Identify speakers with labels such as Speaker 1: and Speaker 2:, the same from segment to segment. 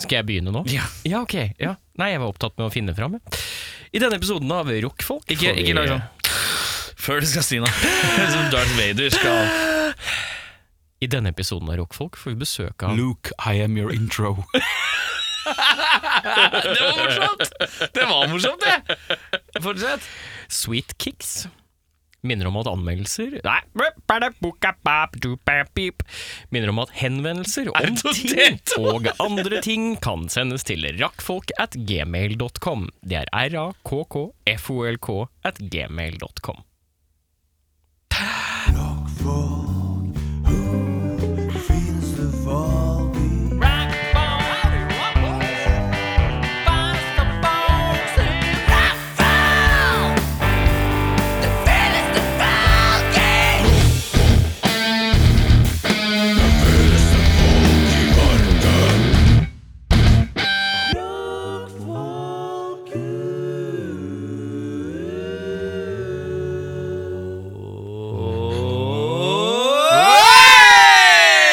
Speaker 1: Skal jeg begynne nå?
Speaker 2: Ja.
Speaker 1: ja ok. Ja. Nei, jeg var opptatt med å finne fram. jeg. I denne episoden av Rockfolk
Speaker 2: Ikke,
Speaker 1: får vi-
Speaker 2: ikke lag sånn før du skal si noe. Som Darth Vader skal
Speaker 1: I denne episoden av Rockfolk får vi besøk av
Speaker 3: Luke, I am your intro.
Speaker 2: Det var morsomt! Det var morsomt, det! Fortsett.
Speaker 1: Sweet Kicks. Minner om at anmeldelser Nei. Minner om at henvendelser om
Speaker 2: det
Speaker 1: ting og andre ting kan sendes til rakkfolk at gmail.com. Det er r-a-k-k-f-o-l-k at gmail.com.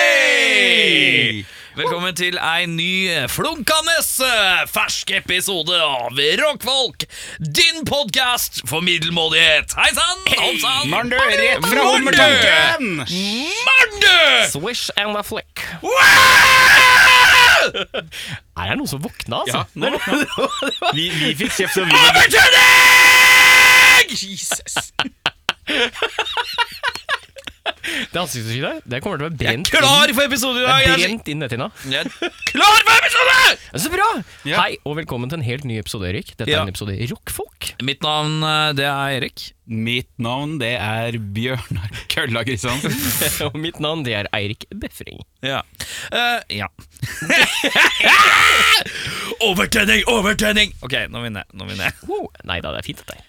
Speaker 2: Hei! Velkommen til ei ny flunkende eh, fersk episode av Rockfolk. Din podkast for middelmådighet. Hei sann! Hei!
Speaker 3: Morn, du! Rett fra Hummertanken!
Speaker 2: Marndu!
Speaker 1: Swish and a flick. Her er det noen som våkna, altså.
Speaker 3: nå. Vi, vi fikk kjeft, og vi
Speaker 2: Over til deg!
Speaker 3: Jesus.
Speaker 1: Det ansiktsuttrykket der det kommer til å være
Speaker 2: Jeg er
Speaker 1: brent,
Speaker 2: klar for episode i dag.
Speaker 1: inn,
Speaker 2: Jeg er
Speaker 1: brent inn netthinna.
Speaker 2: så- jeg er klar for episode!
Speaker 1: Så bra!
Speaker 3: Ja.
Speaker 1: Hei, og velkommen til en helt ny episode, Erik. Dette
Speaker 2: Ja.
Speaker 1: er en episode Rockfolk.
Speaker 2: Mitt navn eh, det er Erik.
Speaker 3: Mitt navn det er Bjørnar Kølla Kristiansen.
Speaker 1: og mitt navn det er Eirik Befring.
Speaker 2: Ja. Eh, ja. overtenning, overtenning! Ok, nå vinner jeg. Nå vinner jeg.
Speaker 1: Wow. Nei da, det er fint dette. her.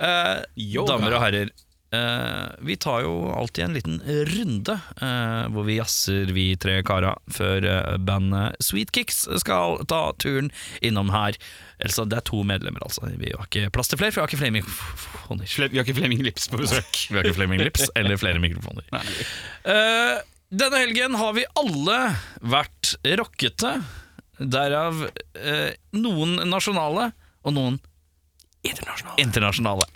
Speaker 2: Eh,
Speaker 3: Yoga.
Speaker 2: damer og herrer, eh, vi tar jo alltid en liten runde eh, hvor vi jazzer, vi tre kara, før eh, bandet Sweet Kicks skal ta turen innom her. Eller så, det er to medlemmer, altså. Vi har ikke plass til flere, for vi har ikke flere mikrofoner.
Speaker 3: Fle- Vi har ikke Flemming Lips på besøk.
Speaker 2: Vi har ikke Fleming Lips eller flere mikrofoner. Eh, denne helgen har vi alle vært rockete, derav eh, noen nasjonale og noen internasjonale.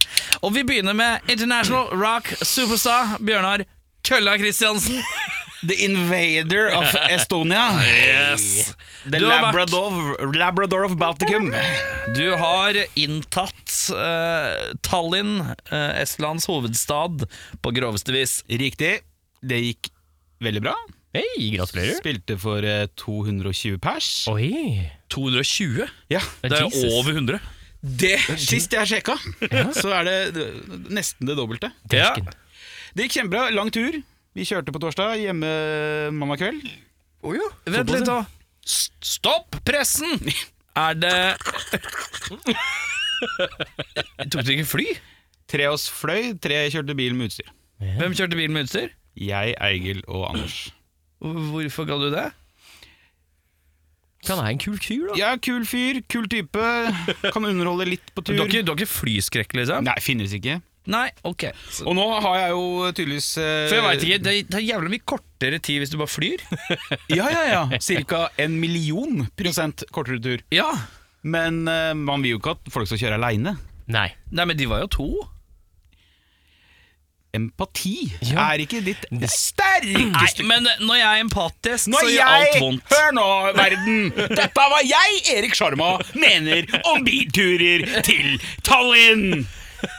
Speaker 2: Og vi begynner med international rock superstar Bjørnar Kølla Kristiansen.
Speaker 3: The Invader of Estonia.
Speaker 2: Yes.
Speaker 3: The
Speaker 2: Du har vært-
Speaker 3: Labrador, Labrador of Balticum.
Speaker 2: Du har inntatt eh, Tallinn, eh, Estlands hovedstad, på groveste vis.
Speaker 3: Riktig. Det gikk veldig bra.
Speaker 1: Hei, gratulerer.
Speaker 3: Spilte for eh, 220 pers.
Speaker 1: Oi.
Speaker 2: 220?
Speaker 3: Ja,
Speaker 2: Det er
Speaker 1: Jesus.
Speaker 2: jo over 100.
Speaker 3: det Sist jeg sjekka, så er det nesten det dobbelte.
Speaker 2: Ja.
Speaker 1: Dersken.
Speaker 3: Det gikk kjempebra. Lang tur. Vi kjørte på torsdag, hjemme mandagskveld.
Speaker 2: Vent litt, da. S- Stopp pressen! Er det Tok dere ikke fly?
Speaker 3: Tre oss fløy, tre kjørte bil med utstyr.
Speaker 2: Hvem kjørte bil med utstyr?
Speaker 3: Jeg, Eigil og Anders.
Speaker 2: Hvorfor ga du det?
Speaker 1: Kan være en kul fyr, da.
Speaker 3: Ja, kul fyr, kul type. Kan underholde litt på
Speaker 2: Du
Speaker 3: tur.
Speaker 2: har ikke, du har ikke flyskrekk, liksom?
Speaker 3: Nei, finnes ikke.
Speaker 2: Nei, ok.
Speaker 3: Og nå har jeg jo tydeligvis eh,
Speaker 2: For jeg vet ikke, det, det er jævlig mye kortere tid hvis du bare flyr.
Speaker 3: Ja, ja, ja. Cirka en million prosent kortere tur.
Speaker 2: Ja.
Speaker 3: Men eh, man vil jo ikke at folk skal kjøre aleine.
Speaker 1: Nei.
Speaker 2: Nei, men de var jo to.
Speaker 3: Empati
Speaker 1: Ja.
Speaker 3: er ikke ditt sterkeste
Speaker 2: Nei, men når jeg er empatisk,
Speaker 3: Når
Speaker 2: så gjør alt
Speaker 3: jeg,
Speaker 2: vondt.
Speaker 3: hør nå verden Dette er hva jeg, Erik Sjarma, mener om bilturer til Tallinn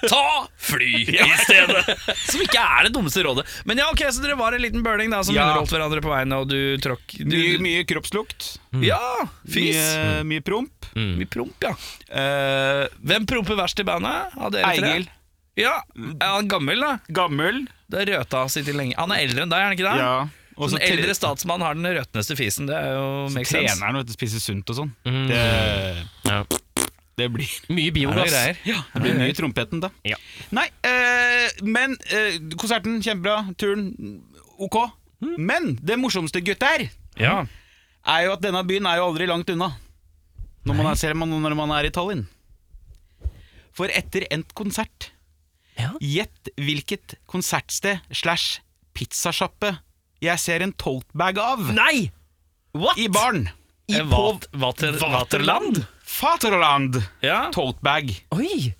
Speaker 2: Ta fly i stedet! Som ikke er det dummeste rådet. Men ja, ok, så dere var en liten burning da som
Speaker 3: Ja.
Speaker 2: underholdt hverandre på veien, og du tråkk du- Mm.
Speaker 3: Mye, mye kroppslukt
Speaker 2: Ja! Fis.
Speaker 3: Mye, eh, mye promp
Speaker 2: Mye promp, ja. Eh, hvem promper verst i bandet? Av dere tre?
Speaker 3: Eigil.
Speaker 2: Ja, Er han gammel, da?
Speaker 3: Gammel
Speaker 2: Det er røta har sittet lenge. Han er eldre enn deg, er han ikke det?
Speaker 3: Ja Og
Speaker 2: Så en
Speaker 3: så
Speaker 2: Sånn eldre
Speaker 3: tre-
Speaker 2: statsmann har den røtneste fisen. Det er jo makes sense.
Speaker 3: treneren vet du, spiser sunt og sånn det,
Speaker 1: Mm, Ja.
Speaker 3: det blir
Speaker 1: Mye
Speaker 2: Er Mm. det
Speaker 1: biogass.
Speaker 2: greier?
Speaker 3: det blir mye i trompetten da
Speaker 1: Ja.
Speaker 3: Nei, eh, men eh, konserten kjempebra Turen, ok
Speaker 2: Mm.
Speaker 3: Men det morsomste gutter
Speaker 2: Ja.
Speaker 3: er jo at denne byen er jo aldri langt unna når man er, Selv om man- når man er i Tallinn For etter endt konsert
Speaker 1: Ja.
Speaker 3: Gjett hvilket konsertsted Slash pizzasjappe Jeg ser en tote bag av
Speaker 1: Nei! What?
Speaker 3: I barn
Speaker 1: I
Speaker 3: i på
Speaker 2: Vat, vater, Vaterland?
Speaker 3: Vaterland
Speaker 2: Ja.
Speaker 3: toatbag.
Speaker 1: Oi!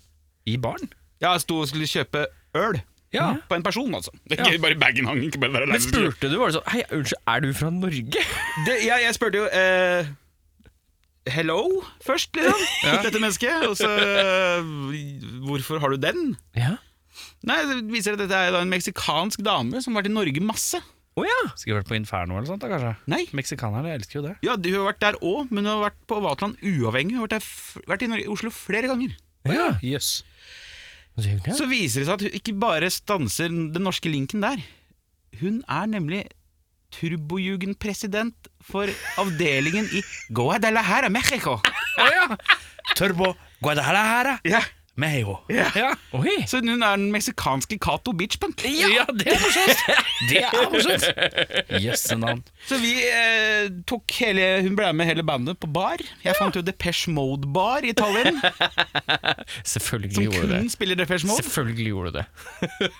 Speaker 2: I baren?
Speaker 3: Jeg sto og skulle kjøpe øl.
Speaker 2: Ja.
Speaker 3: På en person, altså. Det er ikke bare bagen hang ikke bare der.
Speaker 1: Men spurte du, var det sånn Hei, unnskyld, er du fra Norge?
Speaker 3: Det, jeg, jeg spurte jo eh, Hello først, liksom. Dette mennesket. Og så eh, Hvorfor har du den?
Speaker 1: Ja.
Speaker 3: Nei, det viser at dette er da en meksikansk dame som har vært i Norge masse.
Speaker 1: Å ja.
Speaker 2: Skulle vært på Inferno eller sånt, da, kanskje?
Speaker 3: Nei.
Speaker 2: Meksikanere elsker jo det.
Speaker 3: Ja, Hun har vært der òg, men hun har vært på Vaterland uavhengig. Hun har vært, der, f- vært i Norge, Oslo flere ganger.
Speaker 1: ja.
Speaker 2: Jøss.
Speaker 3: Så viser det seg at hun ikke bare stanser den norske linken der. Hun er nemlig turbojugendpresident for avdelingen i Guadalajara, Mexico.
Speaker 2: Å ja! Turbo Guadalajara
Speaker 3: Ja,
Speaker 2: Mejo.
Speaker 3: ja.
Speaker 1: Oi.
Speaker 3: Så hun er den meksikanske Cato Beachpunk.
Speaker 2: Ja, det er morsomt! Det er morsomt! Jøsse navn.
Speaker 3: Så vi eh, tok hele, hun ble med hele bandet på bar. Jeg fant jo Depeche Mode Bar i Tallinn,
Speaker 1: Selvfølgelig
Speaker 3: som
Speaker 1: gjorde du
Speaker 3: kun
Speaker 1: det.
Speaker 3: spiller Depeche Mode.
Speaker 1: Selvfølgelig gjorde du det.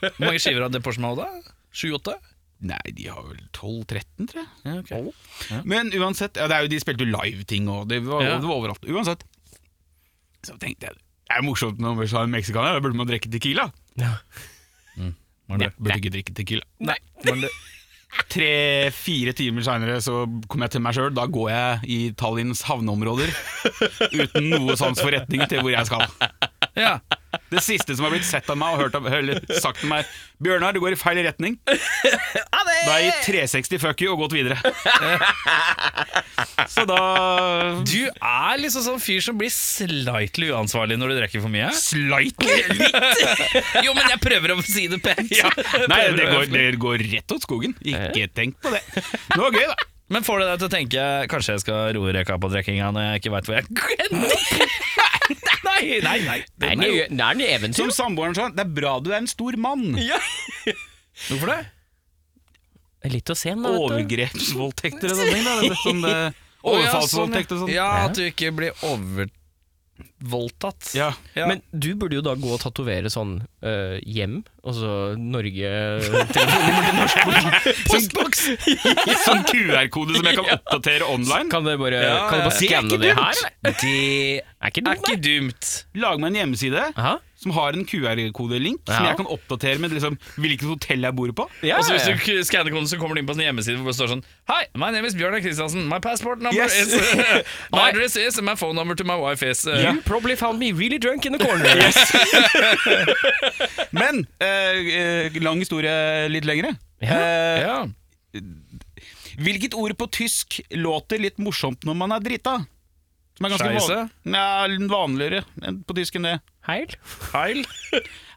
Speaker 2: Hvor mange skiver hadde Porsche Mauda? Sju-åtte?
Speaker 3: Nei, de har vel 12-13, tror jeg.
Speaker 2: Ja, ok.
Speaker 3: Men uansett, ja, det er jo, de spilte jo live-ting, og det var,
Speaker 2: Ja.
Speaker 3: det var overalt. Uansett, så tenkte jeg det er jo morsomt når man har en meksikaner, da burde man drikke Tequila.
Speaker 1: Ja.
Speaker 2: Var det-
Speaker 3: Mm. Burde ikke drikke Tequila.
Speaker 1: Nei.
Speaker 2: var det-
Speaker 3: Tre-fire timer seinere så kom jeg til meg sjøl. Da går jeg i Tallinns havneområder uten noe sans for retning til hvor jeg skal.
Speaker 2: Ja.
Speaker 3: Det siste som har blitt sett av meg og hørt av, eller sagt til meg, 'Bjørnar, du går i feil retning'. Da har jeg gitt 360 fuck you og gått videre. Så da
Speaker 2: Du er liksom sånn fyr som blir slightly uansvarlig når du drikker for mye.
Speaker 3: Slightly!
Speaker 2: Jo, men jeg prøver å si det pent.
Speaker 3: Nei, det går, det går rett åt skogen. Ikke tenk på det. Det var gøy, da.
Speaker 2: Men får det deg til å tenke Kanskje jeg skal roe reka på drikkinga når jeg ikke veit hvor jeg Nei, nei, nei.
Speaker 1: Det er
Speaker 2: Den er jo-
Speaker 1: en- det er en eventyr.
Speaker 3: Som samboeren sa, det er bra du er en stor mann.
Speaker 2: Hvorfor det?
Speaker 1: Litt å se, da. vet du.
Speaker 3: Overgrepsvoldtekter og sånne ting. da, vet du, Sånn, eh, Overfallsvoldtekt og sånn.
Speaker 2: Ja, at du ikke blir overvoldtatt.
Speaker 3: Ja.
Speaker 2: Ja.
Speaker 1: Men du burde jo da gå og tatovere sånn eh, hjem, altså Norge Telefonnummer til norsk politi.
Speaker 2: postboks!
Speaker 3: Sånn QR-kode som jeg kan oppdatere online.
Speaker 1: Kan du bare,
Speaker 2: Ja,
Speaker 1: kan du bare
Speaker 2: det
Speaker 3: er ikke
Speaker 1: skanne det
Speaker 3: dumt.
Speaker 1: her? eller?
Speaker 2: Det
Speaker 1: Er ikke dumt,
Speaker 2: er ikke
Speaker 1: nei.
Speaker 2: dumt.
Speaker 3: Lage meg en hjemmeside
Speaker 1: Aha.
Speaker 3: som har en QR-kodelink som
Speaker 1: Ja.
Speaker 3: jeg kan oppdatere med liksom, hvilket hotell jeg bor på.
Speaker 1: Ja,
Speaker 2: Og så
Speaker 1: ja, ja.
Speaker 2: hvis du skanner koden, så kommer du inn på en hjemmeside hvor det står sånn Hi, my name is Bjørnar Kristiansen. My passport number
Speaker 3: Yes.
Speaker 2: is My address is and my phone number to my wife is uh,
Speaker 1: You probably found me really drunk in the corner.
Speaker 3: Men eh, eh, lang historie litt lengre.
Speaker 1: Ja.
Speaker 3: Eh,
Speaker 2: Ja.
Speaker 3: Hvilket ord på tysk låter litt morsomt når man er drita? Som er ganske
Speaker 2: Scheisse?
Speaker 3: van ja, vanligere enn på tysk enn det.
Speaker 1: Heil.
Speaker 2: Heil.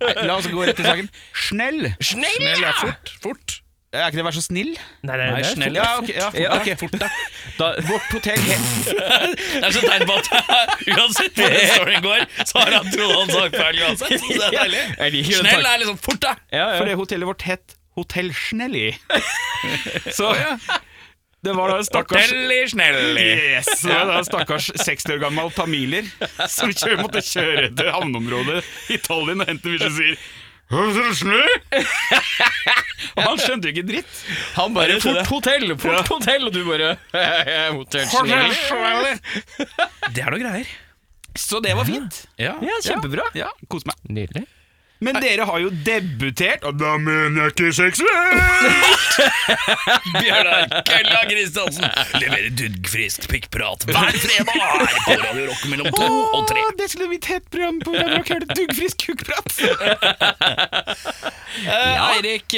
Speaker 3: Nei, La oss gå rett til saken. Snell!
Speaker 1: Snell,
Speaker 2: Snell
Speaker 1: ja!
Speaker 2: er fort. Fort.
Speaker 3: Er ikke det 'vær så snill'?
Speaker 1: Nei, det er-
Speaker 2: Nei,
Speaker 1: det er
Speaker 2: snell.
Speaker 1: fort.
Speaker 3: Ja, ok. Ja, fort,
Speaker 1: Ja,
Speaker 3: ok.
Speaker 1: Da,
Speaker 3: Vårt hotell het
Speaker 2: Det er så tegn på at uansett hvor den storyen går, så har han trodd han sagt feil uansett. Så det er deilig.
Speaker 1: Jeg liker den
Speaker 2: Snell
Speaker 1: tanken.
Speaker 2: er liksom fort, da.
Speaker 1: ja, ja.
Speaker 3: For det hotellet vårt het Hotell Snelli. Så det var da en stakkars
Speaker 2: Fortelli snelli.
Speaker 3: Yes, det var da en stakkars 60 år gammel tamiler som kjø- måtte kjøre til havneområdet i Tallinn og hente bikkje og sier «Hotell Snelli?» Og han skjønte jo ikke dritt.
Speaker 1: Han bare
Speaker 2: fort
Speaker 1: Fort hotell, fort ja. hotell! Og du bare Hotell
Speaker 3: Hotell
Speaker 1: Chanel.
Speaker 3: Snelli.
Speaker 2: Det er noe greier.
Speaker 3: Så det var fint.
Speaker 2: Ja.
Speaker 1: Ja, kjempebra.
Speaker 3: Ja, kos meg.
Speaker 1: Nydelig.
Speaker 3: Men dere har jo debutert Og da mener jeg ikke seksuelt!
Speaker 2: Bjørnar Kølla Kristiansen leverer duggfrisk pikkprat hver fredag her på Radio Rock mellom to og tre.
Speaker 3: Åh, det skulle blitt et program på Radio Rock. Hørte duggfrisk kukkprat.
Speaker 2: Eh, Eirik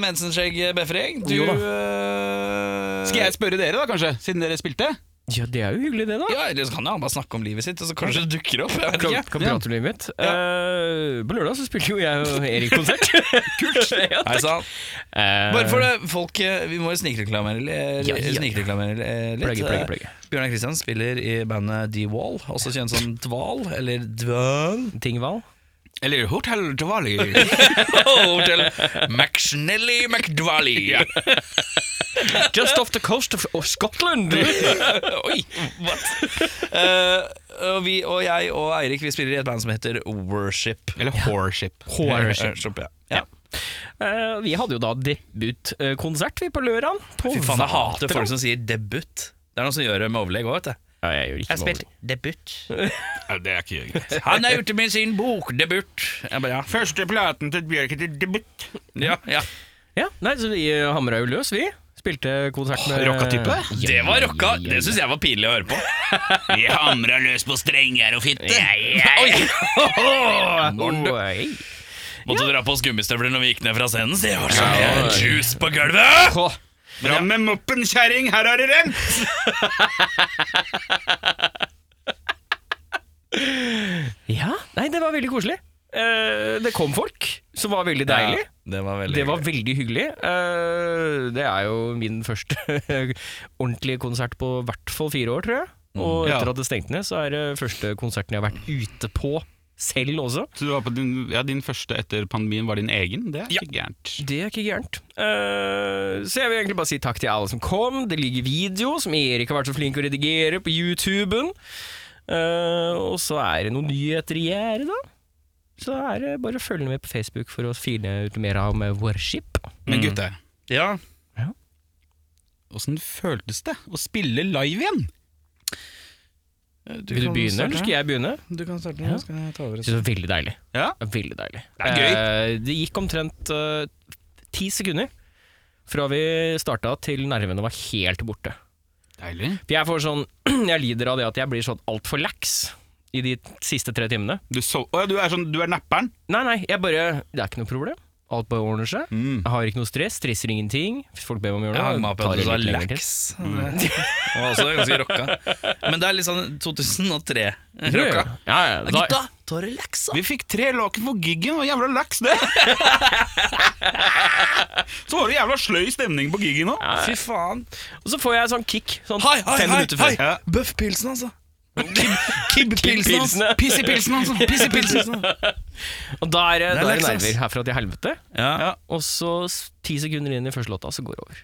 Speaker 2: Mensenskjegg Befring, du eh,
Speaker 1: Jo da.
Speaker 3: Skal jeg spørre dere, da, kanskje? Siden dere spilte?
Speaker 1: Ja, det er jo hyggelig, det, da.
Speaker 2: Ja, ellers kan han bare snakke om livet sitt, og så kanskje det dukker opp. Jeg
Speaker 1: Kan,
Speaker 2: vet ikke.
Speaker 1: kan prate livet mitt. Eh, på lørdag så spilte jo jeg og Erik konsert. Kult! ja,
Speaker 2: Hei sann.
Speaker 1: Eh,
Speaker 2: Bare for det, folk eh, Vi må jo snikreklamere li-
Speaker 1: Ja, ja, ja.
Speaker 2: snikreklamere li- litt.
Speaker 1: Plugge, plugge, plugge.
Speaker 2: Eh, Bjørnar Kristian spiller i bandet D-Wall, også kjent som Dval, eller Dval
Speaker 1: Tingvall.
Speaker 3: Eller Hotel Dwali.
Speaker 2: Hotel McSnelly McDwally.
Speaker 1: Just off the coast of, of Scotland!
Speaker 2: Oi, what? Eh, og, vi, og jeg og Eirik vi spiller i et band som heter Worship. eh,
Speaker 3: Eller Horship.
Speaker 2: Worship, ja. ja.
Speaker 1: Eh, vi hadde jo da debutkonsert vi på lørdag.
Speaker 2: Fy faen, jeg hater folk som sier debut. Det Det er noen som gjør det med overlegg òg, vet du.
Speaker 1: Ja, jeg gjør ikke
Speaker 2: Jeg
Speaker 1: noe
Speaker 2: spilte
Speaker 1: overlegg.
Speaker 2: debut.
Speaker 3: Nei, det er ikke greit.
Speaker 2: Han er ute med sin bok, debut. Jeg bare, ja.
Speaker 3: Første platen til Bjørk heter Debut.
Speaker 2: Ja, ja.
Speaker 1: Ja, nei, så vi eh, hamra jo løs, vi. Spilte konsert med
Speaker 3: rockatype?
Speaker 1: Ja,
Speaker 2: Det var rocka.
Speaker 1: ja, ja,
Speaker 2: Det syns jeg var pinlig å høre på.
Speaker 3: Vi hamra løs på strenger og fitte.
Speaker 2: Oi.
Speaker 1: ja. Oi, hei.
Speaker 2: Måtte dra på oss gummistøvler når vi gikk ned fra scenen. så Det var så mye juice på gulvet!
Speaker 3: Fram med moppen, kjerring, her har du rent!
Speaker 1: Ja, nei, det var veldig koselig. Eh, det kom folk, som var veldig deilig.
Speaker 2: Ja, det var veldig
Speaker 1: Det var veldig hyggelig. Eh, det er jo min første ordentlige konsert på i hvert fall fire år, tror jeg. Og
Speaker 3: Ja.
Speaker 1: etter at det stengte ned, så er det første konserten jeg har vært ute på selv også.
Speaker 3: Så du var på din, ja, din første etter pandemien var din egen? Det er
Speaker 2: Ja.
Speaker 3: ikke gærent.
Speaker 1: Det er ikke gærent. Eh, så jeg vil egentlig bare si takk til alle som kom. Det ligger video som Erik har vært så flink å redigere på YouTuben. Eh, og så er det noen nyheter i gjære, da. Så er det bare å følge med på Facebook for å finne ut mer om eh, worship.
Speaker 3: Men gutter,
Speaker 2: Ja.
Speaker 3: åssen føltes det å spille live igjen?
Speaker 1: Vil du begynne, eller skal jeg begynne?
Speaker 2: Du kan starte
Speaker 1: Ja.
Speaker 2: skal jeg ta over.
Speaker 1: Jeg synes det var veldig deilig.
Speaker 3: Ja.
Speaker 1: Det er Veldig deilig.
Speaker 3: Det er gøy.
Speaker 1: Eh, det gikk omtrent eh, ti sekunder fra vi starta til nervene var helt borte.
Speaker 3: Deilig.
Speaker 1: For jeg får sånn Jeg lider av det at jeg blir sånn altfor laks i de siste tre timene.
Speaker 3: Du, så, å, ja, du er sånn, du er napperen?
Speaker 1: Nei, nei, jeg bare Det er ikke noe problem. Alt bare ordner seg. Jeg har ikke noe stress, stresser ingenting. Hvis folk ber meg om å gjøre
Speaker 2: Jeg
Speaker 1: noe,
Speaker 2: hang meg opp i
Speaker 1: tar
Speaker 2: at
Speaker 1: det
Speaker 2: du sa
Speaker 1: litt lengre tid.
Speaker 2: lax. Det var også ganske rocka. Men det er litt sånn 2003-rocka.
Speaker 1: Ja, ja, da,
Speaker 2: Gutta, ta relax, da.
Speaker 3: Vi fikk tre laken for giggen, og jævla laks det! så var det jævla sløy stemning på giggen nå.
Speaker 2: Fy faen.
Speaker 1: og så får jeg sånn kick sånn
Speaker 2: Hei, hei,
Speaker 1: fem
Speaker 2: hei,
Speaker 1: minutter
Speaker 2: hei.
Speaker 1: før.
Speaker 3: Ja.
Speaker 2: Bøffpilsen, altså. Kib-pilsen, altså.
Speaker 1: Pilsene.
Speaker 3: Pissepilsen, altså! Pissepilsen! altså.
Speaker 1: Og da er det,
Speaker 2: Det er
Speaker 1: da er det
Speaker 2: laks, ass.
Speaker 1: nerver herfra til helvete.
Speaker 2: Ja.
Speaker 1: Og så s- ti sekunder inn i første låta, så går det over.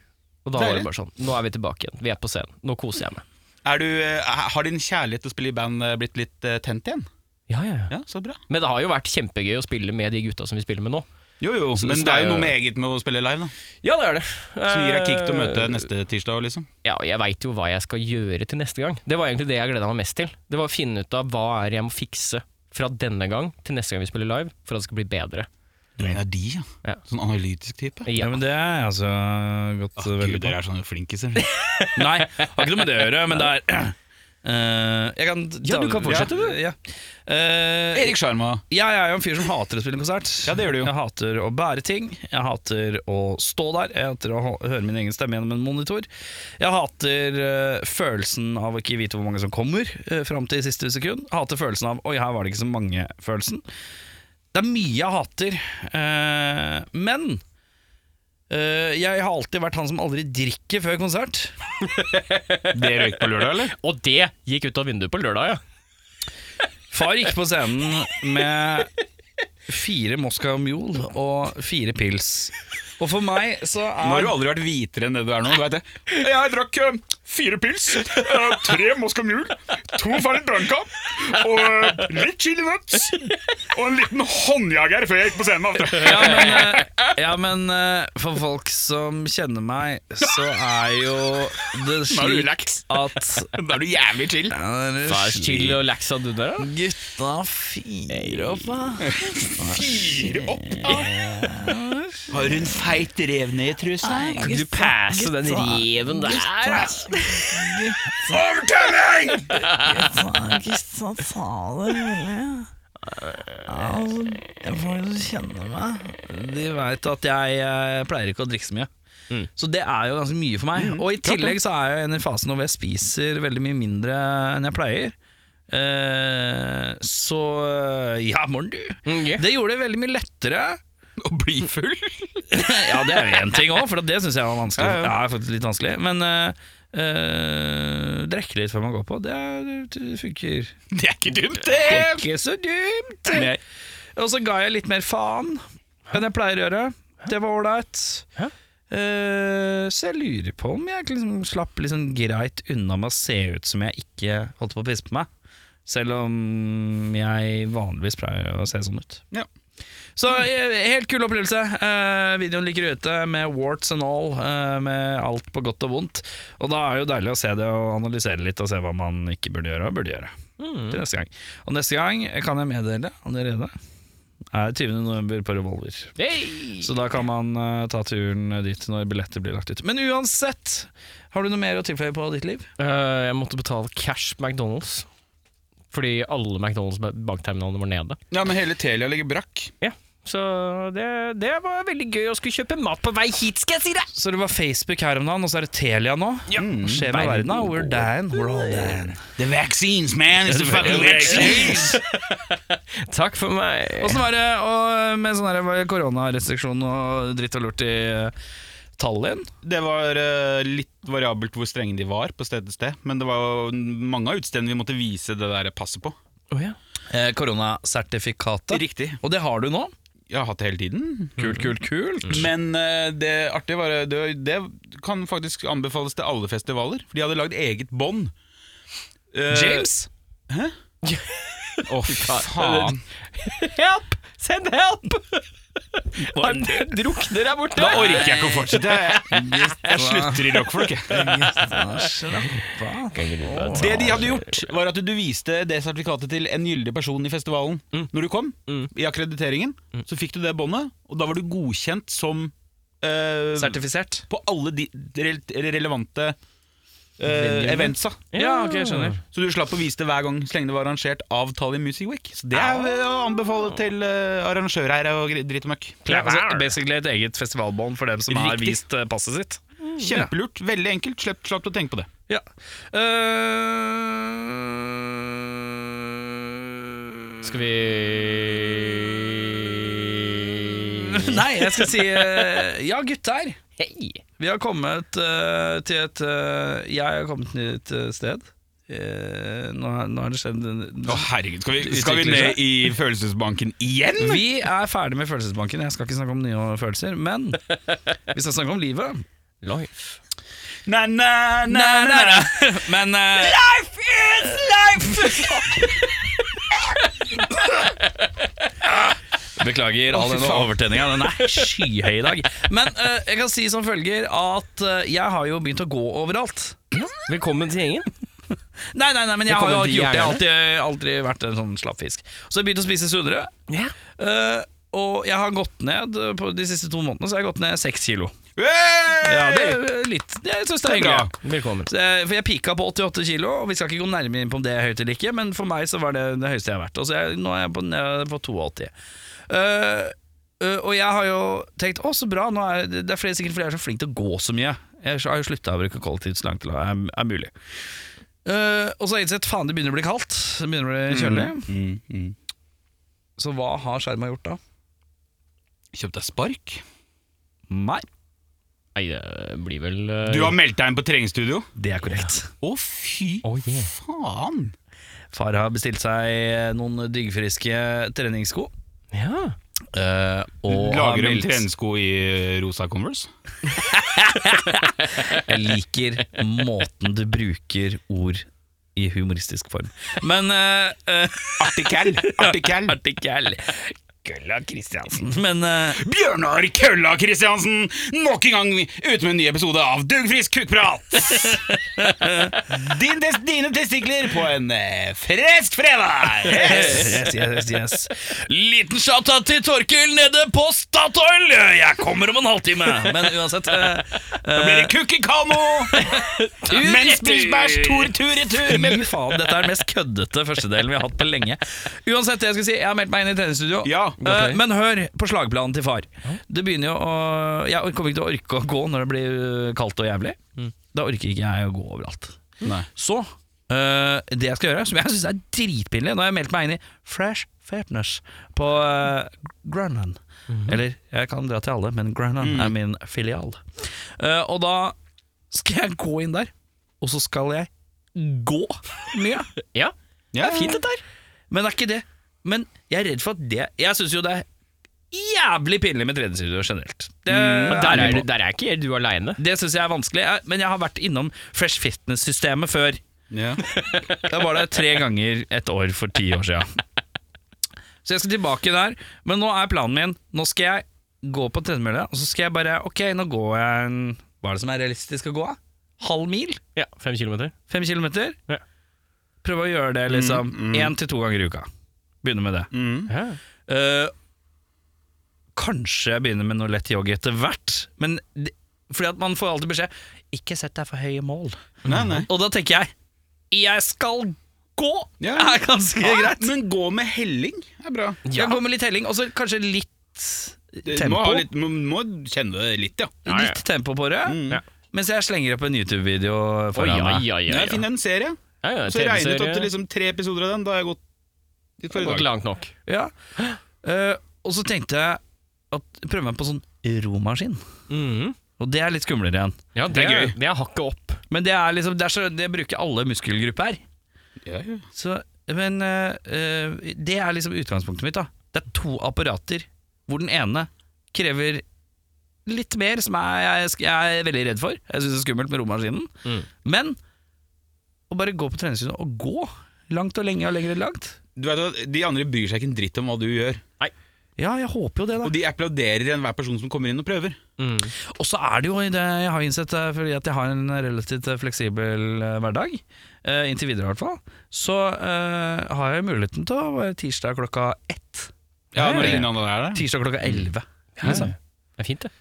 Speaker 1: Og da var
Speaker 3: Deilig.
Speaker 1: det bare sånn. Nå er vi tilbake igjen. Vi er på scenen. Nå koser jeg meg.
Speaker 3: Er du, eh, har din kjærlighet til å spille i band eh, blitt litt eh, tent igjen?
Speaker 1: Ja, ja, ja.
Speaker 3: Ja, så bra.
Speaker 1: Men det har jo vært kjempegøy å spille med de gutta som vi spiller med nå.
Speaker 3: Jo, jo, men
Speaker 1: så
Speaker 3: det er jo
Speaker 1: er-
Speaker 3: noe med eget med å spille live, da.
Speaker 1: Ja, det er det.
Speaker 3: Som gir deg kick til å møte neste tirsdag, liksom.
Speaker 1: Eh, Ja, og jeg veit jo hva jeg skal gjøre til neste gang. Det var egentlig det jeg gleda meg mest til. Det var å finne ut av hva er jeg må fikse fra denne gang til neste gang vi spiller live, for at det skal bli bedre.
Speaker 3: Du er en av de, ja.
Speaker 1: Ja.
Speaker 3: Sånn analytisk type.
Speaker 1: Ja.
Speaker 2: Ja, men det er jeg altså gått
Speaker 1: Ah,
Speaker 3: Åh,
Speaker 2: veldig
Speaker 3: Gud,
Speaker 2: på.
Speaker 3: dere er sånne flinkiser.
Speaker 2: Nei, har ikke noe med det å gjøre, men det er Eh, jeg kan
Speaker 1: Ja, du kan fortsette,
Speaker 2: ja, du. Ja. Eh,
Speaker 3: Erik Sjarma.
Speaker 2: Jeg er jo en fyr som hater å spille konsert.
Speaker 3: Ja, det gjør du jo.
Speaker 2: Jeg hater å bære ting. Jeg hater å stå der. Jeg hater å h- høre min egen stemme gjennom en monitor. Jeg hater eh, følelsen av å ikke vite hvor mange som kommer uh, fram til siste sekund. Jeg hater følelsen av 'oi, her var det ikke så mange'-følelsen. Det er mye jeg hater. eh, men eh, jeg har alltid vært han som aldri drikker før konsert.
Speaker 3: Det røyk på lørdag, eller?
Speaker 1: Og det gikk ut av vinduet på lørdag, ja.
Speaker 2: Far gikk på scenen med fire Moscow Mule og fire pils. Og for meg så
Speaker 3: Nå har
Speaker 2: er
Speaker 3: du aldri vært hvitere enn det du er nå. Du vet det. Jeg drakk eh, fire pils, eh, tre Moscow Mule, to Fernet Branca og eh, litt chili nuts. Og en liten håndjager før jeg gikk på scenen. After.
Speaker 2: ja, men, eh, ja, men eh, for folk som kjenner meg, så er jo det slik
Speaker 3: relax.
Speaker 2: at
Speaker 3: Da er du jævlig chill.
Speaker 2: Ja, det er
Speaker 1: Hva er chill og lax av du der, da?
Speaker 2: Gutta fire opp, da.
Speaker 3: Fire opp. Har hun feit rev ned i trusa?
Speaker 1: Kan du passe den reven der? ass?
Speaker 3: Overtelling!
Speaker 4: Gutta, ta det rolig. Altså, folk som kjenner meg
Speaker 2: De veit at jeg eh, pleier ikke å drikke så mye. Så det er jo ganske mye for meg. Og i tillegg så er jeg i den fasen hvor jeg spiser veldig mye mindre enn jeg pleier. Eh, så eh, ja, morn du.
Speaker 1: Mm, ja.
Speaker 2: Det gjorde det veldig mye lettere.
Speaker 3: Å bli full?
Speaker 2: ja, det er jo én ting òg, for det syns jeg var vanskelig. Ja, er faktisk litt vanskelig Men eh, eh, drikke litt før man går på, det, er- det funker.
Speaker 3: Det er ikke dumt,
Speaker 2: Det
Speaker 3: det.
Speaker 2: er ikke så dumt! Og så ga jeg litt mer faen enn jeg pleier å gjøre. Det var ålreit.
Speaker 1: Hæ?
Speaker 2: Eh, så jeg lurer på om jeg liksom slapp liksom greit unna med å se ut som jeg ikke holdt på å pisse på meg. Selv om jeg vanligvis pleier å se sånn ut.
Speaker 3: Ja.
Speaker 2: Så eh, helt kul opplevelse. Eh, videoen ligger ute med warts and all, eh, med alt på godt og vondt. Og da er det jo deilig å se det og analysere litt og se hva man ikke burde gjøre og burde gjøre. Til neste gang. Og neste gang kan jeg meddele allerede er 20. november på Revolver.
Speaker 1: Hey!
Speaker 2: Så da kan man eh, ta turen dit når billetter blir lagt ut. Men uansett, har du noe mer å tilføye på ditt liv?
Speaker 1: Eh, jeg måtte betale cash på McDonald's. Fordi alle McDonald's-bankterminalene var nede.
Speaker 3: Ja, men hele Telia ligger brakk.
Speaker 1: Ja, Så det, det var veldig gøy å skulle kjøpe mat på vei hit, skal jeg si deg!
Speaker 2: Så det var Facebook her om dagen, og så er det Telia nå. Ja.
Speaker 3: Mm.
Speaker 2: Hva skjer med verden? da? We're down. We're all down.
Speaker 3: The vaccines, man! It's the fucking vaccines!
Speaker 1: Takk for meg.
Speaker 2: Åssen var det og med sånn her koronarestriksjon og dritt og lort i eh, Tallinn?
Speaker 3: Det var eh, litt variabelt hvor strenge de var på sted til sted, men det var jo mange av utstedene vi måtte vise det der passet på.
Speaker 1: Å ja.
Speaker 2: Eh, Koronasertifikatet.
Speaker 3: Riktig.
Speaker 2: Og det har du nå.
Speaker 3: Jeg har hatt det hele tiden.
Speaker 2: Kult, kult, kult.
Speaker 3: Men eh, det artige var det, det kan faktisk anbefales til alle festivaler, for de hadde lagd eget bånd. Eh,
Speaker 2: Mm. James?
Speaker 3: Å, faen.
Speaker 1: Help! Send help! Han drukner der borte.
Speaker 3: Da orker jeg ikke å fortsette. Jeg, jeg slutter i rockfolk. jeg. Det de hadde gjort, var at du viste det sertifikatet til en gyldig person i festivalen når du kom. I akkrediteringen. Så fikk du det båndet, og da var du godkjent som eh,
Speaker 2: Sertifisert?
Speaker 3: På alle de rel relevante eh, eventsa.
Speaker 2: Ja, ok, jeg skjønner.
Speaker 3: Så du slapp å vise det hver gang så lenge det var arrangert av Tallinn Music Week. Så det er eh, å anbefale til eh, arrangører her og gr- dritt og møkk.
Speaker 2: Ja, altså, basically et eget festivalbånd for dem som har
Speaker 3: Riktig.
Speaker 2: vist eh, passet sitt.
Speaker 3: Kjempelurt. Veldig enkelt. Slapp, slapp å tenke på det.
Speaker 2: Ja. Eh,
Speaker 1: Skal vi
Speaker 2: Nei, jeg skal si eh, ja, gutter.
Speaker 1: Hei!
Speaker 2: Vi har kommet eh, til et eh, Jeg har kommet til et eh, sted. Eh, nå, har- nå har det skjedd en-
Speaker 3: Å herregud, skal vi,
Speaker 2: skal vi ned
Speaker 3: i følelsesbanken igjen?
Speaker 2: Vi er ferdig med følelsesbanken. Jeg skal ikke snakke om nye følelser, men vi skal snakke om livet.
Speaker 1: Life.
Speaker 3: Na, na, na, na, na.
Speaker 2: Men eh, Beklager all denne overtenninga. Den er skyhøy i dag. Men eh, jeg kan si som følger at eh, jeg har jo begynt å gå overalt.
Speaker 1: Velkommen til gjengen.
Speaker 2: Nei, nei, nei, men jeg har jo
Speaker 1: Velkommen til
Speaker 2: ikke gjort det. Jeg har
Speaker 1: jegerne.
Speaker 2: alltid, aldri vært en sånn slapp fisk. Så jeg begynte å spise sunnere.
Speaker 1: Ja.
Speaker 2: Eh, og jeg har gått ned eh, på de siste to månedene Så har jeg gått ned seks kilo.
Speaker 3: Hey!
Speaker 2: Ja, det er eh, litt Det syns jeg er
Speaker 3: Det er
Speaker 2: hyggelig.
Speaker 3: bra.
Speaker 2: ja.
Speaker 1: Velkommen.
Speaker 2: Så jeg- Eh, For jeg pika på 88 kilo, og vi skal ikke gå nærmere inn på om det er høyt eller ikke, men for meg så var det det høyeste jeg har vært. Og så jeg, nå er jeg på, nede på 82. Eh, eh, og jeg har jo tenkt å, så bra, nå er det, det er flere, sikkert fordi jeg er så flink til å gå så mye. Jeg har jo slutta å bruke kollektivt så langt det er, er mulig. Eh, og så har jeg innsett faen, det begynner å bli kaldt. Det begynner å bli kjølig. mm. Så hva har skjerma gjort da?
Speaker 3: Kjøpt deg spark?
Speaker 2: Meg.
Speaker 1: Nei, det blir vel eh,
Speaker 3: Du har meldt deg inn på treningsstudio?
Speaker 2: Det er korrekt.
Speaker 3: Å, fy
Speaker 1: Oh, yeah.
Speaker 3: faen!
Speaker 2: Far har bestilt seg noen dyggfriske treningssko.
Speaker 1: Ja.
Speaker 2: eh, og har
Speaker 3: Lager de
Speaker 2: meldt-
Speaker 3: treningssko i eh, rosa Converse?
Speaker 2: Jeg liker måten du bruker ord i humoristisk form. Men uh,
Speaker 3: Artikkel! Artikkel!
Speaker 2: Artikkel Kølla Kristiansen. Men eh,
Speaker 3: Bjørnar Kølla Kristiansen! Nok en gang ute med en ny episode av Duggfrisk kukkprat! Din tes- dine testikler på en eh, fresk fredag!
Speaker 2: yes, yes, yes, yes. Liten shout-out til Torkil nede på Statoil! Jeg kommer om en halvtime! Men uansett eh,
Speaker 3: Da blir det kukk i kano! Mensbæsj, tor tur i tur!
Speaker 2: Fy faen, dette er den mest køddete førstedelen vi har hatt på lenge. Uansett, jeg skal si, jeg har meldt meg inn i treningsstudio.
Speaker 3: Ja,
Speaker 2: Eh, men hør på slagplanen til far. Det begynner jo å Jeg kommer ikke til å orke å gå når det blir øh, kaldt og jævlig. Da orker ikke jeg å gå overalt.
Speaker 3: Nei.
Speaker 2: Så øh, det jeg skal gjøre, som jeg syns er dritpinlig Nå har jeg meldt meg inn i Fresh Fairness på øh, Grønland. Eller jeg kan dra til alle, men Grønland er min filial. Eh, og da skal jeg gå inn der, og så skal jeg gå mye.
Speaker 1: ja.
Speaker 3: Ja,
Speaker 2: Fint dette her. Men det er ikke det. Men jeg er redd for at det Jeg syns jo det er jævlig pinlig med tredjestudio generelt. Mm. Det,
Speaker 1: Der er, der er ikke du aleine.
Speaker 2: det syns jeg er vanskelig. Jeg- Men jeg har vært innom Fresh Fitness-systemet før.
Speaker 3: Ja.
Speaker 2: Da var det tre ganger et år for ti år siden. Så jeg skal tilbake der. Men nå er planen min Nå skal jeg gå på tredemølle, og så skal jeg bare Ok, nå går jeg en Hva er det som er realistisk å gå? da? Halv mil?
Speaker 1: Ja, fem kilometer.
Speaker 2: Fem kilometer?
Speaker 1: Ja.
Speaker 2: Prøve å gjøre det liksom én til to ganger i uka. Begynne med det.
Speaker 1: Ja.
Speaker 2: Eh, kanskje jeg begynner med noe lett yogi etter hvert, men det, fordi at man får alltid beskjed Ikke sett deg for høye mål.
Speaker 3: Nei, nei.
Speaker 2: Og da tenker jeg Jeg skal gå! Det
Speaker 3: Ja.
Speaker 2: er ganske greit.
Speaker 3: Men gå med helling er bra.
Speaker 2: Jeg går med litt helling, og så kanskje litt
Speaker 3: Det-
Speaker 2: tempo.
Speaker 3: Må, ha litt, må, må kjenne det litt, ja. Mm.
Speaker 1: Ja, ja.
Speaker 2: Litt tempo på det.
Speaker 1: Ja.
Speaker 2: Mens jeg slenger opp en YouTube-video
Speaker 1: Oi,
Speaker 2: foran meg.
Speaker 1: ja, ja,
Speaker 3: Jeg finner en serie.
Speaker 1: Ja, ja,
Speaker 3: Så jeg regnet opp
Speaker 1: TV-serie.
Speaker 3: til liksom tre episoder av den. Da har jeg gått litt for
Speaker 1: Det
Speaker 3: i
Speaker 1: går ikke
Speaker 3: dag.
Speaker 1: langt nok.
Speaker 2: Ja. Eh, og så tenkte jeg at prøve meg på sånn romaskin. Og det er litt skumlere igjen.
Speaker 1: Mm. Ja, det,
Speaker 3: Det er
Speaker 1: er,
Speaker 3: gøy.
Speaker 1: det er hakket opp.
Speaker 2: Men det er liksom, det, er så, det bruker alle muskelgrupper.
Speaker 3: Ja, ja.
Speaker 2: Så, men eh, eh, det er liksom utgangspunktet mitt. da Det er to apparater hvor den ene krever litt mer, som er, jeg, sk- jeg er veldig redd for. Jeg syns det er skummelt med romaskinen.
Speaker 1: Mm.
Speaker 2: Men å bare gå på treningsstudio og gå langt og lenge og lenger enn langt
Speaker 3: Du vet at De andre bryr seg ikke en dritt om hva du gjør.
Speaker 2: Ja, jeg håper jo det,
Speaker 3: Og
Speaker 2: da.
Speaker 3: de applauderer enhver person som kommer inn og prøver.
Speaker 1: Mm.
Speaker 2: Og så er det jo i det jeg har innsett, eh, fordi at jeg har en relativt eh, fleksibel eh, hverdag, eh, inntil videre i hvert fall, så eh, har jeg muligheten til å være tirsdag klokka ett.
Speaker 3: Ja,
Speaker 2: Ja, ja,
Speaker 3: når
Speaker 2: ja.
Speaker 3: ingen andre er der.
Speaker 2: Tirsdag klokka elleve.
Speaker 1: Liksom. Det er fint, det.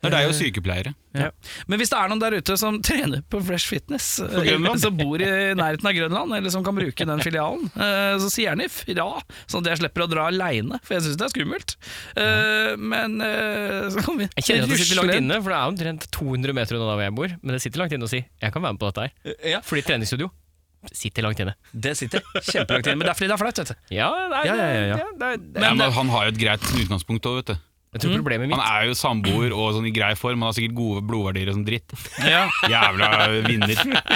Speaker 3: Når det er jo sykepleiere.
Speaker 2: Ja. Men hvis det er noen der ute som trener på Fresh Fitness, eh,
Speaker 3: Grønland.
Speaker 2: som bor i nærheten av Grønland, eller som kan bruke den filialen, eh, så si gjerne ifra, sånn at jeg slipper å dra aleine, for jeg syns det er skummelt. Eh, Men eh, så kan vi
Speaker 1: Jeg kjenner at det sitter langt
Speaker 2: rusle-
Speaker 1: inne, for det er jo omtrent 200 meter unna der hvor jeg bor. Men det sitter langt inne å si 'jeg kan være med på dette her'.
Speaker 2: Ja,
Speaker 1: Fordi treningsstudio sitter langt inne.
Speaker 2: det sitter kjempelangt inne, men det er fordi det er flaut, vet du.
Speaker 1: Ja, nei,
Speaker 2: Ja, ja, ja, ja.
Speaker 1: det er- det er-
Speaker 3: Ja, men han har jo et greit utgangspunkt òg, vet du.
Speaker 1: Jeg
Speaker 2: Mm.
Speaker 1: tror problemet mitt
Speaker 3: Han er jo samboer og sånn i grei form. Han har sikkert gode blodverdier og sånn dritt.
Speaker 2: eh, Ja,
Speaker 3: Jævla vinner.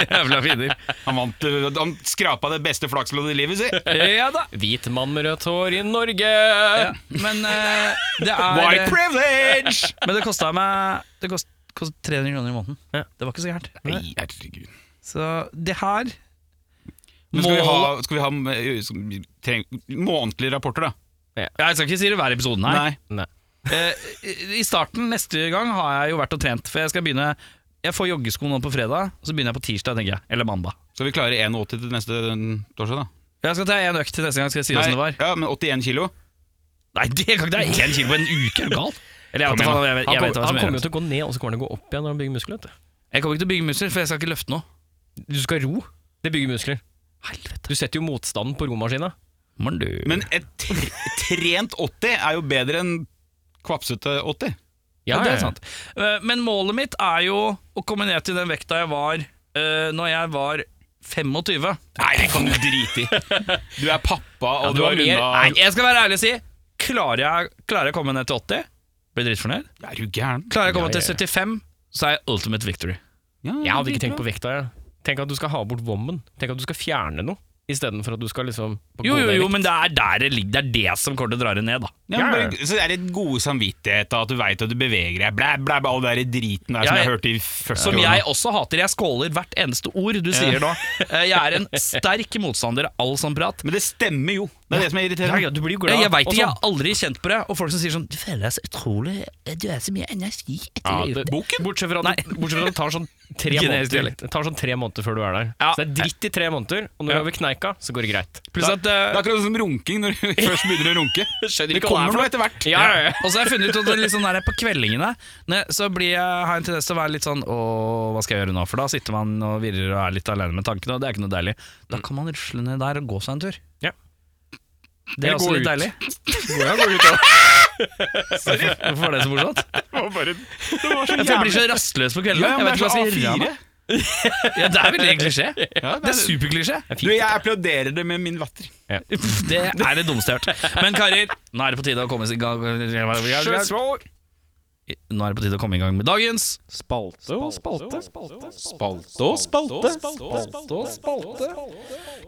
Speaker 2: jævla finner.
Speaker 3: Han, vant, eh, han skrapa det beste flaksloddet i livet sitt.
Speaker 2: Ja da.
Speaker 1: Hvit mann med rødt hår i Norge!
Speaker 2: Ja, men eh, det er
Speaker 3: White privilege!
Speaker 2: Men det kosta meg Det kost, kost 300 kroner i måneden.
Speaker 1: Ja.
Speaker 2: Det var ikke så gærent.
Speaker 3: Nei, herregud.
Speaker 2: Så det her
Speaker 3: Men skal vi ha,
Speaker 2: Målet-
Speaker 3: skal vi ha eh, som- treng, månedlige rapporter, da?
Speaker 2: Ja, Jeg skal ikke si det hver episode, nei.
Speaker 1: Nei.
Speaker 2: Eh, I starten neste gang har jeg jo vært og trent, for jeg skal begynne Jeg får joggesko nå på fredag, og så begynner jeg på tirsdag, tenker jeg. Eller mandag.
Speaker 3: Skal vi klare 1,80 til neste eh, torsdag, da?
Speaker 2: Jeg skal ta én økt til neste gang, skal jeg si åssen det var.
Speaker 3: ja, men 81 kilo?
Speaker 2: Nei, det kan ikke det er én kilo på en uke, er du gal? Eller jeg
Speaker 3: Kom
Speaker 2: vet,
Speaker 3: igjen,
Speaker 2: faen, jeg,
Speaker 1: Han
Speaker 2: vet- jeg vet
Speaker 1: kom-
Speaker 2: hva
Speaker 1: han
Speaker 2: som
Speaker 1: kommer
Speaker 2: gjør
Speaker 1: jo
Speaker 2: det.
Speaker 1: til å gå ned, og så kommer han til å gå opp igjen når han bygger muskler. vet
Speaker 2: Jeg kommer ikke til å bygge muskler, for jeg skal ikke løfte noe.
Speaker 1: Du Du skal ro. Det bygger muskler.
Speaker 2: Helvete.
Speaker 1: Du setter jo motstanden på romaskina.
Speaker 2: Men du
Speaker 3: Men et tre- trent 80 er jo bedre enn kvapsete 80.
Speaker 2: Ja, det er sant. Eh, Men målet mitt er jo å komme ned til den vekta jeg var uh, når jeg var 25.
Speaker 3: Nei, det kan du drite i. Du er pappa, og
Speaker 1: du
Speaker 3: du
Speaker 1: har
Speaker 3: har
Speaker 1: mer-
Speaker 3: runda
Speaker 2: Nei, jeg skal være ærlig og si Klarer jeg, klarer jeg å komme ned til 80, blir dritfornøyd.
Speaker 3: Er du gæren?
Speaker 2: Klarer jeg å komme
Speaker 1: Ja, ja, ja.
Speaker 2: til 75, så er jeg ultimate victory.
Speaker 1: Jeg hadde ikke tenkt på vekta. Jeg. Tenk at du skal ha bort vommen. Tenk at du skal fjerne noe istedenfor at du skal liksom
Speaker 2: Jo, jo, jo, men det er der det ligger. Det er det som kommer til å dra det ned, da.
Speaker 3: Ja, men bare, så er det god samvittighet da, at du veit at du beveger deg, blæ, blæ, blæ, all den der driten der
Speaker 2: Ja,
Speaker 3: som jeg
Speaker 2: jeg-
Speaker 3: hørte i 40
Speaker 2: Som
Speaker 3: år nå.
Speaker 2: jeg også hater. Jeg skåler hvert eneste ord du sier nå. Eh, Jeg er en sterk motstander av all sånn prat. Eh,
Speaker 3: Men det stemmer jo. Det er det som er irriterende.
Speaker 1: ja, ja, Du blir jo glad.
Speaker 2: Jeg, jeg veit
Speaker 1: Og
Speaker 2: ikke, jeg
Speaker 1: sånn.
Speaker 2: har aldri kjent på det. Og folk som sier sånn Du føler deg så utrolig Du er så mye energi
Speaker 1: Ja,
Speaker 2: etter å ha gjort
Speaker 1: det,
Speaker 2: det.
Speaker 1: bortsett fra at det- bortsett fra at det tar sånn tre
Speaker 2: Generisk
Speaker 1: måneder
Speaker 2: dialekt.
Speaker 1: Det tar sånn tre måneder før du er der.
Speaker 2: Ja.
Speaker 1: Så det er dritt i tre måneder, og når du er over kneika, så går det greit.
Speaker 2: Pluss at eh,
Speaker 3: Det er akkurat som runking når du først begynner å runke.
Speaker 1: Skjønner
Speaker 3: Det kommer noe etter hvert.
Speaker 1: Ja, ja, ja.
Speaker 2: Og så har jeg funnet ut at det er litt sånn der på kvellingene når- Så blir jeg, har jeg en tendens til å være litt sånn Åh, hva skal jeg gjøre nå? For da sitter man og virrer og er litt alene med tankene Og det er ikke noe deilig Da kan man rusle ned der og gå seg en tur
Speaker 1: Ja.
Speaker 2: Det er
Speaker 1: Eller
Speaker 2: også
Speaker 1: gå
Speaker 2: litt
Speaker 1: ut.
Speaker 2: deilig Hvorfor var det så morsomt? For jeg blir så rastløs på kveldene
Speaker 3: Ja,
Speaker 2: Jeg
Speaker 3: men
Speaker 2: vet ikke hva jeg skal
Speaker 3: det er så
Speaker 2: gjøre
Speaker 3: A4.
Speaker 2: meg. Ja, det er veldig klisjé Det er superklisjé
Speaker 3: Du, jeg applauderer det med min latter.
Speaker 2: Det er det dummeste jeg har hørt Men Karir, nå er det på tide å komme i gang Nå er det på tide å komme i gang med dagens
Speaker 3: Spalte og spalte.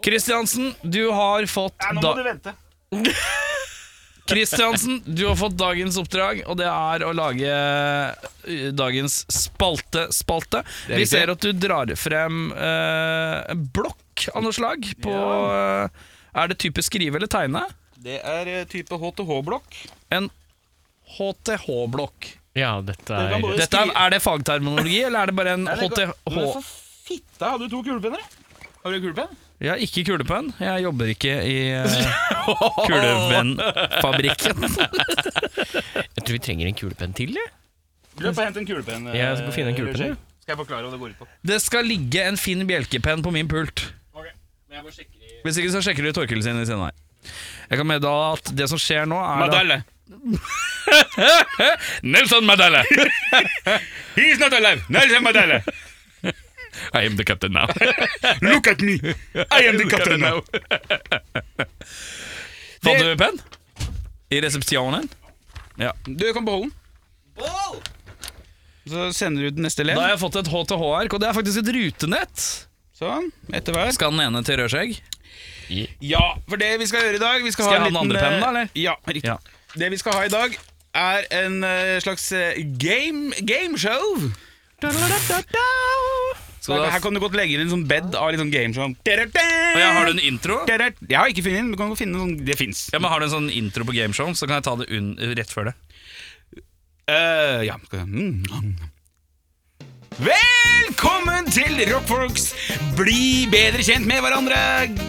Speaker 2: Kristiansen, du har fått da
Speaker 3: vente.
Speaker 2: Kristiansen, du har fått dagens oppdrag, og det er å lage eh, dagens spalte-spalte.
Speaker 3: er
Speaker 2: Vi
Speaker 3: riktig.
Speaker 2: ser at du drar frem eh, en blokk av noe slag på eh, Er det type skrive eller tegne?
Speaker 3: Det er eh, type HTH-blokk.
Speaker 2: En HTH-blokk.
Speaker 1: Ja, dette
Speaker 3: Det kan både-
Speaker 1: er
Speaker 2: Dette er, er det fagterminologi, eller er det bare en
Speaker 3: Men
Speaker 2: HTH?
Speaker 3: for fitte, hadde du to kulepenner? Har du kulepenn?
Speaker 2: Jeg har ikke kulepenn. Jeg jobber ikke i eh, kulepennfabrikken.
Speaker 1: Jeg tror vi trenger en kulepenn til, jeg.
Speaker 3: Løp og hent en kulepenn. eh,
Speaker 1: Jeg skal finne en kulepenn,
Speaker 3: Roger.
Speaker 1: ja.
Speaker 3: Skal jeg forklare hva det går ut på?
Speaker 2: Det skal ligge en fin bjelkepenn på min pult. Hvis ikke så sjekker du Torkild sin i siden her. Jeg kan meddele at det som skjer nå, er da-
Speaker 3: Madelle.
Speaker 2: Nelson Mandela!
Speaker 3: He's not alive. Nelson Madelle.
Speaker 2: I am the captain now.
Speaker 3: Look at me. I am the captain now.
Speaker 2: Fant du penn? I resepsjonen?
Speaker 3: Du kan beholde den. Så sender du den neste
Speaker 2: Da
Speaker 3: elev.
Speaker 2: har jeg fått et HTH-ark, og det er faktisk et rutenett.
Speaker 3: Sånn. Etter hver.
Speaker 2: Skal den ene til Rødskjegg?
Speaker 3: Ja, for det vi skal gjøre i dag vi
Speaker 2: Skal
Speaker 3: Skal, ha
Speaker 2: jeg
Speaker 3: en
Speaker 2: ha den
Speaker 3: liten,
Speaker 2: andre pennen da,
Speaker 3: eh,
Speaker 2: eller?
Speaker 3: Ja, riktig.
Speaker 2: Ja.
Speaker 3: Det vi skal ha i dag, er en eh, slags eh, game, gameshow.
Speaker 2: Skal du ha-
Speaker 3: Her kan du godt legge inn en sånn bed av litt sånn gameshow.
Speaker 2: Og jeg har du en intro?
Speaker 3: Jeg har ikke funnet den. men Du kan godt finne den. Sånn, det fins.
Speaker 2: Ja, men Har du en sånn intro på gameshow, så kan jeg ta det unn- rett før det.
Speaker 3: Eh, ja. skal jeg- Mm. Velkommen til Rockfolks Bli bedre kjent med hverandre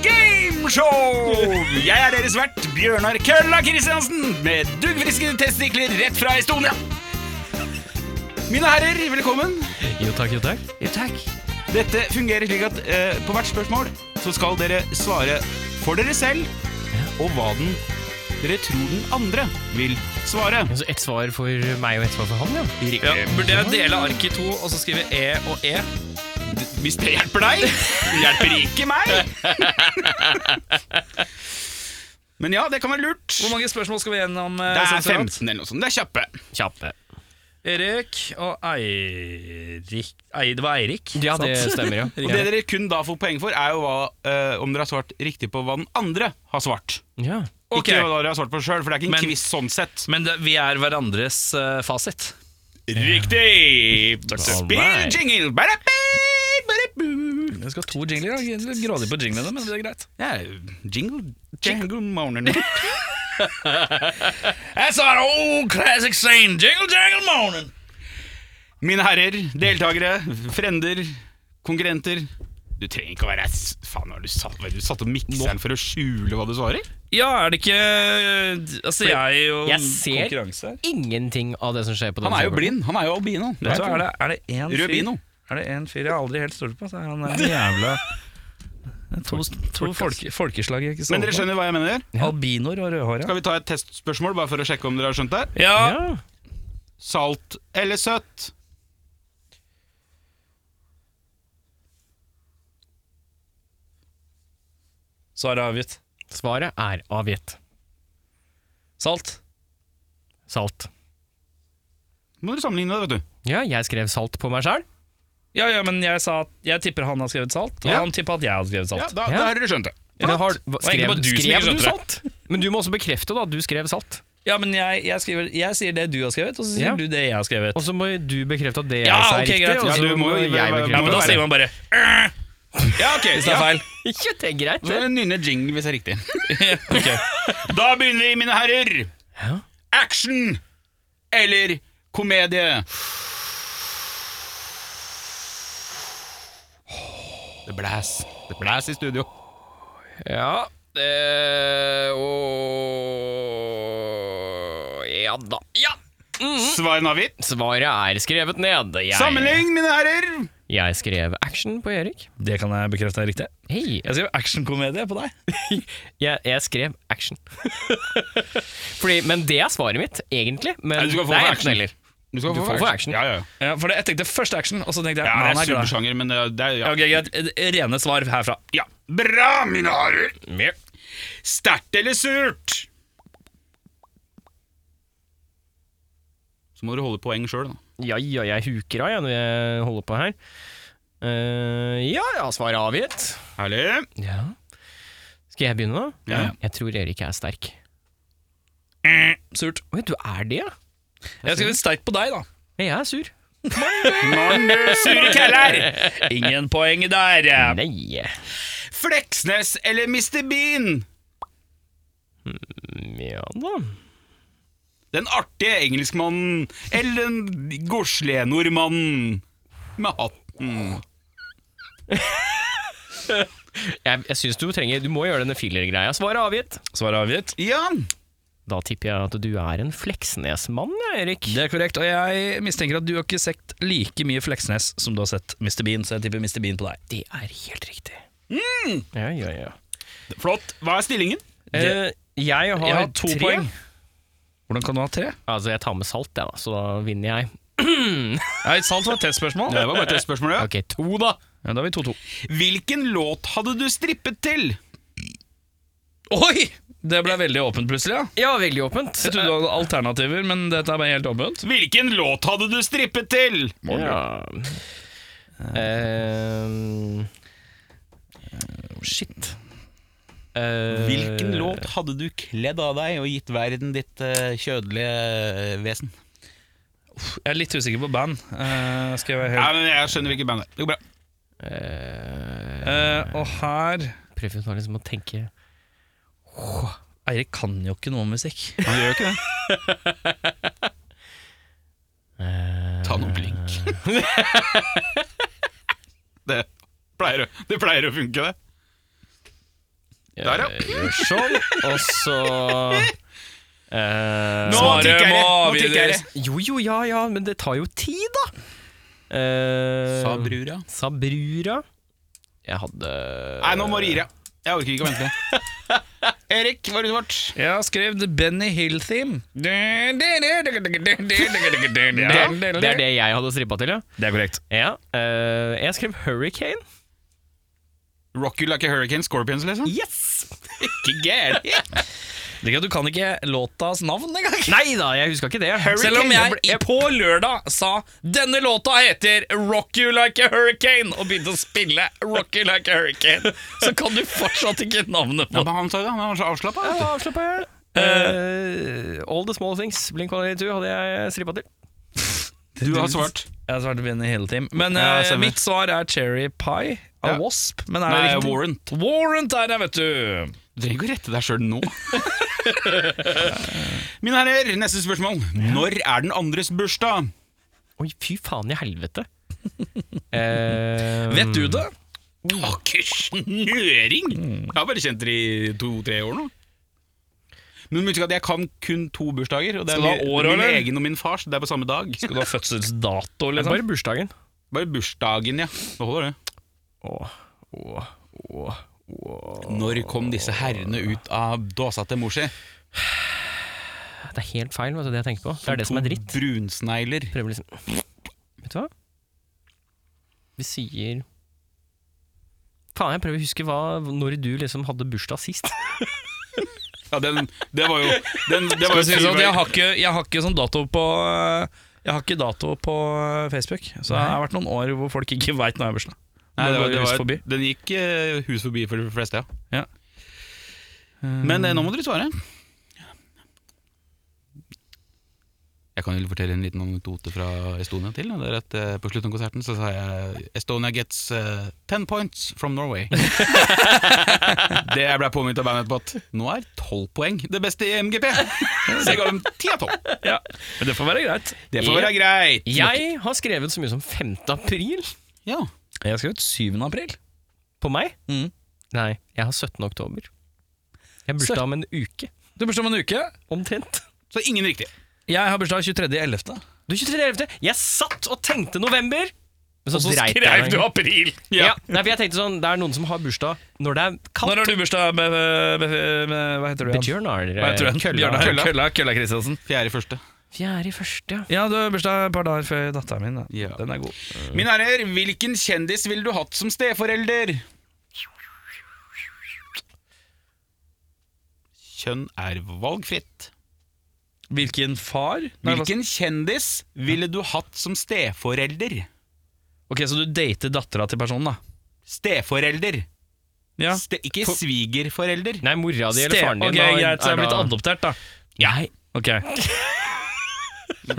Speaker 3: gameshow! Jeg er deres vert, Bjørnar Kølla Kristiansen, med duggfriske testikler rett fra Estonia. Mine herrer, velkommen.
Speaker 1: Jo takk, jo takk.
Speaker 3: Dette fungerer slik at eh, på hvert spørsmål så skal dere svare for dere selv og hva den dere tror den andre vil svare.
Speaker 1: Så ett svar for meg og ett svar for han, ja.
Speaker 2: Ja, burde jeg dele arket i to og så skrive E og E?
Speaker 3: Hvis det hjelper deg, det hjelper ikke meg. Men ja, det kan være lurt.
Speaker 2: Hvor mange spørsmål skal vi gjennom? eh,
Speaker 3: Det er
Speaker 2: sånn sånn?
Speaker 3: 15 eller noe sånt. Det er kjappe.
Speaker 1: Kjappe.
Speaker 2: Erik og Eirik Ei, Det var Eirik?
Speaker 1: Ja, det
Speaker 2: sant?
Speaker 1: stemmer, ja.
Speaker 3: Og det dere kun da får poeng for, er jo hva, eh, om dere har svart riktig på hva den andre har svart.
Speaker 1: ja.
Speaker 2: Ok,
Speaker 3: Ikke hva dere har svart på sjøl, for det er ikke en
Speaker 2: Men-
Speaker 3: quiz sånn sett.
Speaker 2: Men det, vi er hverandres eh, fasit.
Speaker 3: Riktig! Spill
Speaker 1: Alright.
Speaker 3: jingle! Bare, bare, bare.
Speaker 2: Jeg skal ha to jingler. da. Jeg er Litt grådig på jinglene, men det er greit.
Speaker 3: Ja, jingle, jingle morning.
Speaker 2: That's an old classic saying. Jingle, jangle morning.
Speaker 3: Mine herrer, deltakere, frender, konkurrenter Du trenger ikke å være ass. Faen, har du satt, hva er det du satt opp mikseren for å skjule hva du svarer?
Speaker 2: Ja, er det ikke Altså, jeg er jo
Speaker 1: jeg ser-
Speaker 2: konkurranse her.
Speaker 1: Ingenting av det som skjer på den
Speaker 3: Han er jo blind. Han er jo albino. Det
Speaker 2: Vet
Speaker 3: er
Speaker 2: du, hva, er det, er det en
Speaker 3: Rød bino.
Speaker 2: fyr Er det en fyr jeg aldri helt stoler på? Så er han en jævla Det er To, to folke, folkeslag jeg ikke
Speaker 3: Men
Speaker 2: stoler
Speaker 3: dere
Speaker 2: på.
Speaker 3: skjønner hva jeg mener?
Speaker 2: Albinoer og rødhåra.
Speaker 3: Skal vi ta et testspørsmål bare for å sjekke om dere har skjønt det?
Speaker 2: Ja.
Speaker 1: Ja.
Speaker 3: Salt eller søtt?
Speaker 2: Svaret er avgitt.
Speaker 1: Svaret er avgitt.
Speaker 2: Salt.
Speaker 1: Salt.
Speaker 3: Må dere sammenligne det, vet du.
Speaker 1: Ja, jeg skrev salt på meg sjæl.
Speaker 2: Ja, ja, men jeg sa at jeg tipper han har skrevet salt, og
Speaker 3: Ja.
Speaker 2: han tipper at jeg har skrevet
Speaker 3: Ja,
Speaker 2: salt.
Speaker 3: da, da
Speaker 1: Ja.
Speaker 3: har dere skjønt det.
Speaker 1: Skrev,
Speaker 2: egentlig bare du som ikke
Speaker 1: skrev du
Speaker 2: skjønte
Speaker 1: salt? Men du må også bekrefte da, at du skrev salt.
Speaker 2: Ja, men jeg, jeg, skriver, jeg sier det du har skrevet, og så sier
Speaker 1: Ja.
Speaker 2: du det jeg har skrevet.
Speaker 1: Og så må du bekrefte at det jeg
Speaker 2: Ja,
Speaker 1: sa, er
Speaker 2: ok,
Speaker 1: riktig.
Speaker 2: greit.
Speaker 1: Og
Speaker 2: Ja,
Speaker 1: så
Speaker 3: du må
Speaker 1: må
Speaker 3: jo-
Speaker 1: jeg
Speaker 2: Ja,
Speaker 3: ja,
Speaker 1: bekrefte
Speaker 2: men da
Speaker 1: det.
Speaker 2: sier man bare
Speaker 3: Ja, ok.
Speaker 2: hvis det er
Speaker 3: Ja.
Speaker 2: feil.
Speaker 1: Ikke det er greit,
Speaker 3: Så
Speaker 1: det.
Speaker 3: nynne jingle hvis det er riktig.
Speaker 2: Ok.
Speaker 3: Da begynner vi, mine herrer.
Speaker 1: Ja.
Speaker 3: Action eller komedie? Det blæs. Det blæs i studio.
Speaker 1: Ja det, å, Ja da. Ja!
Speaker 3: Svaren avgitt.
Speaker 1: Svaret er skrevet ned. Jeg,
Speaker 3: Sammenlign, mine herrer.
Speaker 1: Jeg skrev action på Erik.
Speaker 2: Det kan jeg bekrefte er riktig.
Speaker 1: Hei.
Speaker 2: Jeg skrev actionkomedie på deg.
Speaker 1: Jeg, jeg skrev action. Fordi, men det er svaret mitt, egentlig. Men
Speaker 3: Nei, du skal få
Speaker 1: det
Speaker 3: for
Speaker 1: er
Speaker 3: action.
Speaker 1: enten eller.
Speaker 3: Du,
Speaker 1: Du får for action.
Speaker 3: Ja, ja.
Speaker 2: Ja, for det, jeg tenkte først action, og så tenkte jeg ja,
Speaker 3: ja det
Speaker 2: han er
Speaker 3: er
Speaker 2: glad.
Speaker 3: supersjanger, men det er, det er
Speaker 2: Ja,
Speaker 3: ja.
Speaker 2: ok, greit. Eh, Rene svar herfra.
Speaker 3: ja. Bra, mine herrer. Sterkt eller surt? Så må du holde poeng sjøl, da.
Speaker 1: Ja, ja, jeg huker av jeg, når jeg holder på her. Eh, ja, ja, svaret er avgitt.
Speaker 3: Herlig.
Speaker 1: Ja. Skal jeg begynne, da?
Speaker 3: Ja.
Speaker 1: Jeg tror Erik er sterk.
Speaker 2: Surt.
Speaker 1: Oi, du er det, ja?
Speaker 2: Jeg skrev sterkt på deg, da.
Speaker 1: Jeg er sur.
Speaker 3: Mange sure kæller.
Speaker 2: Ingen poeng der.
Speaker 1: Nei.
Speaker 3: Fleksnes eller Mr. Bean?
Speaker 1: Ja da.
Speaker 3: Den artige engelskmannen eller den goslige nordmannen med hatten.
Speaker 1: Jeg, jeg synes du trenger Du må gjøre denne filler-greia. Svaret er avgitt.
Speaker 2: Svaret er avgitt.
Speaker 3: Ja,
Speaker 1: Da tipper jeg at du er en Fleksnes-mann, ja, Erik.
Speaker 2: Det er korrekt, og jeg mistenker at du har ikke sett like mye Fleksnes som du har sett Mr. Bean, så jeg tipper Mr. Bean på deg.
Speaker 1: Det er helt riktig.
Speaker 3: Mm!
Speaker 1: Ja, ja, ja.
Speaker 3: flott. Hva er stillingen?
Speaker 1: Eh, jeg har,
Speaker 2: Jeg har to
Speaker 1: tre.
Speaker 2: poeng. Hvordan kan du ha tre?
Speaker 1: Altså, jeg tar med salt, jeg, da, så da vinner jeg.
Speaker 2: Nei, Salt var et testspørsmål.
Speaker 3: Det var bare et spørsmål, ja.
Speaker 1: Ok, to, da.
Speaker 2: Ja, da er vi 2-2.
Speaker 3: Hvilken låt hadde du strippet til?
Speaker 2: Oi! Det ble veldig åpent plutselig, ja.
Speaker 1: Ja, veldig åpent.
Speaker 2: Jeg trodde du hadde alternativer, men dette er bare helt åpent.
Speaker 3: Hvilken låt hadde du strippet til?
Speaker 1: Ja. Eh,
Speaker 2: Oh, Shit.
Speaker 1: Eh,
Speaker 3: Hvilken låt hadde du kledd av deg og gitt verden ditt eh, kjødelige eh, vesen?
Speaker 2: Jeg er litt usikker på band. Eh, skal jeg være
Speaker 3: Nei,
Speaker 2: helt
Speaker 3: men Jeg skjønner hvilket band det er. Det går bra.
Speaker 1: eh,
Speaker 2: Eh, Og her
Speaker 1: Prøver hun liksom å tenke
Speaker 2: Eirik kan jo ikke noe om musikk.
Speaker 3: Han gjør jo ikke det. Ta noen blink. det, pleier, å- det pleier å funke, det. Der, ja.
Speaker 1: Gjør sånn, og så eh,
Speaker 3: Nå
Speaker 2: Svaret
Speaker 3: tikker det.
Speaker 2: må
Speaker 3: Nå tikker
Speaker 2: avgis.
Speaker 3: det.
Speaker 1: Jo, jo, ja, ja, men det tar jo tid, da. Eh,
Speaker 3: Sa brura.
Speaker 1: Sabrura. Jeg hadde
Speaker 3: Nei, nå må du gi deg. Jeg orker ikke å vente. Erik, hva har du svart?
Speaker 2: Jeg har skrevet Benny Hill-theme. Det
Speaker 1: ja,
Speaker 2: er
Speaker 1: Det er det jeg hadde strippa til, ja.
Speaker 2: Det er korrekt.
Speaker 1: ja eh, jeg skrev Hurricane.
Speaker 3: Rock you like a hurricane, Scorpions, liksom?
Speaker 1: Yes!
Speaker 3: Ikke gæren.
Speaker 2: Du kan ikke låtas navn engang.
Speaker 1: Nei da, jeg huska ikke det.
Speaker 2: Selv om jeg
Speaker 1: ble-
Speaker 2: i- på lørdag sa 'Denne låta heter Rock You Like a Hurricane' og begynte å spille Rock You Like a Hurricane, så kan du fortsatt ikke navnet på
Speaker 3: Ja, men han sa det, han var så avslappa.
Speaker 1: Ja,
Speaker 3: vet du.
Speaker 1: avslappa her. Eh, all the small things, Blink 182, hadde jeg strippa til.
Speaker 3: Du har svart.
Speaker 2: Jeg har svart Benny Hill-team. Men
Speaker 3: Ja,
Speaker 2: eh,
Speaker 3: stemmer.
Speaker 2: mitt svar er Cherry Pie av
Speaker 3: Ja.
Speaker 2: Wasp. Men er det
Speaker 3: Nei,
Speaker 2: riktig?
Speaker 3: Warrant.
Speaker 2: Warrant Mm. er det, vet du!
Speaker 3: Du trenger ikke å rette deg sjøl nå. Mine herrer, neste spørsmål. Når er den andres bursdag?
Speaker 1: Oi, fy faen i helvete. Eh,
Speaker 2: Vet du det?
Speaker 3: Å, snøring! Jeg har bare kjent dere i to-tre år nå. Men husk at jeg kan kun to bursdager. Og det er
Speaker 2: Skal du ha
Speaker 3: min,
Speaker 2: år,
Speaker 3: min
Speaker 2: eller?
Speaker 3: egen og min fars. Det er på samme dag.
Speaker 2: Skal du ha fødselsdato,
Speaker 1: det er
Speaker 2: liksom?
Speaker 1: bare bursdagen.
Speaker 3: Bare bursdagen, ja. Nå holder det.
Speaker 1: Åh, åh, åh, åh.
Speaker 3: Når kom disse herrene ut av dåsa til mor si?
Speaker 1: Det er helt feil, vet du, det jeg tenker på. Det er det som er dritt.
Speaker 3: To brunsnegler.
Speaker 1: Prøver liksom Vet du hva? Vi sier Faen, jeg prøver å huske hva, når du liksom hadde bursdag sist.
Speaker 3: Ja, den, det var jo den, det
Speaker 2: Skal
Speaker 3: var jo
Speaker 2: jeg, si det
Speaker 3: syv
Speaker 2: sånn,
Speaker 3: år-
Speaker 2: jeg, har ikke, jeg har ikke sånn dato på eh, Jeg har ikke dato på eh, Facebook, så det har vært noen år hvor folk ikke veit når jeg har bursdag.
Speaker 3: Nei,
Speaker 2: Nå
Speaker 3: det var,
Speaker 2: går
Speaker 3: det
Speaker 2: hus
Speaker 3: var,
Speaker 2: forbi.
Speaker 3: Den gikk eh, hus forbi for de fleste, ja.
Speaker 2: Ja. Mm.
Speaker 3: Men eh, nå må dere svare. Jeg kan jo fortelle en liten anekdote fra Estonia til. da. Det er at eh, På slutten av konserten så sa jeg 'Estonia gets eh, 10 points from Norway'. det jeg ble påminnet av bandet på at nå er 12 poeng det beste i MGP. Så jeg ga dem 10 av 12.
Speaker 2: Ja. Men det får være greit.
Speaker 3: Det får være greit.
Speaker 1: Jeg har skrevet så mye som 5. april
Speaker 3: Ja.
Speaker 2: Jeg har skrevet 7. april.
Speaker 1: på meg.
Speaker 2: Mm.
Speaker 1: Nei, jeg har 17. oktober. Jeg har bursdag om en uke,
Speaker 2: Du har bursdag om en uke.
Speaker 1: omtrent.
Speaker 3: Så ingen riktig.
Speaker 2: Jeg har bursdag 23.11.
Speaker 1: Du er 23.11. Jeg satt og tenkte november, men så,
Speaker 2: Og så
Speaker 1: dreit jeg
Speaker 2: skrev
Speaker 1: meg.
Speaker 2: du april!
Speaker 1: Ja. Nei, for jeg tenkte sånn, det er noen som har bursdag når det er kaldt.
Speaker 2: Når har du bursdag med, med, med, med Hva heter du igjen?
Speaker 1: Bjørnar eh,
Speaker 2: Hva heter du igjen?
Speaker 1: Kølla.
Speaker 2: Bjørnar
Speaker 3: Kølla.
Speaker 2: Kølla, Kølla Kristiansen.
Speaker 3: Fjerde første.
Speaker 1: Fjerde i første, ja.
Speaker 2: Ja, du har bursdag et par dager før datteren min. Da.
Speaker 3: Ja.
Speaker 2: Den er god.
Speaker 3: Mine herrer, hvilken kjendis ville du hatt som steforelder? Kjønn er valgfritt.
Speaker 2: Hvilken far? Nei, hva-
Speaker 3: Hvilken kjendis ville du hatt som steforelder?
Speaker 2: Ok, Så du dater dattera til personen, da?
Speaker 3: Steforelder.
Speaker 2: Ja.
Speaker 3: Ste ikke svigerforelder.
Speaker 1: Nei, mora di eller
Speaker 2: Ste-
Speaker 1: faren din.
Speaker 2: ok,
Speaker 1: da,
Speaker 2: Greit,
Speaker 1: er
Speaker 2: så jeg er blitt
Speaker 1: da-
Speaker 2: adoptert, da.
Speaker 1: Nei,
Speaker 2: Ok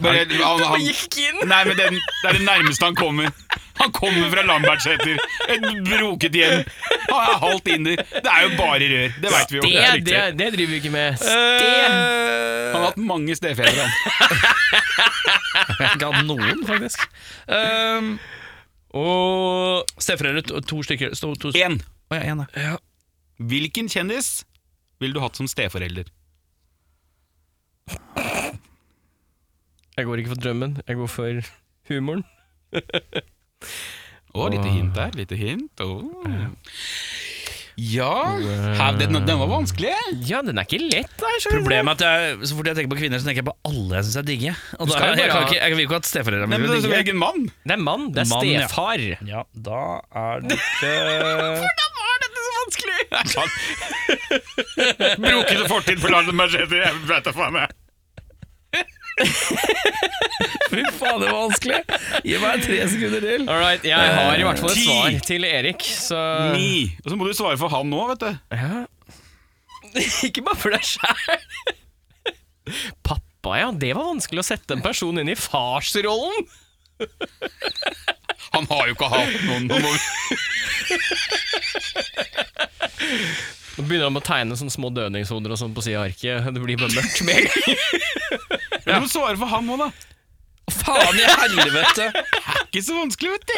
Speaker 3: Bare, han, han,
Speaker 1: gikk inn!
Speaker 3: nei, men den, det er det nærmeste han kommer. Han kommer fra Lambertseter, et broket hjem. Han er halvt inder. Det er jo bare rør. Det veit vi jo.
Speaker 1: Det,
Speaker 3: Det er
Speaker 1: det,
Speaker 3: riktig.
Speaker 1: det driver vi ikke med.
Speaker 2: Eh,
Speaker 3: Han har hatt mange stefedre, han.
Speaker 2: Ikke hatt noen, faktisk. Um, og Stefrøret, to, to stykker. To, to,
Speaker 3: Én.
Speaker 2: Å, ja, en, ja.
Speaker 3: Hvilken kjendis ville du hatt som steforelder?
Speaker 1: Jeg går ikke for drømmen, jeg går for humoren.
Speaker 3: Å, lite hint der, lite hint. Å. Ja her, den, den var vanskelig.
Speaker 1: Ja, den er ikke lett, da. jeg skjønner det.
Speaker 2: Problemet er at jeg, så fort jeg tenker på kvinner, så tenker jeg på alle jeg syns er digge. Og da,
Speaker 1: skal jo
Speaker 2: jeg,
Speaker 1: bare
Speaker 2: kan
Speaker 1: ha-
Speaker 2: ikke, jeg vil ikke at steforeldrene
Speaker 3: Nei, men
Speaker 2: mine
Speaker 3: det
Speaker 2: blir
Speaker 3: er som
Speaker 2: digge.
Speaker 3: egen mann.
Speaker 1: Det er mann, det er
Speaker 2: Mann, ja.
Speaker 1: stefar.
Speaker 2: Ja, da er det
Speaker 3: Brokete fortid for Lambertseter, jeg veit da faen. jeg.
Speaker 2: Fy faen, det var vanskelig! Gi meg tre sekunder til.
Speaker 1: All right, jeg har i hvert fall et
Speaker 3: Ti.
Speaker 1: svar til Erik, så
Speaker 3: Ni. Og så må du svare for han nå, vet du.
Speaker 1: Ja. Ikke bare for deg sjæl. Pappa, ja. Det var vanskelig å sette en person inn i farsrollen.
Speaker 3: Han har jo ikke hatt noen. Nå må vi
Speaker 1: Nå begynner han med å tegne sånne små dødningshoder og sånn på sida av arket. Det blir bare mørkt med en gang.
Speaker 3: Du må svare for han òg, da.
Speaker 2: Faen i helvete!
Speaker 3: Ikke så vanskelig, vet du.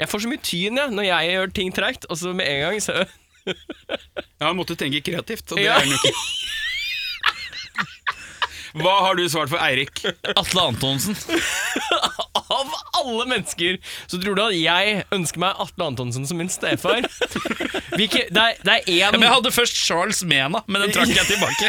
Speaker 1: Jeg får så mye tyn jeg, når jeg gjør ting treigt, og så med en gang så
Speaker 3: Ja, Han måtte tenke kreativt, og det
Speaker 1: Ja.
Speaker 3: er han jo ikke. Hva har du svart for Eirik?
Speaker 2: Atle Antonsen.
Speaker 1: Av alle mennesker så tror du at jeg ønsker meg Atle Antonsen som min stefar. Hvilke, det er- det er
Speaker 2: Ja, men jeg
Speaker 1: én
Speaker 2: hadde først Charles Mena, men den trakk jeg tilbake.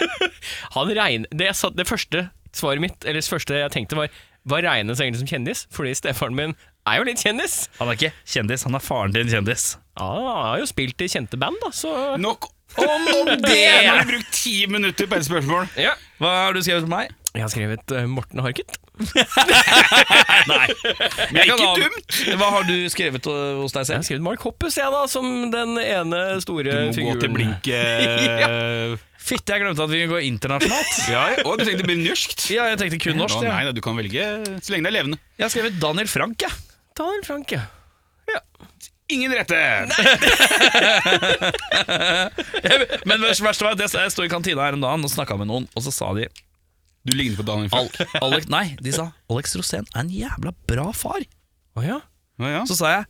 Speaker 1: Han regner det, jeg sa, det første svaret mitt, eller det første jeg tenkte, var hva regnes egentlig som kjendis? Fordi stefaren min er jo litt kjendis.
Speaker 2: Han er ikke kjendis, han er faren til en kjendis.
Speaker 1: Ja, han har jo spilt i kjente band, da, så
Speaker 3: Nok om det! Nå har vi brukt ti minutter på ett spørsmål.
Speaker 1: ja.
Speaker 2: Hva har du skrevet til meg?
Speaker 1: Jeg har skrevet eh, Morten Harket.
Speaker 3: Det er ikke dumt.
Speaker 2: Hva har du skrevet eh, hos deg
Speaker 1: Jeg har
Speaker 2: selv?
Speaker 1: skrevet Mark Hoppus, jeg, da, som den ene store
Speaker 3: Du må gå til eh,
Speaker 1: figuren.
Speaker 3: blinket
Speaker 2: Fitte, jeg glemte at vi kunne gå internasjonalt.
Speaker 3: Ja, og du tenkte nyrskt?
Speaker 2: Ja, jeg tenkte kun norsk.
Speaker 3: Å,
Speaker 2: Ja.
Speaker 3: nei, nei, du kan velge så lenge det er levende.
Speaker 2: Jeg har skrevet Daniel Frank, jeg.
Speaker 1: Daniel Frank, ja.
Speaker 3: Ingen rette!
Speaker 2: Men det verste var at jeg st- jeg sto i kantina her om dagen og snakka med noen, og så sa de
Speaker 3: Du ligner på Daniel
Speaker 2: Al
Speaker 3: Falk.
Speaker 2: Alex, Nei, de sa Alex Rosén er en jævla bra far.
Speaker 1: Å ja.
Speaker 3: Å, ja.
Speaker 2: Så sa jeg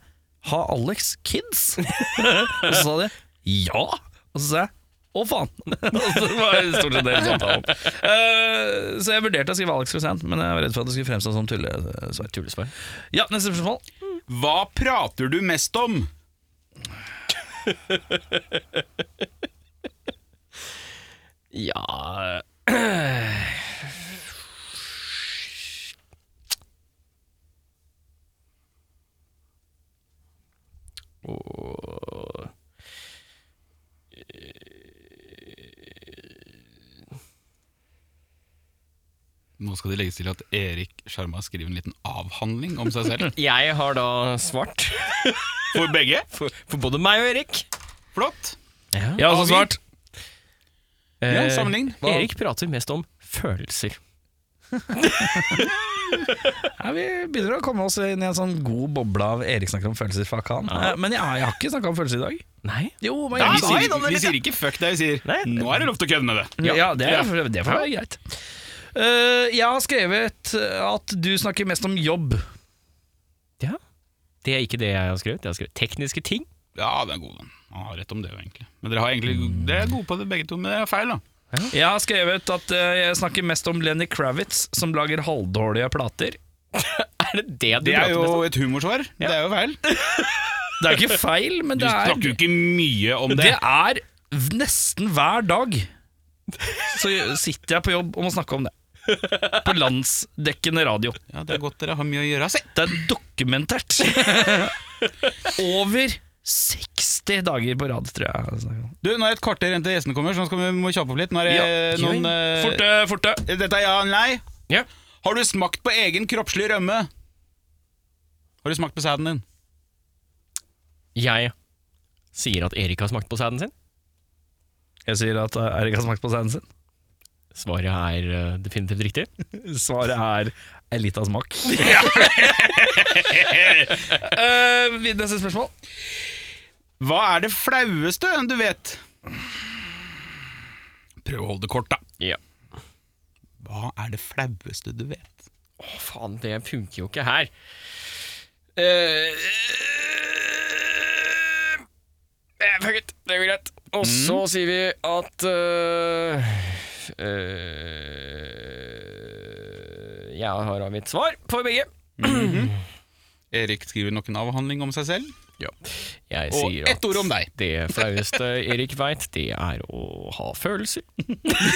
Speaker 2: Har Alex kids? og så sa de ja. Og så sa jeg å, faen! Og så var det stort sett det samtalen. Eh, så jeg vurderte å skrive Alex Rosén, men jeg var redd for at det skulle fremstå som tullesvar.
Speaker 1: Tullesvar.
Speaker 2: Ja, neste spørsmål.
Speaker 3: Hva prater du mest om?
Speaker 1: Ja Og-
Speaker 3: Nå skal det legges til at Erik Sjarma skriver en liten avhandling om seg selv.
Speaker 1: Jeg har da svart
Speaker 3: For begge.
Speaker 1: for, for både meg og Erik.
Speaker 3: Flott.
Speaker 2: Jeg har også altså svart.
Speaker 3: Ja,
Speaker 1: Eh,
Speaker 3: sammenlign. Hva-
Speaker 1: Erik prater mest om følelser.
Speaker 2: Ja, vi begynner å komme oss inn i en sånn god boble av Erik snakker om følelser. Fuck han. Eh, Men jeg, jeg har ikke snakka om følelser i dag.
Speaker 1: Nei.
Speaker 2: Jo, men
Speaker 3: Nei,
Speaker 2: jeg,
Speaker 3: vi, sier, vi sier ikke 'fuck deg', vi sier
Speaker 1: Nei.
Speaker 3: 'nå er det lov til å kødde med det'.
Speaker 2: ja, det, er, det får være greit. Eh, jeg har skrevet at du snakker mest om jobb.
Speaker 1: Ja. Det er ikke det jeg har skrevet. Jeg har skrevet tekniske ting.
Speaker 3: Ja, det er god, den. Han har rett om det, jo, egentlig. Men dere har egentlig Dere er gode på det, begge to, men det er feil, da.
Speaker 2: Jeg har skrevet at eh, jeg snakker mest om Lenny Kravitz, som lager halvdårlige plater.
Speaker 1: Er det det du
Speaker 3: Det er
Speaker 1: prater mest om?
Speaker 3: jo et humorsvar. Det er jo feil.
Speaker 2: Det er jo ikke feil, men
Speaker 3: Du
Speaker 2: det er
Speaker 3: snakker jo ikke mye om
Speaker 2: Det
Speaker 3: det.
Speaker 2: er v- nesten hver dag Så sitter jeg på jobb og må snakke om det. På landsdekkende radio.
Speaker 3: Ja, Det er godt dere har mye å gjøre. Se.
Speaker 2: Det er dokumentert. Over 60 dager på rad, tror jeg. jeg snakker om.
Speaker 3: Du, Nå er det et kvarter igjen til gjestene kommer, så nå skal vi må vi kjappe opp litt. Nå er det
Speaker 2: Ja.
Speaker 3: noen eh,
Speaker 2: Forte, forte.
Speaker 3: Dette er ja eller nei.
Speaker 1: Ja.
Speaker 3: Har du smakt på egen kroppslig rømme? Har du smakt på sæden din?
Speaker 1: Jeg sier eh, at Erik har smakt på sæden sin.
Speaker 2: Jeg sier at Erik har smakt på sæden sin.
Speaker 1: Svaret er eh, definitivt riktig.
Speaker 2: Svaret er en lita smak. Eh, neste spørsmål.
Speaker 3: Hva er det flaueste du vet? Prøv å holde det kort, da.
Speaker 1: Ja.
Speaker 3: Hva er det flaueste du vet?
Speaker 1: Å, faen, det funker jo ikke her. Eh, eh, fuck it, det går greit. Og så sier vi at eh, eh, Jeg har avgitt svar for begge.
Speaker 3: Erik skriver nok en avhandling om seg selv.
Speaker 1: Jeg
Speaker 3: Og
Speaker 1: sier
Speaker 3: ett
Speaker 1: at
Speaker 3: ord om deg.
Speaker 1: det flaueste Erik veit, det er å ha følelser.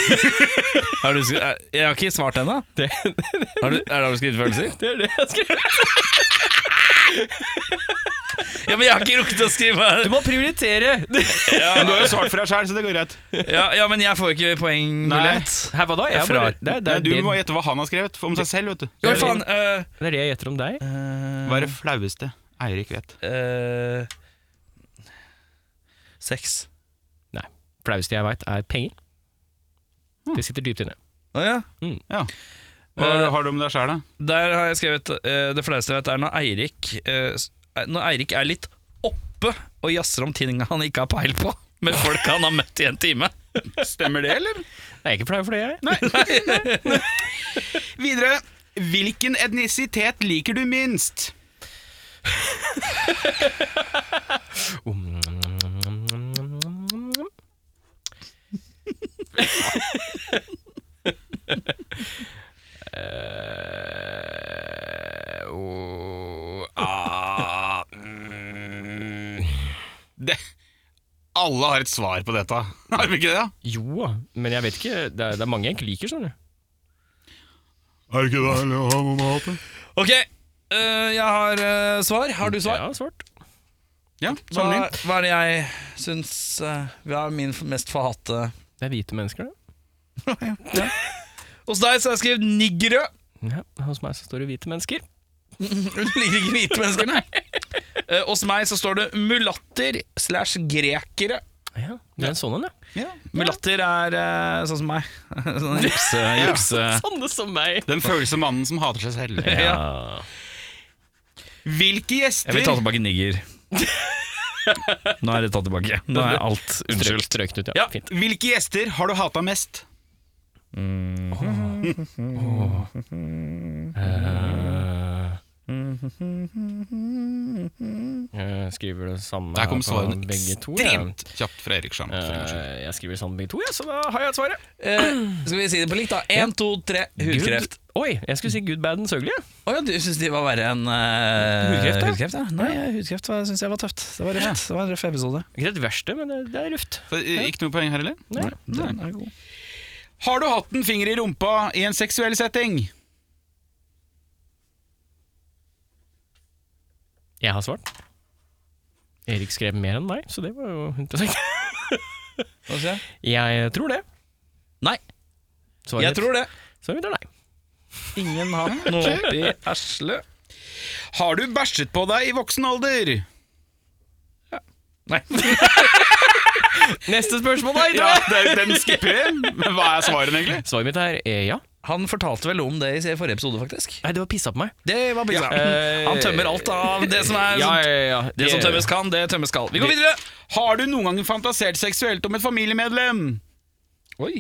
Speaker 2: Har du, skri- eh, jeg har ikke svart ennå.
Speaker 1: Det,
Speaker 2: Har du- Er det har du skrevet følelser?
Speaker 1: det er det jeg skriver.
Speaker 2: Ja, men jeg har ikke rukket å skrive.
Speaker 1: Du må prioritere!
Speaker 3: Men du har jo svart for deg sjøl, så det går greit.
Speaker 2: Ja, ja, men jeg får ikke poengmulighet.
Speaker 1: Her, hva da? Jeg
Speaker 2: Jeg
Speaker 1: bare,
Speaker 2: frar.
Speaker 1: det, er, det,
Speaker 3: Nei,
Speaker 1: er
Speaker 3: du
Speaker 1: det,
Speaker 3: må gjette hva han har skrevet om seg selv. vet du
Speaker 2: Jo, faen. eh,
Speaker 1: det er det jeg gjetter om deg. Eh.
Speaker 3: Hva er det flaueste Eirik vet?
Speaker 2: eh, sex.
Speaker 1: Nei. Flaueste jeg veit, er penger. Det sitter dypt inne.
Speaker 2: Å ja.
Speaker 3: Ja. Hva
Speaker 2: Eh,
Speaker 3: har du om deg sjæl, da?
Speaker 2: Der har jeg skrevet eh, Det fleste jeg vet er når Eirik eh, s- er- Når Eirik er litt oppe Og jazzer om ting han ikke har peil på Med folk han har møtt i en time
Speaker 3: Stemmer det, eller?
Speaker 1: Jeg er ikke flau for det, jeg.
Speaker 3: Videre. Hvilken etnisitet liker du minst? Eh, oh, ah, mm. Det. Alle har et svar på dette, har vi ikke det?
Speaker 1: Jo, men jeg vet ikke. Det er, det er mange jeg ikke liker, skjønner du.
Speaker 3: Er det ikke det? Eller har noen hatt det?
Speaker 2: Ok, eh, jeg har eh, svar Har du
Speaker 1: Jeg
Speaker 2: svar?
Speaker 1: har svart.
Speaker 3: Ja,
Speaker 2: Hva,
Speaker 3: sammenlign.
Speaker 2: hva er det jeg synes eh, Vi har min f- mest forhatte
Speaker 1: Det er hvite mennesker, det.
Speaker 2: Hos deg så har jeg skrevet niggerø
Speaker 1: Ja, hos meg så står det hvite mennesker.
Speaker 2: Du liker ikke hvite mennesker, nei Eh, Hos meg så står det mulatter Slash grekere
Speaker 1: Ja, det er en sånn en, ja.
Speaker 2: Mulatter er eh, sånn som meg Sånn jukse, jukse
Speaker 1: Sånne som meg.
Speaker 3: Den følelsen mannen som hater seg selv.
Speaker 1: Ja.
Speaker 3: Hvilke gjester
Speaker 2: Jeg vil ta tilbake nigger. Nå er det tatt tilbake. Nå er alt
Speaker 1: Strøk,
Speaker 2: unnskyldt.
Speaker 1: strøknet ut, ja.
Speaker 2: Ja.
Speaker 1: Fint.
Speaker 3: Hvilke gjester har du hata mest?
Speaker 1: Jeg skriver det samme
Speaker 3: Der kom
Speaker 1: på
Speaker 3: svarene
Speaker 1: begge to. ja.
Speaker 3: ekstremt kjapt fra Erik Sjamp. for en skyld.
Speaker 1: Eh, Jeg skriver det samme på begge to, ja, så da har jeg svaret.
Speaker 2: skal vi si det på likt, da? Én, to, tre. Hudkreft.
Speaker 1: Good- Oi, jeg skulle si good, bad and søgelig.
Speaker 2: Å ja, du syns de var verre enn eh,
Speaker 1: Hudkreft, ja.
Speaker 2: ja. Nei, hudkreft syns jeg var tøft. Det var røft. Det var en røff episode.
Speaker 1: Ikke det verste, men det, det er røft.
Speaker 3: Så, eh, Ikke noe poeng her heller?
Speaker 1: Nei.
Speaker 2: Den er god.
Speaker 3: Har du hatt en finger i rumpa i en seksuell setting?
Speaker 1: Jeg har svart. Erik skrev mer enn deg, så det var jo interessant.
Speaker 2: Hva sier jeg?
Speaker 1: Jeg tror det.
Speaker 2: Nei,
Speaker 1: Svaret
Speaker 2: jeg tror det.
Speaker 1: Svaret mitt er nei.
Speaker 2: Ingen har noe i Asle.
Speaker 3: Har du bæsjet på deg i voksen alder?
Speaker 2: Nei.
Speaker 1: Neste spørsmål, da.
Speaker 3: Ja, den skipper vi. Men hva er svaret, egentlig?
Speaker 1: Svaret mitt er eh, ja.
Speaker 2: Han fortalte vel om det i forrige episode, faktisk.
Speaker 1: Nei, det var pissa på meg.
Speaker 2: Det var pizza.
Speaker 1: Eh,
Speaker 2: Han tømmer alt av det som er
Speaker 1: Ja, ja, ja. Eh,
Speaker 2: Det som tømmes kan, det tømmes skal. Vi går videre!
Speaker 3: Har du noen gang fantasert seksuelt om et familiemedlem?
Speaker 2: Oi.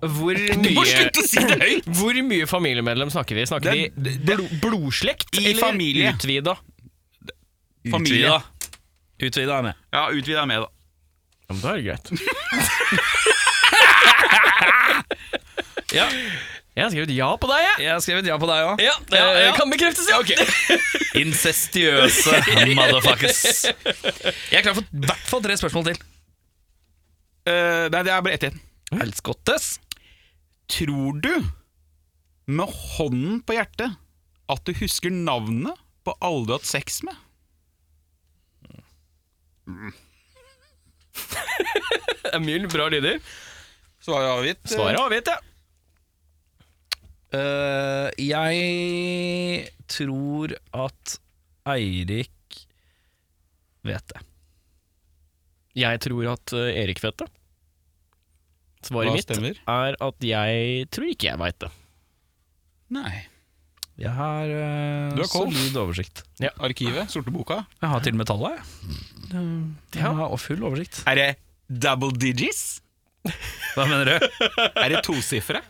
Speaker 1: Hvor
Speaker 3: Du
Speaker 1: mye,
Speaker 3: må slutte å si det høyt!
Speaker 1: hvor mye familiemedlem snakker vi? Snakker
Speaker 3: Det-
Speaker 1: vi blo blodslekt
Speaker 3: I
Speaker 1: eller
Speaker 3: familie.
Speaker 1: utvida?
Speaker 3: Familie.
Speaker 2: Utvida. Utvida er med.
Speaker 3: Ja, utvid deg med, da.
Speaker 1: Ja, men da er det greit.
Speaker 2: Ja,
Speaker 1: Jeg har skrevet ja på deg, jeg.
Speaker 2: jeg har skrevet ja på deg òg.
Speaker 1: Ja, det
Speaker 2: ja.
Speaker 1: kan bekreftes, ja.
Speaker 2: Incestiøse motherfuckers. Jeg er klar for i hvert fall tre spørsmål til.
Speaker 3: Eh, nei, det er bare ett igjen.
Speaker 2: Helskottes.
Speaker 3: Tror du, med hånden på hjertet, at du husker navnet på alle du har hatt sex med?
Speaker 1: Det er mye bra lyder.
Speaker 3: Svaret er avgitt.
Speaker 1: Svaret er avgitt, ja.
Speaker 2: Eh, jeg tror at Eirik vet det.
Speaker 1: Jeg tror at eh, Erik vet det. Svaret
Speaker 3: Hva
Speaker 1: mitt
Speaker 3: stemmer?
Speaker 1: er at jeg tror ikke jeg veit det.
Speaker 3: Nei.
Speaker 2: Jeg har eh,
Speaker 3: Du har koll.
Speaker 2: solid oversikt.
Speaker 3: Arkivet? Sorte boka?
Speaker 2: Jeg har til og med tallet, jeg. Mm. Jeg
Speaker 1: Ja.
Speaker 2: har full oversikt.
Speaker 3: Er det double digits?
Speaker 2: Hva mener du?
Speaker 3: Er det tosifre?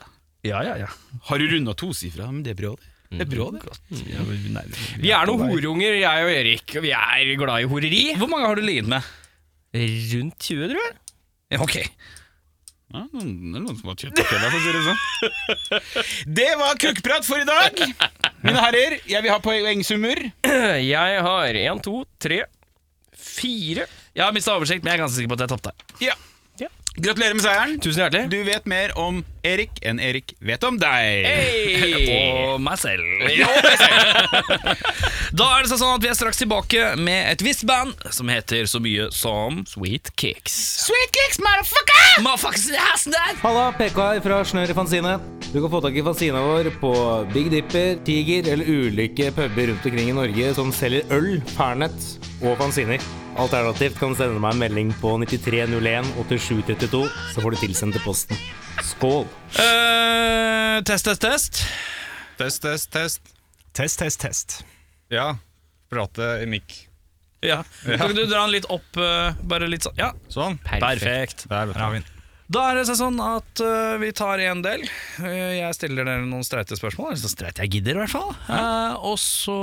Speaker 2: Ja, ja, ja.
Speaker 3: Har du runda tosifra? Men det er bra, det. Det er bra, det.
Speaker 1: Mm. Vi er noen horunger, jeg og Erik, og vi er glad i horeri.
Speaker 2: Hvor mange har du ligget med?
Speaker 1: Rundt 20, tror jeg.
Speaker 2: Ja, Ok.
Speaker 3: Ja, noen, det er noen som har kjøpt det for å si det sånn. Det var kukkprat for i dag! Mine herrer, jeg vil ha poengsummer.
Speaker 1: Jeg har én, to, tre, fire
Speaker 2: Jeg har mista oversikt, men jeg er ganske sikker på at jeg tapte.
Speaker 3: Ja.
Speaker 1: Ja.
Speaker 3: Gratulerer med seieren.
Speaker 1: Tusen hjertelig.
Speaker 3: Du vet mer om Erik enn Erik vet om deg.
Speaker 1: Hey!
Speaker 2: Og meg selv. da er det sånn at vi er straks tilbake med et visst band som heter så mye som
Speaker 1: Sweet kicks.
Speaker 3: Sweet kicks, motherfucker!
Speaker 2: Motherfuckers in the house tonight!
Speaker 5: Halla, PK her fra Snør i Fanzine. Du kan få tak i fanzina vår på Big Dipper, Tiger eller ulike puber rundt omkring i Norge som selger øl, pernett og fanziner. Alternativt kan du sende meg en melding på 9301 8732, så får du tilsendt til posten. Skål!
Speaker 2: Eh, test, test, test.
Speaker 3: Test, test, test.
Speaker 6: Test, test, test.
Speaker 3: Ja. Prate i mikk.
Speaker 2: Ja. Kan ikke du dra den litt opp? eh, bare litt sånn. Ja,
Speaker 3: Sånn.
Speaker 2: perfekt.
Speaker 3: Der, vet du.
Speaker 2: Da er det så sånn at eh, vi tar en del. Eh, jeg stiller dere noen streite spørsmål. Eller så streite jeg gidder, i hvert fall. Eh, og så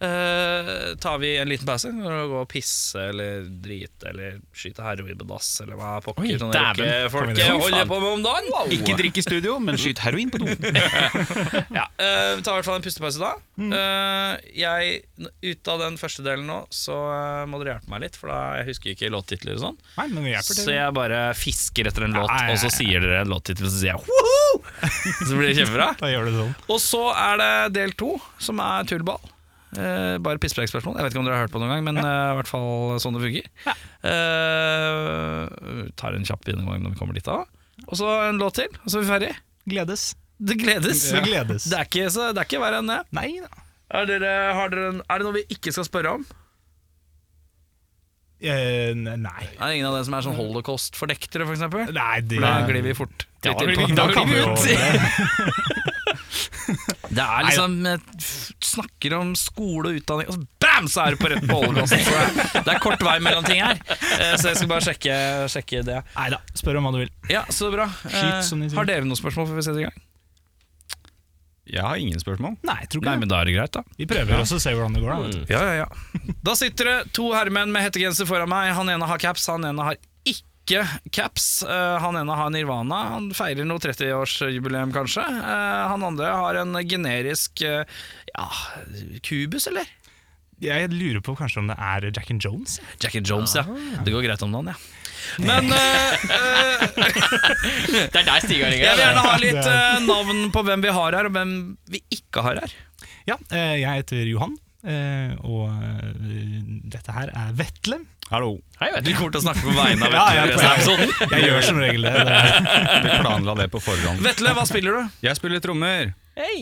Speaker 2: eh, tar vi en liten pause. Når vi går og pisse eller drite eller skyte heroin på dass eller hva pokker. sånn
Speaker 1: dæven.
Speaker 2: folk
Speaker 6: Kom igjen.
Speaker 2: holder på med om dagen.
Speaker 3: Ikke drikk i studio, men skyt heroin på do.
Speaker 2: Ja, eh, vi tar i hvert fall en pustepause da.
Speaker 6: Mm.
Speaker 2: Eh, jeg, ut av den første delen nå, så eh, må dere hjelpe meg litt, for da, jeg husker ikke låttitler og sånn.
Speaker 6: Nei, men vi hjelper
Speaker 2: Så
Speaker 6: til.
Speaker 2: jeg bare fisker etter en låt,
Speaker 6: Nei, nei,
Speaker 2: og så
Speaker 6: nei.
Speaker 2: sier dere en låttittel, og så sier jeg «Woohoo!» Så blir det kjempebra.
Speaker 6: Da gjør du sånn.
Speaker 2: Og så er det del to, som er tullball. Eh, bare pisspreikspørsmål. Jeg vet ikke om dere har hørt på noen gang, men eh, i hvert fall sånn det fungerer. Eh, tar en kjapp gjennomgang når vi kommer dit, da. Og så en låt til, og så er vi ferdig.
Speaker 6: Gledes.
Speaker 2: Det gledes.
Speaker 6: Det gledes.
Speaker 2: Det er ikke, så, det er ikke verre enn det.
Speaker 6: Nei da.
Speaker 2: Er, dere, har dere en, er det noe vi ikke skal spørre om?
Speaker 6: Eh, nei.
Speaker 2: Er det ingen av dere som er sånn holocaust-fornektere, f.eks.? For
Speaker 6: Nei, det
Speaker 2: da glir vi fort
Speaker 6: Ja,
Speaker 2: litt
Speaker 6: da
Speaker 2: inn på-
Speaker 6: glir- da kan vi jo-
Speaker 2: Det er liksom eh, f- Snakker om skole og utdanning, og så bam, så er du på rett på holocaust! Så det er- Det er kort vei mellom ting her, Eh, så jeg skal bare sjekke, sjekke det.
Speaker 6: Nei da. Spør om hva du vil.
Speaker 2: Ja, så bra. Eh,
Speaker 6: Skyt, som de sier.
Speaker 2: Har dere noen spørsmål før vi setter i gang?
Speaker 3: Jeg har ingen spørsmål.
Speaker 6: Nei, tror ikke det. Mm.
Speaker 2: men da er det greit, da.
Speaker 6: Vi prøver også å se hvordan det går. da. vet du.
Speaker 2: Ja, ja, ja. Da sitter det to herremenn med hettegenser foran meg. Han ene har caps, han ene har ikke caps. Eh, han ene har Nirvana. Han feirer noe 30-årsjubileum, kanskje. Eh, han andre har en generisk eh, ja, kubus, eller?
Speaker 6: Jeg lurer på kanskje om det er Jack and Jones.
Speaker 2: Jack and Jones, ja. Det går greit om dagen, ja. Men eh, eh,
Speaker 1: Det er deg, Stig Aringer.
Speaker 2: jeg vil gjerne ha litt
Speaker 6: Det er-
Speaker 2: eh, navn på hvem vi har her, og hvem vi ikke har her.
Speaker 6: Ja, eh, jeg heter Johan, eh, og eh, dette her er Vetle.
Speaker 3: Hallo.
Speaker 1: Hei, vet
Speaker 2: Du
Speaker 1: du.
Speaker 2: kommer til å snakke på vegne av
Speaker 6: Ja, ja,
Speaker 2: Vetle. resten av episoden.
Speaker 6: Jeg gjør som regel det. det er-
Speaker 3: Vi planla det på forhånd.
Speaker 2: Vetle, hva spiller du?
Speaker 3: Jeg spiller trommer.
Speaker 1: Hei.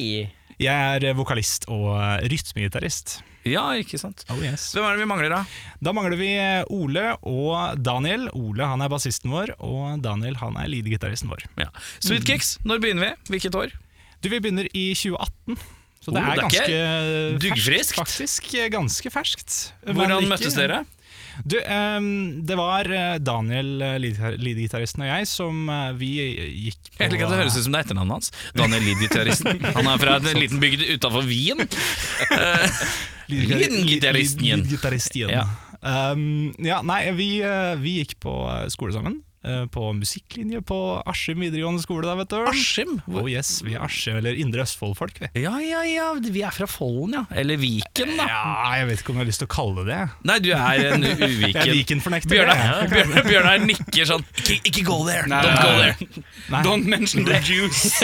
Speaker 6: Jeg er eh, vokalist og eh, rytmegitarist.
Speaker 2: Ja, ikke sant.
Speaker 6: Oh yes.
Speaker 2: Hvem er det vi mangler, da?
Speaker 6: Da mangler vi eh, Ole og Daniel. Ole han er bassisten vår, og Daniel han er leadgitaristen vår.
Speaker 2: Ja. Sweet Kicks, når begynner vi? Hvilket år?
Speaker 6: Du, vi begynner i 2018. Så det
Speaker 2: Oh,
Speaker 6: er
Speaker 2: det er
Speaker 6: ganske
Speaker 2: duggfriskt.
Speaker 6: ferskt, faktisk. eh, Ganske ferskt. Men
Speaker 2: Hvordan
Speaker 6: ikke-
Speaker 2: møttes dere?
Speaker 6: Du, ehm, det var eh, Daniel, eh, leadgitar- leadgitaristen og jeg, som eh, vi gikk på
Speaker 2: Jeg liker at det høres ut som det er etternavnet hans. Daniel Lid-gitaristen. Han er fra en liten bygd utafor Wien. Leadgitaristen igjen.
Speaker 6: Leadgitaristen eh, igjen.
Speaker 2: Ja.
Speaker 6: Ehm, ja, nei, vi, eh, vi gikk på eh, skole sammen. eh, På musikklinje på Askim videregående skole. da, vet du
Speaker 2: Askim? Hvor-
Speaker 6: Oh yes, vi er Askim, eller Indre Østfold-folk, vi.
Speaker 2: Ja, ja, ja, vi er fra Follen, ja. Eller Viken, da.
Speaker 6: Ja, jeg vet ikke om jeg har lyst til å kalle det det.
Speaker 2: Nei, du er en
Speaker 6: Jeg er
Speaker 2: uviken.
Speaker 6: Viken-fornekter.
Speaker 2: Bjørnar
Speaker 6: jeg.
Speaker 2: Bjørnar- Bjørnar nikker sånn Ikke, ikke go there!
Speaker 3: Nei,
Speaker 2: Don't
Speaker 3: nei,
Speaker 2: go
Speaker 3: nei.
Speaker 2: there!
Speaker 6: Nei.
Speaker 3: Don't mention the juice.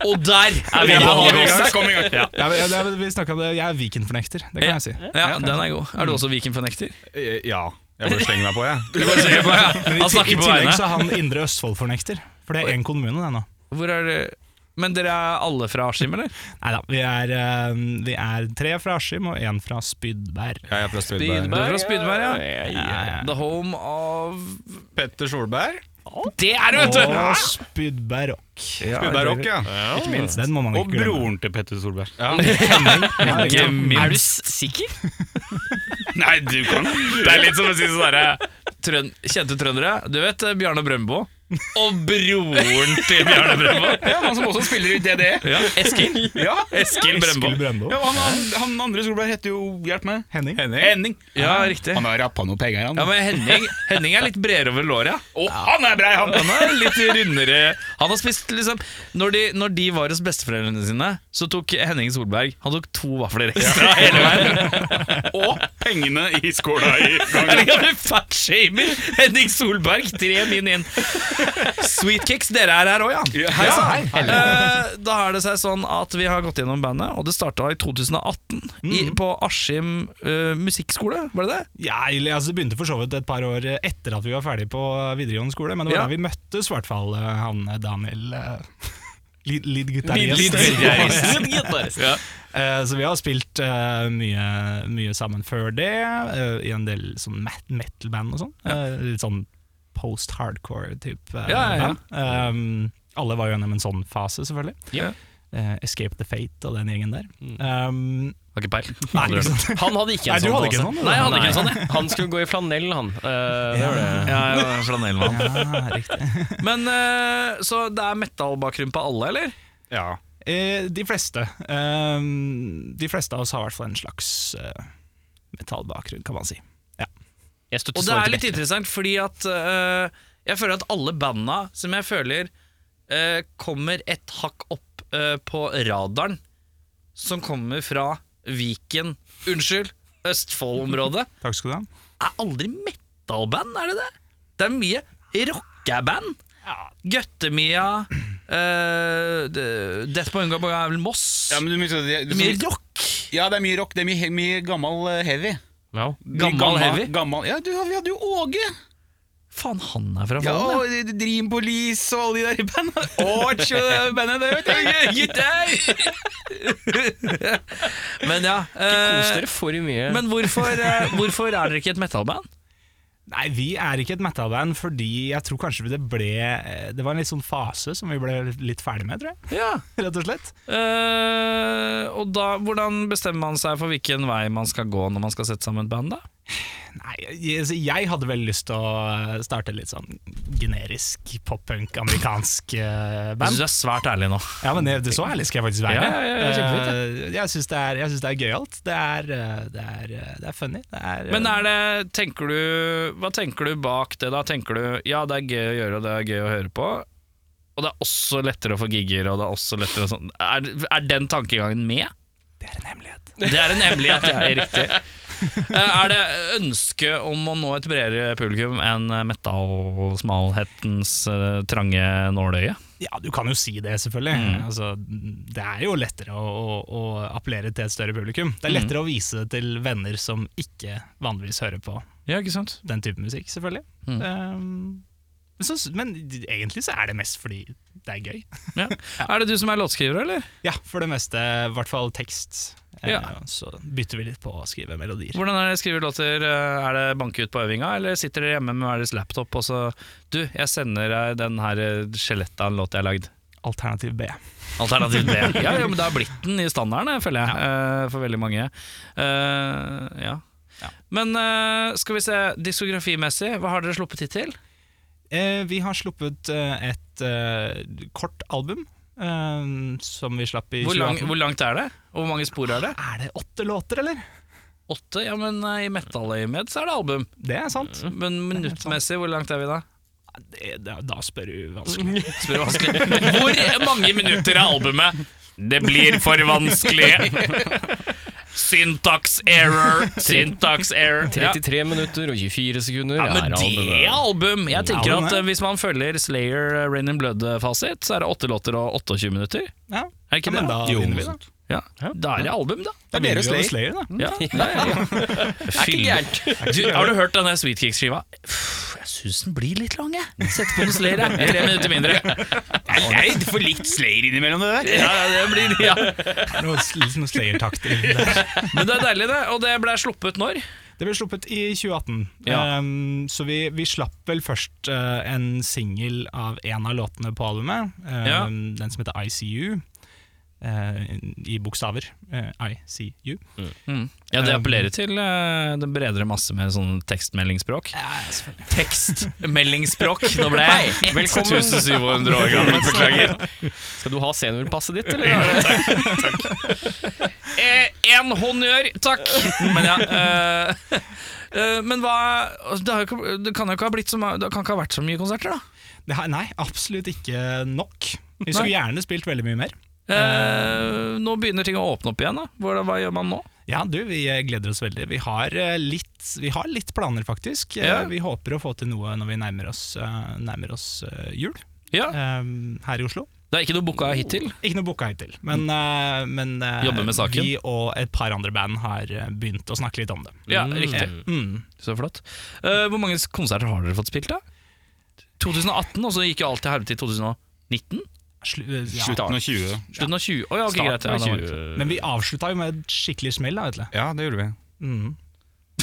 Speaker 2: Og der er vi
Speaker 6: Ja,
Speaker 2: på
Speaker 6: vi
Speaker 2: Hollywood.
Speaker 3: Kom i gang.
Speaker 6: Ja, men- ja, det er- vi snakket om det. Jeg er Viken-fornekter, det kan jeg si.
Speaker 2: Ja, den er god. Er du også Viken-fornekter?
Speaker 3: Ja. Jeg bare slenger meg på, jeg.
Speaker 2: Han
Speaker 6: I
Speaker 2: snakker på
Speaker 6: tillegg
Speaker 2: vegne.
Speaker 6: så er han Indre Østfold-fornekter, for det er én kommune, det nå.
Speaker 2: Hvor er det Men dere er alle fra Askim, eller?
Speaker 6: Nei da, vi, er, eh, vi er tre fra Askim og én fra Spydberg.
Speaker 7: Ja, jeg er fra Spydberg.
Speaker 2: Du er fra Spydberg, ja.
Speaker 1: ja, ja, ja.
Speaker 2: The home of
Speaker 7: Petter Solberg.
Speaker 2: Det er det, vet du!
Speaker 6: Og Spydberg Rock.
Speaker 7: Spydberg Rock, ja.
Speaker 6: Ikke minst. Den må man
Speaker 3: Og
Speaker 6: ikke glemme.
Speaker 3: broren til Petter Solberg.
Speaker 2: Er
Speaker 1: Er
Speaker 2: du
Speaker 1: du s- sikker?
Speaker 3: Nei, du kan
Speaker 2: Det er litt som å si sånn derre trøn, Kjente trøndere. Du vet eh, Bjarne Brøndbo? Og broren til Bjarne Brøndbo.
Speaker 3: Ja, Han som også spiller i E. DDE.
Speaker 2: Ja, Eskil.
Speaker 3: Ja,
Speaker 2: Eskil Brøndbo.
Speaker 6: Skull Brøndbo.
Speaker 3: ja han, han, han andre Solberg heter jo Hjelp meg.
Speaker 6: Henning.
Speaker 3: Henning.
Speaker 2: Ja, riktig.
Speaker 3: Han har rappa noe penger, han.
Speaker 2: Ja, men Henning, Henning er litt bredere over låret. ja.
Speaker 3: Å, han er brei, han!
Speaker 2: Han er litt rundere Han har spist liksom Når de, når de var hos besteforeldrene sine, så tok Henning Solberg Han tok to vafler ekstra hele veien.
Speaker 3: Og pengene i skåla i gangen.
Speaker 2: Henning er en Fatshamer! Henning Solberg, tre min inn. Sweetkicks, dere er her òg, ja. Hei sann. Eh, Da er det seg sånn at vi har gått gjennom bandet, og det starta i 2018 i, på Askim eh, musikkskole, var det det?
Speaker 6: Ja, eller, altså, det begynte for så vidt et par år etter at vi var ferdig på videregående skole, men det var
Speaker 2: Ja.
Speaker 6: da vi møttes, i hvert fall eh, han eh, Daniel eh, Lid-
Speaker 2: Lid-
Speaker 6: Lid-gitarist.
Speaker 2: gitarist.
Speaker 1: Ja.
Speaker 6: Eh, Så vi har spilt eh, mye, mye sammen før det, eh, i en del sånn met- metal-band og sånn. Eh, Litt sånn post-hardcore-type
Speaker 2: Ja, ja, ja.
Speaker 6: band. Eh, alle var jo gjennom en sånn fase, selvfølgelig.
Speaker 2: Ja.
Speaker 6: Eh, Escape the Fate og den gjengen der. Um,
Speaker 2: Har ikke peil.
Speaker 6: nei, ikke sant?
Speaker 1: Han hadde ikke en
Speaker 6: Nei, du
Speaker 1: sånn
Speaker 6: hadde ikke
Speaker 1: pose.
Speaker 6: en sånn, du.
Speaker 1: Nei, jeg hadde ikke en sånn, jeg. Han skulle gå i flanell, han. Eh, det var det.
Speaker 2: Ja, jeg var flanellmann.
Speaker 6: Ja, riktig.
Speaker 2: Men eh, Så det er metal-bakgrunn på alle, eller?
Speaker 7: Ja.
Speaker 6: Eh, de fleste. eh, de fleste av oss har i hvert fall en slags eh, metallbakgrunn, kan man si.
Speaker 1: Jeg støtter
Speaker 2: Og det er
Speaker 1: Snorre
Speaker 2: litt
Speaker 1: Beck.
Speaker 2: interessant, fordi at eh, jeg føler at alle banda som jeg føler eh, kommer et hakk opp eh, på radaren, som kommer fra Viken, unnskyld, Østfold-området,
Speaker 6: Takk skal du ha.
Speaker 2: er aldri metal-band, er det det? Det er mye rockeband. Gøttemia, eh, de- Death på Ungarn er vel Moss.
Speaker 3: Ja, men du, må huske at det,
Speaker 2: det
Speaker 3: det,
Speaker 2: er mye
Speaker 3: det,
Speaker 2: rock.
Speaker 3: ja, det er mye rock. Det er mye, he- mye gammel eh, heavy.
Speaker 1: Ja.
Speaker 3: Mye
Speaker 2: Gammel heavy?
Speaker 3: Gammel, ja, du, vi hadde jo Åge.
Speaker 2: Faen, han er fra
Speaker 3: Ja,
Speaker 2: Follen, ja.
Speaker 3: og Dream Police og alle de der i bandet. Arch og det bandet der, vet du.
Speaker 2: Gitt deg! men ja
Speaker 1: Kos
Speaker 2: eh,
Speaker 1: dere for mye.
Speaker 2: Men hvorfor, eh, hvorfor er dere ikke et metalband?
Speaker 6: Nei, vi er ikke et metal-band fordi jeg tror kanskje det ble eh, Det var en litt sånn fase som vi ble litt ferdig med, tror jeg.
Speaker 2: Ja
Speaker 6: Rett og slett.
Speaker 2: Eh, Og da, hvordan bestemmer man seg for hvilken vei man skal gå når man skal sette sammen et band, da?
Speaker 6: Nei, jeg, altså, jeg hadde vel lyst til å eh, starte litt sånn generisk pop-punk amerikansk
Speaker 2: Jeg
Speaker 6: eh,
Speaker 2: synes
Speaker 6: band.
Speaker 2: du er svært ærlig nå.
Speaker 6: Ja, men det, det så ærlig skal jeg faktisk være.
Speaker 2: Ja, ja, ja, kjempefint,
Speaker 6: Eh, jeg syns det, er- jeg synes det er gøyalt. Det er, eh, det er, eh, det er funny. Det er, eh,
Speaker 2: Men er det, tenker du, hva tenker du bak det, da? Tenker du ja, det er gøy å gjøre, og det er gøy å høre på, og det er også lettere å få gigger, og det er også lettere å sånn er, er den tankegangen med?
Speaker 6: det er en hemmelighet.
Speaker 2: Det er en hemmelighet, det er riktig. Eh, Er det ønske om å nå et bredere publikum enn metallsmalhetens eh, trange nåløye?
Speaker 6: Ja, du kan jo si det, selvfølgelig.
Speaker 2: Mm.
Speaker 6: Altså, det er jo lettere å, å, å appellere til et større publikum. Det er
Speaker 2: Mm.
Speaker 6: lettere å vise det til venner som ikke vanligvis hører på
Speaker 2: Ja, ikke sant?
Speaker 6: den type musikk, selvfølgelig.
Speaker 2: Mm.
Speaker 6: Um, men så, men egentlig så er det mest fordi det er gøy.
Speaker 2: Ja. Er det du som er låtskriver, eller?
Speaker 6: Ja, for det meste, i hvert fall tekst. Eh,
Speaker 2: Ja.
Speaker 6: Så bytter vi litt på å skrive melodier.
Speaker 2: Hvordan er det skriver låter? Eh, Er det banke ut på øvinga, eller sitter dere hjemme med hver deres laptop og så Du, jeg sender deg den her eh, skjelettet av en låt jeg har lagd.
Speaker 6: Alternativ B.
Speaker 2: Alternativ B. Ja, ja, men det har blitt den i standarden, jeg føler jeg, eh, for veldig mange. Eh, ja. Men eh, skal vi se, diskografimessig, hva har dere sluppet hittil?
Speaker 6: Eh, vi har sluppet eh, et eh, kort album, eh, som vi slapp i
Speaker 2: Hvor, lang,
Speaker 6: 2018.
Speaker 2: hvor langt er det? Og hvor mange spor er det?
Speaker 6: Er det åtte låter, eller?
Speaker 2: Åtte? Ja, men eh, i metal-øyemed så er det album.
Speaker 6: Det er sant.
Speaker 2: Men minuttmessig, hvor langt er vi da?
Speaker 6: Det, da, da spør du vanskelig.
Speaker 2: Spør vanskelig. Hvor mange minutter er albumet? Det blir for vanskelig. Syntax error, syntax error. Ja.
Speaker 1: 33 minutter og 24 sekunder.
Speaker 2: Ja, men
Speaker 1: er
Speaker 2: det er
Speaker 1: albumet.
Speaker 2: album! Jeg tenker
Speaker 6: Album,
Speaker 2: at
Speaker 6: ja.
Speaker 2: eh, Hvis man følger Slayer eh, Rain in Blood-fasit, så er det åtte låter og 28 minutter.
Speaker 6: Ja.
Speaker 2: Er det ikke
Speaker 6: men
Speaker 2: det?
Speaker 6: da vinner vi, da.
Speaker 2: Ja. Da er det album, da.
Speaker 6: Da
Speaker 7: Det
Speaker 6: vinner
Speaker 7: er
Speaker 6: vi
Speaker 7: dere
Speaker 6: over
Speaker 7: Slayer.
Speaker 6: Slayer, da.
Speaker 2: Ja. Ja, ja, ja. Fy-
Speaker 1: Gærent.
Speaker 2: Du, har du hørt denne Sweet Kicks-skiva? Pff, Jeg 1000 blir litt lange. Sett på noe Slayer, jeg. Tre minutter mindre.
Speaker 3: Jeg får litt Slayer innimellom det der.
Speaker 2: Ja, det blir, ja.
Speaker 6: Noen,
Speaker 7: sånn
Speaker 6: noen Slayer-takter der.
Speaker 2: Men det er deilig, det. Og det ble sluppet når?
Speaker 6: Det ble sluppet i 2018,
Speaker 2: Ja.
Speaker 6: Ehm, så vi, vi slapp vel først eh, en singel av en av låtene på albumet. ehm,
Speaker 2: Ja.
Speaker 6: Den som heter ICU, eh, i bokstaver. eh, ICU.
Speaker 2: Ja, det appellerer til eh, den bredere masse med sånn tekstmeldingsspråk. Tekstmeldingsspråk! Nå ble jeg 1700 år gammel, beklager.
Speaker 1: Skal du ha seniorpasset ditt, eller?
Speaker 2: Én Eh, honnør, takk! Men ja eh, eh, Men hva det, har jo ikke, det kan jo ikke ha blitt så ma- Det kan ikke ha vært så mye konserter, da.
Speaker 6: Det her, nei, absolutt ikke nok. Vi skulle gjerne spilt veldig mye mer.
Speaker 2: Eh, nå begynner ting å åpne opp igjen. da Hva, hva gjør man nå?
Speaker 6: Ja, du, vi eh, gleder oss veldig. Vi har, eh, litt, vi har litt planer, faktisk. Eh,
Speaker 2: Ja.
Speaker 6: Vi håper å få til noe når vi nærmer oss, eh, nærmer oss eh, jul
Speaker 2: Ja,
Speaker 6: ehm, her i Oslo.
Speaker 2: Det er ikke noe booka hittil.
Speaker 6: Ikke noe booka hittil, men, eh, men eh,
Speaker 2: Mm. Jobber med saken.
Speaker 6: vi og et par andre band har eh, begynt å snakke litt om det.
Speaker 2: Ja, riktig
Speaker 6: Mm.
Speaker 2: Så flott. Eh, hvor mange konserter har dere fått spilt, da? 2018, og så gikk jo alt til helvete i 2019?
Speaker 6: Slu, eh, ja.
Speaker 7: Slutten av 20.
Speaker 2: Slutten av 20 Å ja, ok, greit. Ja, da var det-
Speaker 6: Men vi avslutta jo med et skikkelig smell. da, Vetle.
Speaker 7: Ja, det gjorde vi.
Speaker 6: Mm.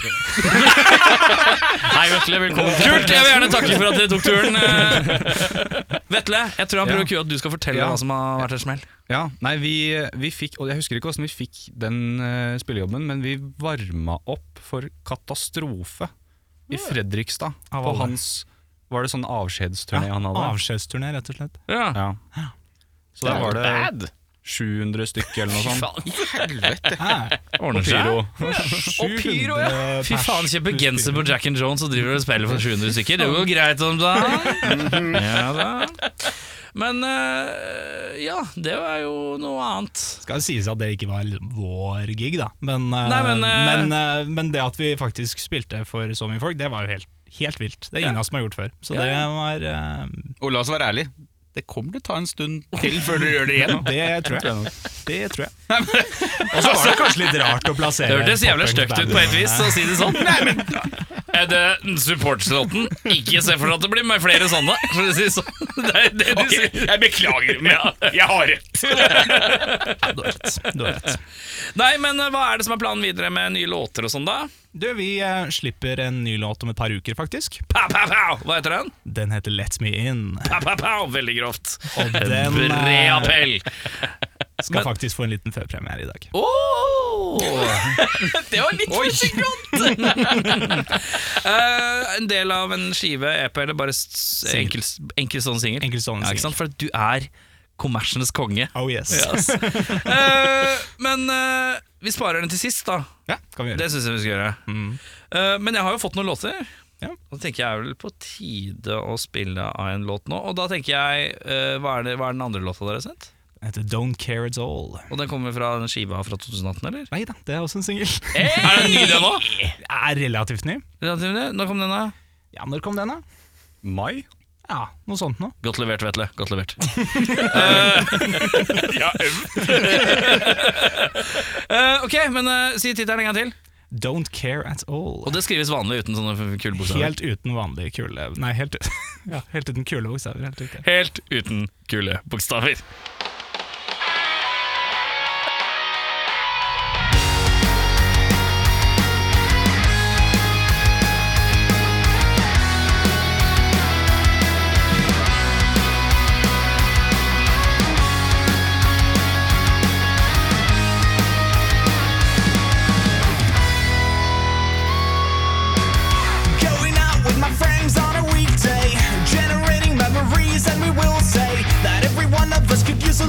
Speaker 1: Hei, Vetle, velkommen.
Speaker 2: Kult! Jeg vil gjerne takke for at dere tok turen. Eh, Vetle, jeg tror han prøver å kue at du skal fortelle
Speaker 7: Ja.
Speaker 2: hva som har vært et smell.
Speaker 7: Ja, nei, vi, vi fikk, og jeg husker ikke hvordan vi fikk den eh, spillejobben, men vi varma opp for katastrofe i Fredrikstad.
Speaker 6: Av
Speaker 7: På
Speaker 6: alle.
Speaker 7: hans, var det sånn avskjedsturné han hadde?
Speaker 6: Avskjedsturné, rett og slett.
Speaker 2: Ja.
Speaker 7: Ja. Så der var det
Speaker 1: Bad.
Speaker 7: 700 stykk eller noe sånt.
Speaker 2: Ordner seg.
Speaker 7: Pyro.
Speaker 2: Og pyro, ja! Fy faen, kjøper genser på Jack and Jones og driver og spiller for 700 stykker. Det går greit om dagen. Ja da. Men eh, ja, det var jo noe annet.
Speaker 6: Skal det sies at det ikke var vår gig, da. Men, eh,
Speaker 2: Nei, men,
Speaker 6: men,
Speaker 2: eh,
Speaker 6: eh, men det at vi faktisk spilte for så mye folk, det var jo helt, helt vilt. Det er ingen av oss som har gjort før. Så
Speaker 2: Ja.
Speaker 6: det var eh,
Speaker 7: Og la oss være ærlig, det kommer til å ta en stund til før du gjør det igjen.
Speaker 6: Det tror jeg. Det tror jeg. Og så var det kanskje litt rart å plassere
Speaker 2: Det hørtes jævla støkt ut på et vis å si det sånn. Nei, men Er det supportslåten? Ikke se for deg at det blir med flere sånne, for å si det sånn. Det er det du sier.
Speaker 3: Jeg beklager, men jeg har rett.
Speaker 6: Du har rett. Du har rett.
Speaker 2: Nei, men eh, hva er det som er planen videre med nye låter og sånn, da?
Speaker 6: Du, vi eh, slipper en ny låt om et par uker, faktisk.
Speaker 2: Pow, pow, pow! Hva heter den?
Speaker 6: Den heter Let Me In.
Speaker 2: Pow, pow, pow! Veldig grovt.
Speaker 6: Og den
Speaker 2: Bred
Speaker 6: eh,
Speaker 2: appell.
Speaker 6: skal faktisk få en liten førpremiere i dag.
Speaker 2: Oh! det var litt forsiktig! Eh, en del av en skive, EP, eller bare s-
Speaker 6: Single.
Speaker 2: enkel, enkel sånn singel?
Speaker 6: Enkel sånn
Speaker 2: Ja, ikke sant? For du er kommersenes konge.
Speaker 6: Oh yes.
Speaker 2: Eh, men eh, vi sparer den til sist, da.
Speaker 6: Ja, kan vi gjøre.
Speaker 2: Det syns jeg vi skal gjøre. Eh, men jeg har jo fått noen låter.
Speaker 6: Mm. Ja.
Speaker 2: Og Da tenker jeg er vel på tide å spille av en låt nå. Og da tenker jeg eh, hva, er det, hva er den andre låta dere har sendt?
Speaker 6: Den heter Don't Care At All.
Speaker 2: Og den kommer fra den skiva fra 2018, eller?
Speaker 6: Nei da, det er også en singel.
Speaker 2: Er den ny, den òg?
Speaker 6: Er relativt ny.
Speaker 2: Når kom den, da?
Speaker 6: Ja, når kom den, da?
Speaker 7: Mai?
Speaker 6: Ja, noe sånt nå.
Speaker 2: Godt levert, Vetle. Godt levert. Eh, ok, men eh, si tittelen en gang til.
Speaker 6: Don't Care At All.
Speaker 2: Og det skrives vanlig uten sånne kule bokstaver.
Speaker 6: Helt uten vanlige kule Nei, helt, ja, helt uten kule bokstaver. Helt uten.
Speaker 2: Helt uten kule bokstaver.
Speaker 8: Going out with my friends on a weekday, generating memories, and we will say that every one of us could use a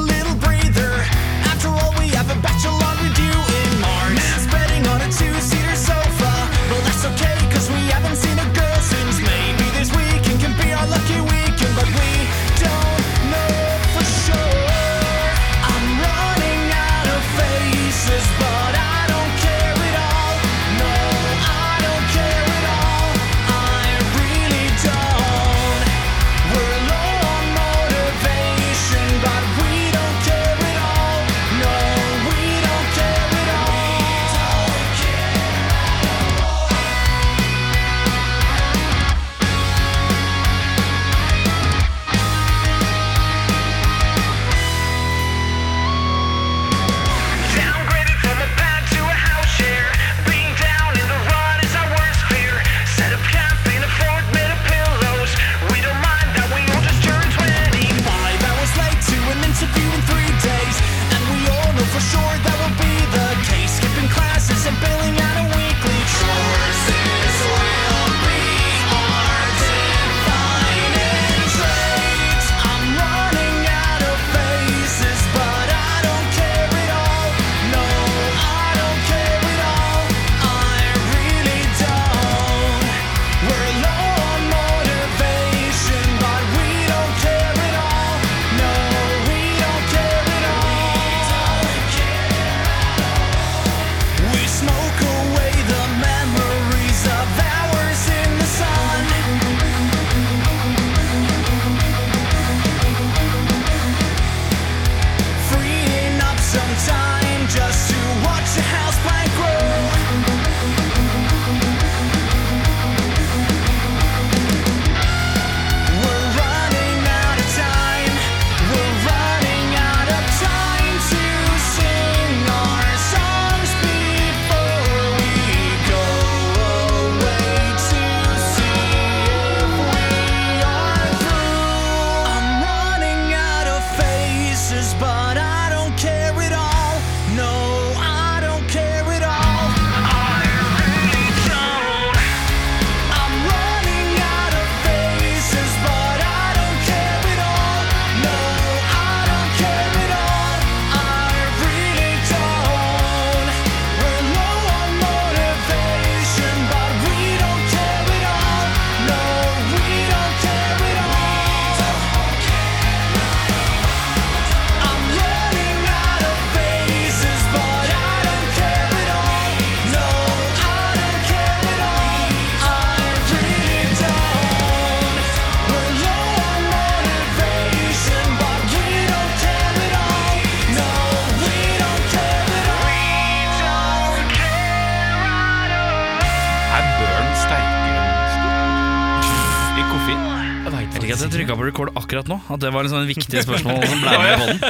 Speaker 2: følte ikke at jeg trykka på record akkurat nå. At det var en sånn viktig spørsmål som ble med i bånden.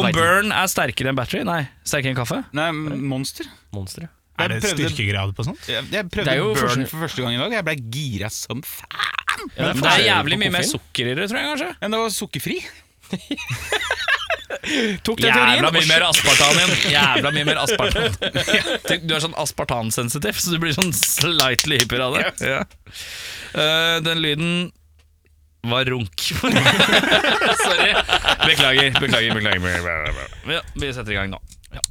Speaker 2: Om burn er sterkere enn battery? Nei, sterkere enn kaffe?
Speaker 7: Nei, Monster.
Speaker 1: Monster, ja.
Speaker 6: Er det
Speaker 7: Jeg prøvde-
Speaker 6: styrkegrad på sånt?
Speaker 7: Jeg, jeg prøvde
Speaker 1: Det er jo
Speaker 7: burn
Speaker 1: forskjell-
Speaker 7: for første gang i dag. Jeg ble gira som faen.
Speaker 1: Ja,
Speaker 2: Men det er
Speaker 1: forskjell på
Speaker 2: jævlig mye mer
Speaker 1: koffein.
Speaker 2: sukker i det, tror jeg kanskje.
Speaker 7: Men det var sukkerfri.
Speaker 2: Tok den teorien Jævla mye mer aspartan igjen. Jævla mye mer aspartan. Tenk, Du er sånn aspartansensitiv, så du blir sånn slightly hyper av det. Ja. Eh, den lyden var runk. Sorry. Beklager, beklager, beklager. Ja, vi setter i gang nå. Ja.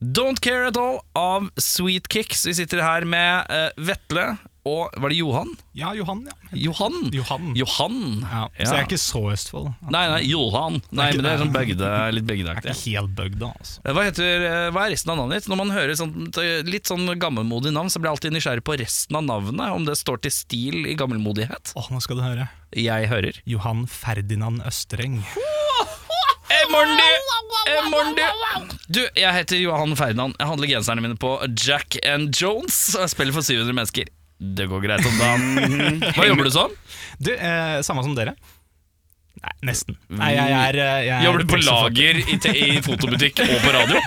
Speaker 2: Don't Care At All av Sweet Kicks. Vi sitter her med eh, Vetle og Var det Johan?
Speaker 6: Ja, Johan, ja.
Speaker 2: Johan?
Speaker 6: Johan.
Speaker 2: Johan.
Speaker 6: Ja. Så jeg er ikke så Østfold.
Speaker 2: Nei, nei, Johan. Nei, men det er sånn bygde, litt
Speaker 6: Jeg er
Speaker 2: bygdeaktig.
Speaker 6: ikke helt bøgd, da. Altså.
Speaker 2: Hva, heter, eh, hva er resten av navnet ditt? Når man hører sånt, eh, litt sånn gammelmodig navn, så blir jeg alltid nysgjerrig på resten av navnet, om det står til stil i gammelmodighet.
Speaker 6: Åh, nå skal du høre.
Speaker 2: Jeg hører.
Speaker 6: Johan Ferdinand Østreng.
Speaker 2: Eh, morgen, du! Eh, morgen, du! Du, jeg heter Johan Ferdinand. Jeg handler genserne mine på Jack and Jones, og jeg spiller for 700 mennesker. Det går greit om dagen. Hva jobber du som?
Speaker 6: Du, eh, samme som dere. Nei, nesten. Nei, jeg er, eh, jeg er
Speaker 2: Jobber du på
Speaker 6: tekst- og
Speaker 2: lager i, te- i fotobutikk og på radio?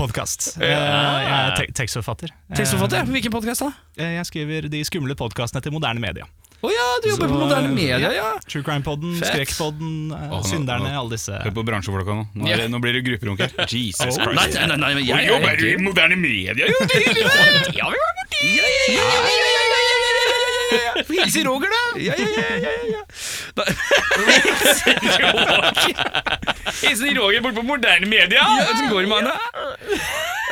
Speaker 6: Podcast. Eh, Jeg er te tekstforfatter. Eh,
Speaker 2: Tekstforfatter? ja. Hvilken podkast da?
Speaker 6: eh, Jeg skriver de skumle podkastene til moderne media.
Speaker 2: Å ja, du jobber på
Speaker 6: Så,
Speaker 2: moderne
Speaker 6: eh,
Speaker 2: media, ja.
Speaker 6: True Crime-podden,
Speaker 2: Fett.
Speaker 6: Skrekkpodden, eh,
Speaker 7: nå-
Speaker 6: Synderne,
Speaker 7: nå-
Speaker 6: alle disse.
Speaker 7: Hør på bransjefolka nå. Nå, er det, nå blir det grupperunk her. Jesus
Speaker 6: Oh.
Speaker 7: Christ.
Speaker 2: Nei, nei, nei, nei, men jeg,
Speaker 3: Jeg jobber du i moderne media, jo! Det er hyggelig.
Speaker 2: Vi hilser Roger, da! Ja, ja, ja, ja, ja. Da- Hilser Roger. Roger bort på moderne media. Hvordan går det med han, da?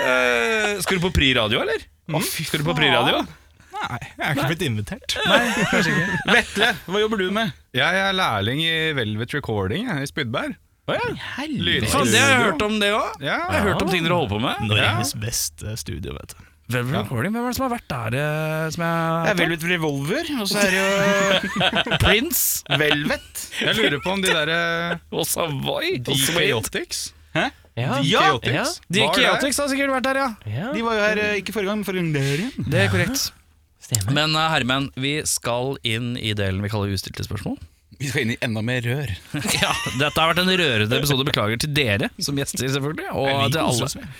Speaker 2: Eh, skal du på Pri radio, eller? Skal du på Pri radio?
Speaker 6: Nei, jeg er ikke blitt invitert.
Speaker 7: Vetle, hva jobber du med? Jeg er lærling i Velvet Recording jeg, i Spydberg. Lydstudio.
Speaker 2: Faen, det har jeg hørt om, det òg.
Speaker 7: Ja,
Speaker 2: Jeg har hørt om ting dere holder på med.
Speaker 6: Norges beste eh, studio, vet du.
Speaker 2: Velvet Recording, Hvem er det som har vært der? eh, Som
Speaker 7: Det er
Speaker 2: jeg
Speaker 7: Velvet Revolver, og så er det jo
Speaker 2: eh,
Speaker 7: eh,
Speaker 2: Prince
Speaker 7: Velvet. Jeg lurer på om de derre
Speaker 2: og Savoy. og
Speaker 7: De
Speaker 2: Sweet.
Speaker 7: Chaotix?
Speaker 1: Ja,
Speaker 7: De
Speaker 1: ja,
Speaker 7: Chaotix.
Speaker 2: De
Speaker 7: Var der.
Speaker 2: Chaotix har sikkert vært der, ja.
Speaker 1: ja,
Speaker 7: De var jo her eh, ikke forrige gang, men forrige gang der igjen.
Speaker 2: Det er korrekt.
Speaker 1: stemmer.
Speaker 2: Men eh, herremenn, vi skal inn i delen vi kaller ustilte spørsmål.
Speaker 7: Vi skal inn i enda mer rør.
Speaker 2: Ja, Dette har vært en rørende episode. Beklager til dere som gjester, selvfølgelig. Og til alle.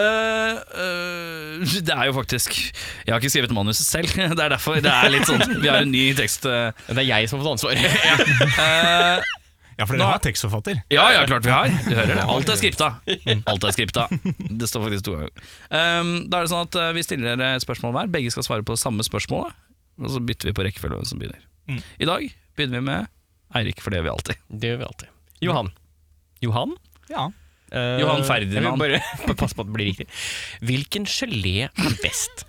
Speaker 2: Eh, eh, det er jo faktisk Jeg har ikke skrevet manuset selv. Det er derfor det er litt sånn Vi har en ny tekst. eh.
Speaker 1: Det er jeg som har fått ansvaret.
Speaker 2: Eh,
Speaker 6: Ja, for
Speaker 2: Nå-
Speaker 6: dere har tekstforfatter.
Speaker 2: ja, ja, klart vi har. Du hører det. Alt er skripta. Mm. Alt er skripta. Det står faktisk to ganger. Eh, da er det sånn at eh, vi stiller dere et spørsmål hver. Begge skal svare på det samme spørsmålet. Og så bytter vi på rekkefølge hvem som begynner. I dag begynner vi med Eirik, for det gjør vi alltid.
Speaker 1: Det gjør vi alltid. Johan. Johan?
Speaker 6: Ja.
Speaker 1: Eh,
Speaker 2: Johan Ferdinand.
Speaker 1: Jeg vil bare bare passe på at det blir riktig. Hvilken gelé er best?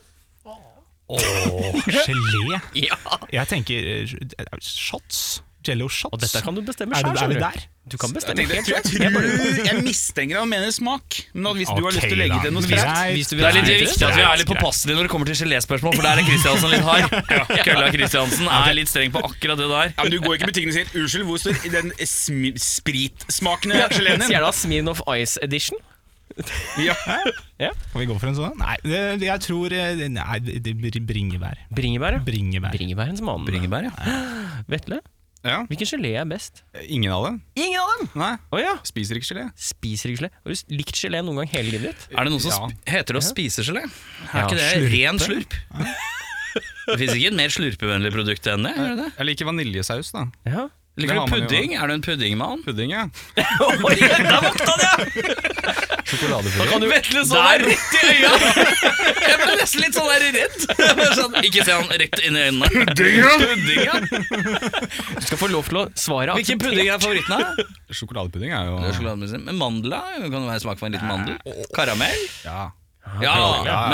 Speaker 6: Åh, gelé.
Speaker 1: ja.
Speaker 6: Jeg tenker eh, shots. Jello shots.
Speaker 1: Og dette kan du bestemme
Speaker 6: Er,
Speaker 1: sjøl,
Speaker 6: det, er vi der?
Speaker 1: Du kan bestemme helt
Speaker 7: Jeg,
Speaker 1: sjøl.
Speaker 7: tror, jeg mistenker han mener smak, men at hvis du har lyst til å legge til noe skrap
Speaker 2: Det er litt
Speaker 6: Greit,
Speaker 2: viktig at vi er
Speaker 6: greit,
Speaker 2: litt
Speaker 6: greit.
Speaker 2: påpasselige når det kommer til geléspørsmål, for der er Kristiansen litt hard. Kølla Kristiansen er litt streng på akkurat det der.
Speaker 7: ja, men Du går ikke i butikken og sier 'unnskyld, hvor står den smi- spritsmakende geleen din?'
Speaker 1: Sier da Smin of Ice Edition?
Speaker 7: Ja.
Speaker 6: Kan vi gå for en sånn? Nei, det- jeg tror eh, Nei, det det blir bringebær.
Speaker 1: Bringebær, ja.
Speaker 6: Bringebær.
Speaker 1: Bringebærens mann.
Speaker 2: Bringebær, ja.
Speaker 1: Vetle,
Speaker 7: Ja.
Speaker 1: hvilken gelé er best?
Speaker 7: Ingen av dem?
Speaker 1: Ingen av dem!
Speaker 7: Nei.
Speaker 1: Å ja.
Speaker 7: Spiser ikke gelé.
Speaker 1: Spiser ikke gelé. Har du likt gelé noen gang hele livet ditt?
Speaker 2: Er det noe som sp- heter det å spise gelé? Er ikke det ren slurp? Det fins ikke et mer slurpevennlig produkt enn det? er det det?
Speaker 7: Jeg liker vaniljesaus, da.
Speaker 1: Ja.
Speaker 7: Det
Speaker 2: Liker
Speaker 7: har
Speaker 2: du
Speaker 7: man jo.
Speaker 2: pudding? Er du en puddingmann?
Speaker 7: Pudding, ja.
Speaker 1: Oi, der våkna det!
Speaker 7: Sjokoladepudding.
Speaker 2: Kan du vetle sånn der rett i øya? Jeg ble nesten litt sånn der redd. Jeg ble Sånn, ikke se han rett inn i øynene. Pudding, ja.
Speaker 1: Du skal få lov til å svare.
Speaker 2: Hvilken pudding er favoritten? da?
Speaker 7: Sjokoladepudding er jo
Speaker 2: Det er sjokolademusen. Men mandla? Kan det være smak for en liten mandel? Karamell?
Speaker 7: Ja.
Speaker 2: Ja,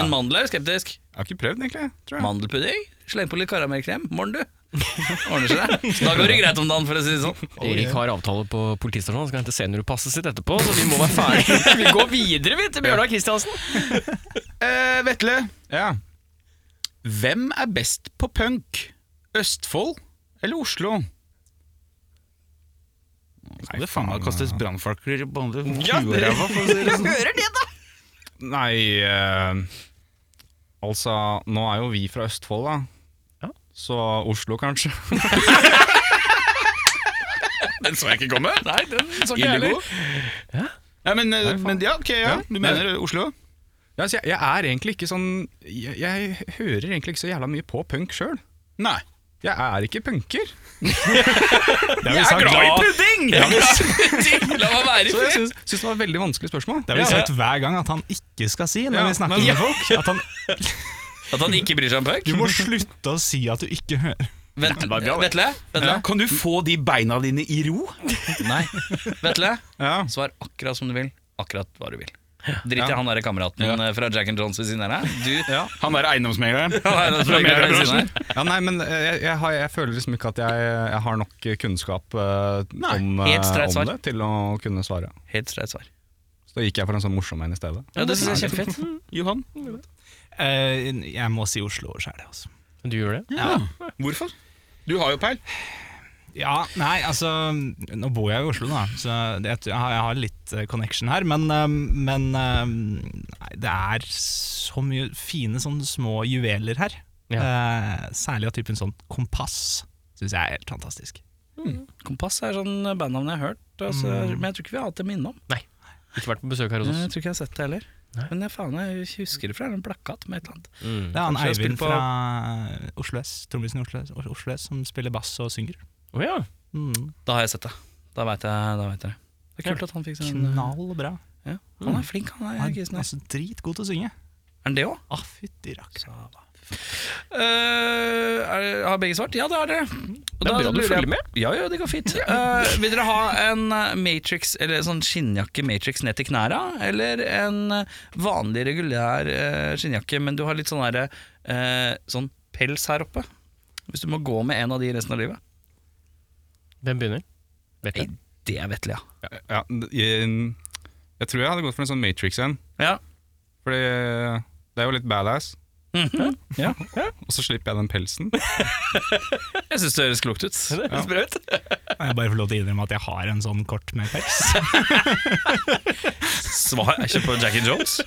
Speaker 2: men mandel er jo skeptisk.
Speaker 7: Jeg har ikke prøvd, egentlig. Tror jeg.
Speaker 2: Mandelpudding? Sleng på litt karamellkrem. Morn, du. Ordner seg. Så da går det greit om dagen, for å si det sånn.
Speaker 1: Erik har avtale på politistasjonen, han skal hente seniorpasset sitt etterpå, så vi må være ferdige. Vi går videre, vi, til Bjørnar Kristiansen.
Speaker 7: Eh, Vetle,
Speaker 5: Ja.
Speaker 7: hvem er best på punk? Østfold eller Oslo? Skal det faen meg kastes brannfakler på andre huet og ræva, for å si det sånn?
Speaker 5: Nei eh,
Speaker 7: Altså, nå er jo vi fra Østfold, da. Så Oslo, kanskje.
Speaker 3: Den så jeg ikke komme.
Speaker 2: Nei, den så ikke jeg heller.
Speaker 3: Ja, men, eh, men ja, ok, ja. Du mener Oslo?
Speaker 7: Ja, altså, jeg, jeg er egentlig ikke sånn jeg, jeg hører egentlig ikke så jævla mye på punk sjøl.
Speaker 3: Nei.
Speaker 7: Jeg er ikke punker.
Speaker 3: Jeg er glad i pudding!
Speaker 2: La meg være i
Speaker 7: Så jeg
Speaker 2: fred.
Speaker 7: syns, syns det var et veldig vanskelig spørsmål.
Speaker 6: Det har vi sagt hver gang at han ikke skal si når
Speaker 7: Ja,
Speaker 6: vi snakker
Speaker 7: men-
Speaker 6: med folk. At han,
Speaker 2: At han ikke bryr seg om punk.
Speaker 6: du må slutte å si at du ikke hører.
Speaker 2: Vent- Vetle, Vetle,
Speaker 3: Kan du få de beina dine i ro?
Speaker 2: Nei. Vetle,
Speaker 7: Ja.
Speaker 2: svar akkurat som du vil, akkurat hva du vil. Drit i han derre kameraten eh, fra Jack and Jones ved siden her. Du,
Speaker 3: Han der eiendomsmegleren.
Speaker 2: han er den som ligger ved siden her.
Speaker 7: Ja, nei, men eh, jeg, jeg, har, jeg føler liksom ikke at jeg, jeg har nok kunnskap eh, om, eh,
Speaker 2: helt streit svar.
Speaker 7: om det til å kunne svare.
Speaker 2: Helt streit svar.
Speaker 7: Så da gikk jeg for en sånn morsom en i stedet.
Speaker 2: Ja, det synes jeg er kjempefett.
Speaker 3: Johan?
Speaker 6: Eh, jeg må si Oslo sjæl, altså.
Speaker 1: Du gjør det?
Speaker 3: Ja. Hvorfor? Du har jo peil.
Speaker 6: Ja, nei, altså Nå bor jeg i Oslo, da, så det, jeg, har, jeg har litt eh, connection her. Men, eh, men eh, nei, det er så mye fine sånne små juveler her. Eh, særlig av typen sånn kompass. Syns jeg er helt fantastisk.
Speaker 2: Kompass er sånn bandnavn jeg har hørt, altså, men jeg tror ikke vi har hatt det minne om.
Speaker 1: Ikke vært på besøk her hos
Speaker 2: Jeg
Speaker 1: oss?
Speaker 2: tror ikke jeg har sett det heller. Men jeg, faen, jeg husker det fra en plakat med et eller annet.
Speaker 1: Mm.
Speaker 6: Det er han
Speaker 2: Kanskje jeg spiller
Speaker 6: Eivind
Speaker 2: på-
Speaker 6: fra Oslo S, trommisen i Oslo S, Oslo S, som spiller bass og synger.
Speaker 1: Å ja.
Speaker 6: Mm.
Speaker 2: Da har jeg sett det. Da veit jeg, da vet jeg det. Det er kult at han fikk sånn
Speaker 6: Knallbra.
Speaker 2: Ja. Han er flink, han er
Speaker 6: Han er
Speaker 2: kisen her.
Speaker 6: altså, dritgod til å synge.
Speaker 2: Er han det òg?
Speaker 6: Ah, fytti rakker.
Speaker 2: har begge svart? Ja, Eh, det har dere. Og
Speaker 1: Det er
Speaker 2: da
Speaker 1: bra du
Speaker 2: lurer jeg-
Speaker 1: følger med.
Speaker 2: Ja, ja, det går fint. Eh, vil dere ha en eh, Matrix, eller sånn skinnjakke Matrix ned til knæra? Eller en eh, vanlig, regulær eh, skinnjakke, men du har litt sånn derre eh, sånn pels her oppe? Hvis du må gå med en av de resten av livet?
Speaker 1: Hvem begynner? Vet
Speaker 2: Nei,
Speaker 1: jeg.
Speaker 2: det er vettelig, ja.
Speaker 7: Ja, ja, d- jeg, jeg tror jeg hadde gått for en sånn Matrix en.
Speaker 2: Ja.
Speaker 7: Fordi det er jo litt badass.
Speaker 2: Mhm. Ja.
Speaker 7: Og så slipper jeg den pelsen.
Speaker 2: Jeg syns det høres klokt ut. Det høres bra ut.
Speaker 6: Kan jeg bare få lov til å innrømme at jeg har en sånn kort med pels?
Speaker 2: Svar er ikke på Jackie Jones.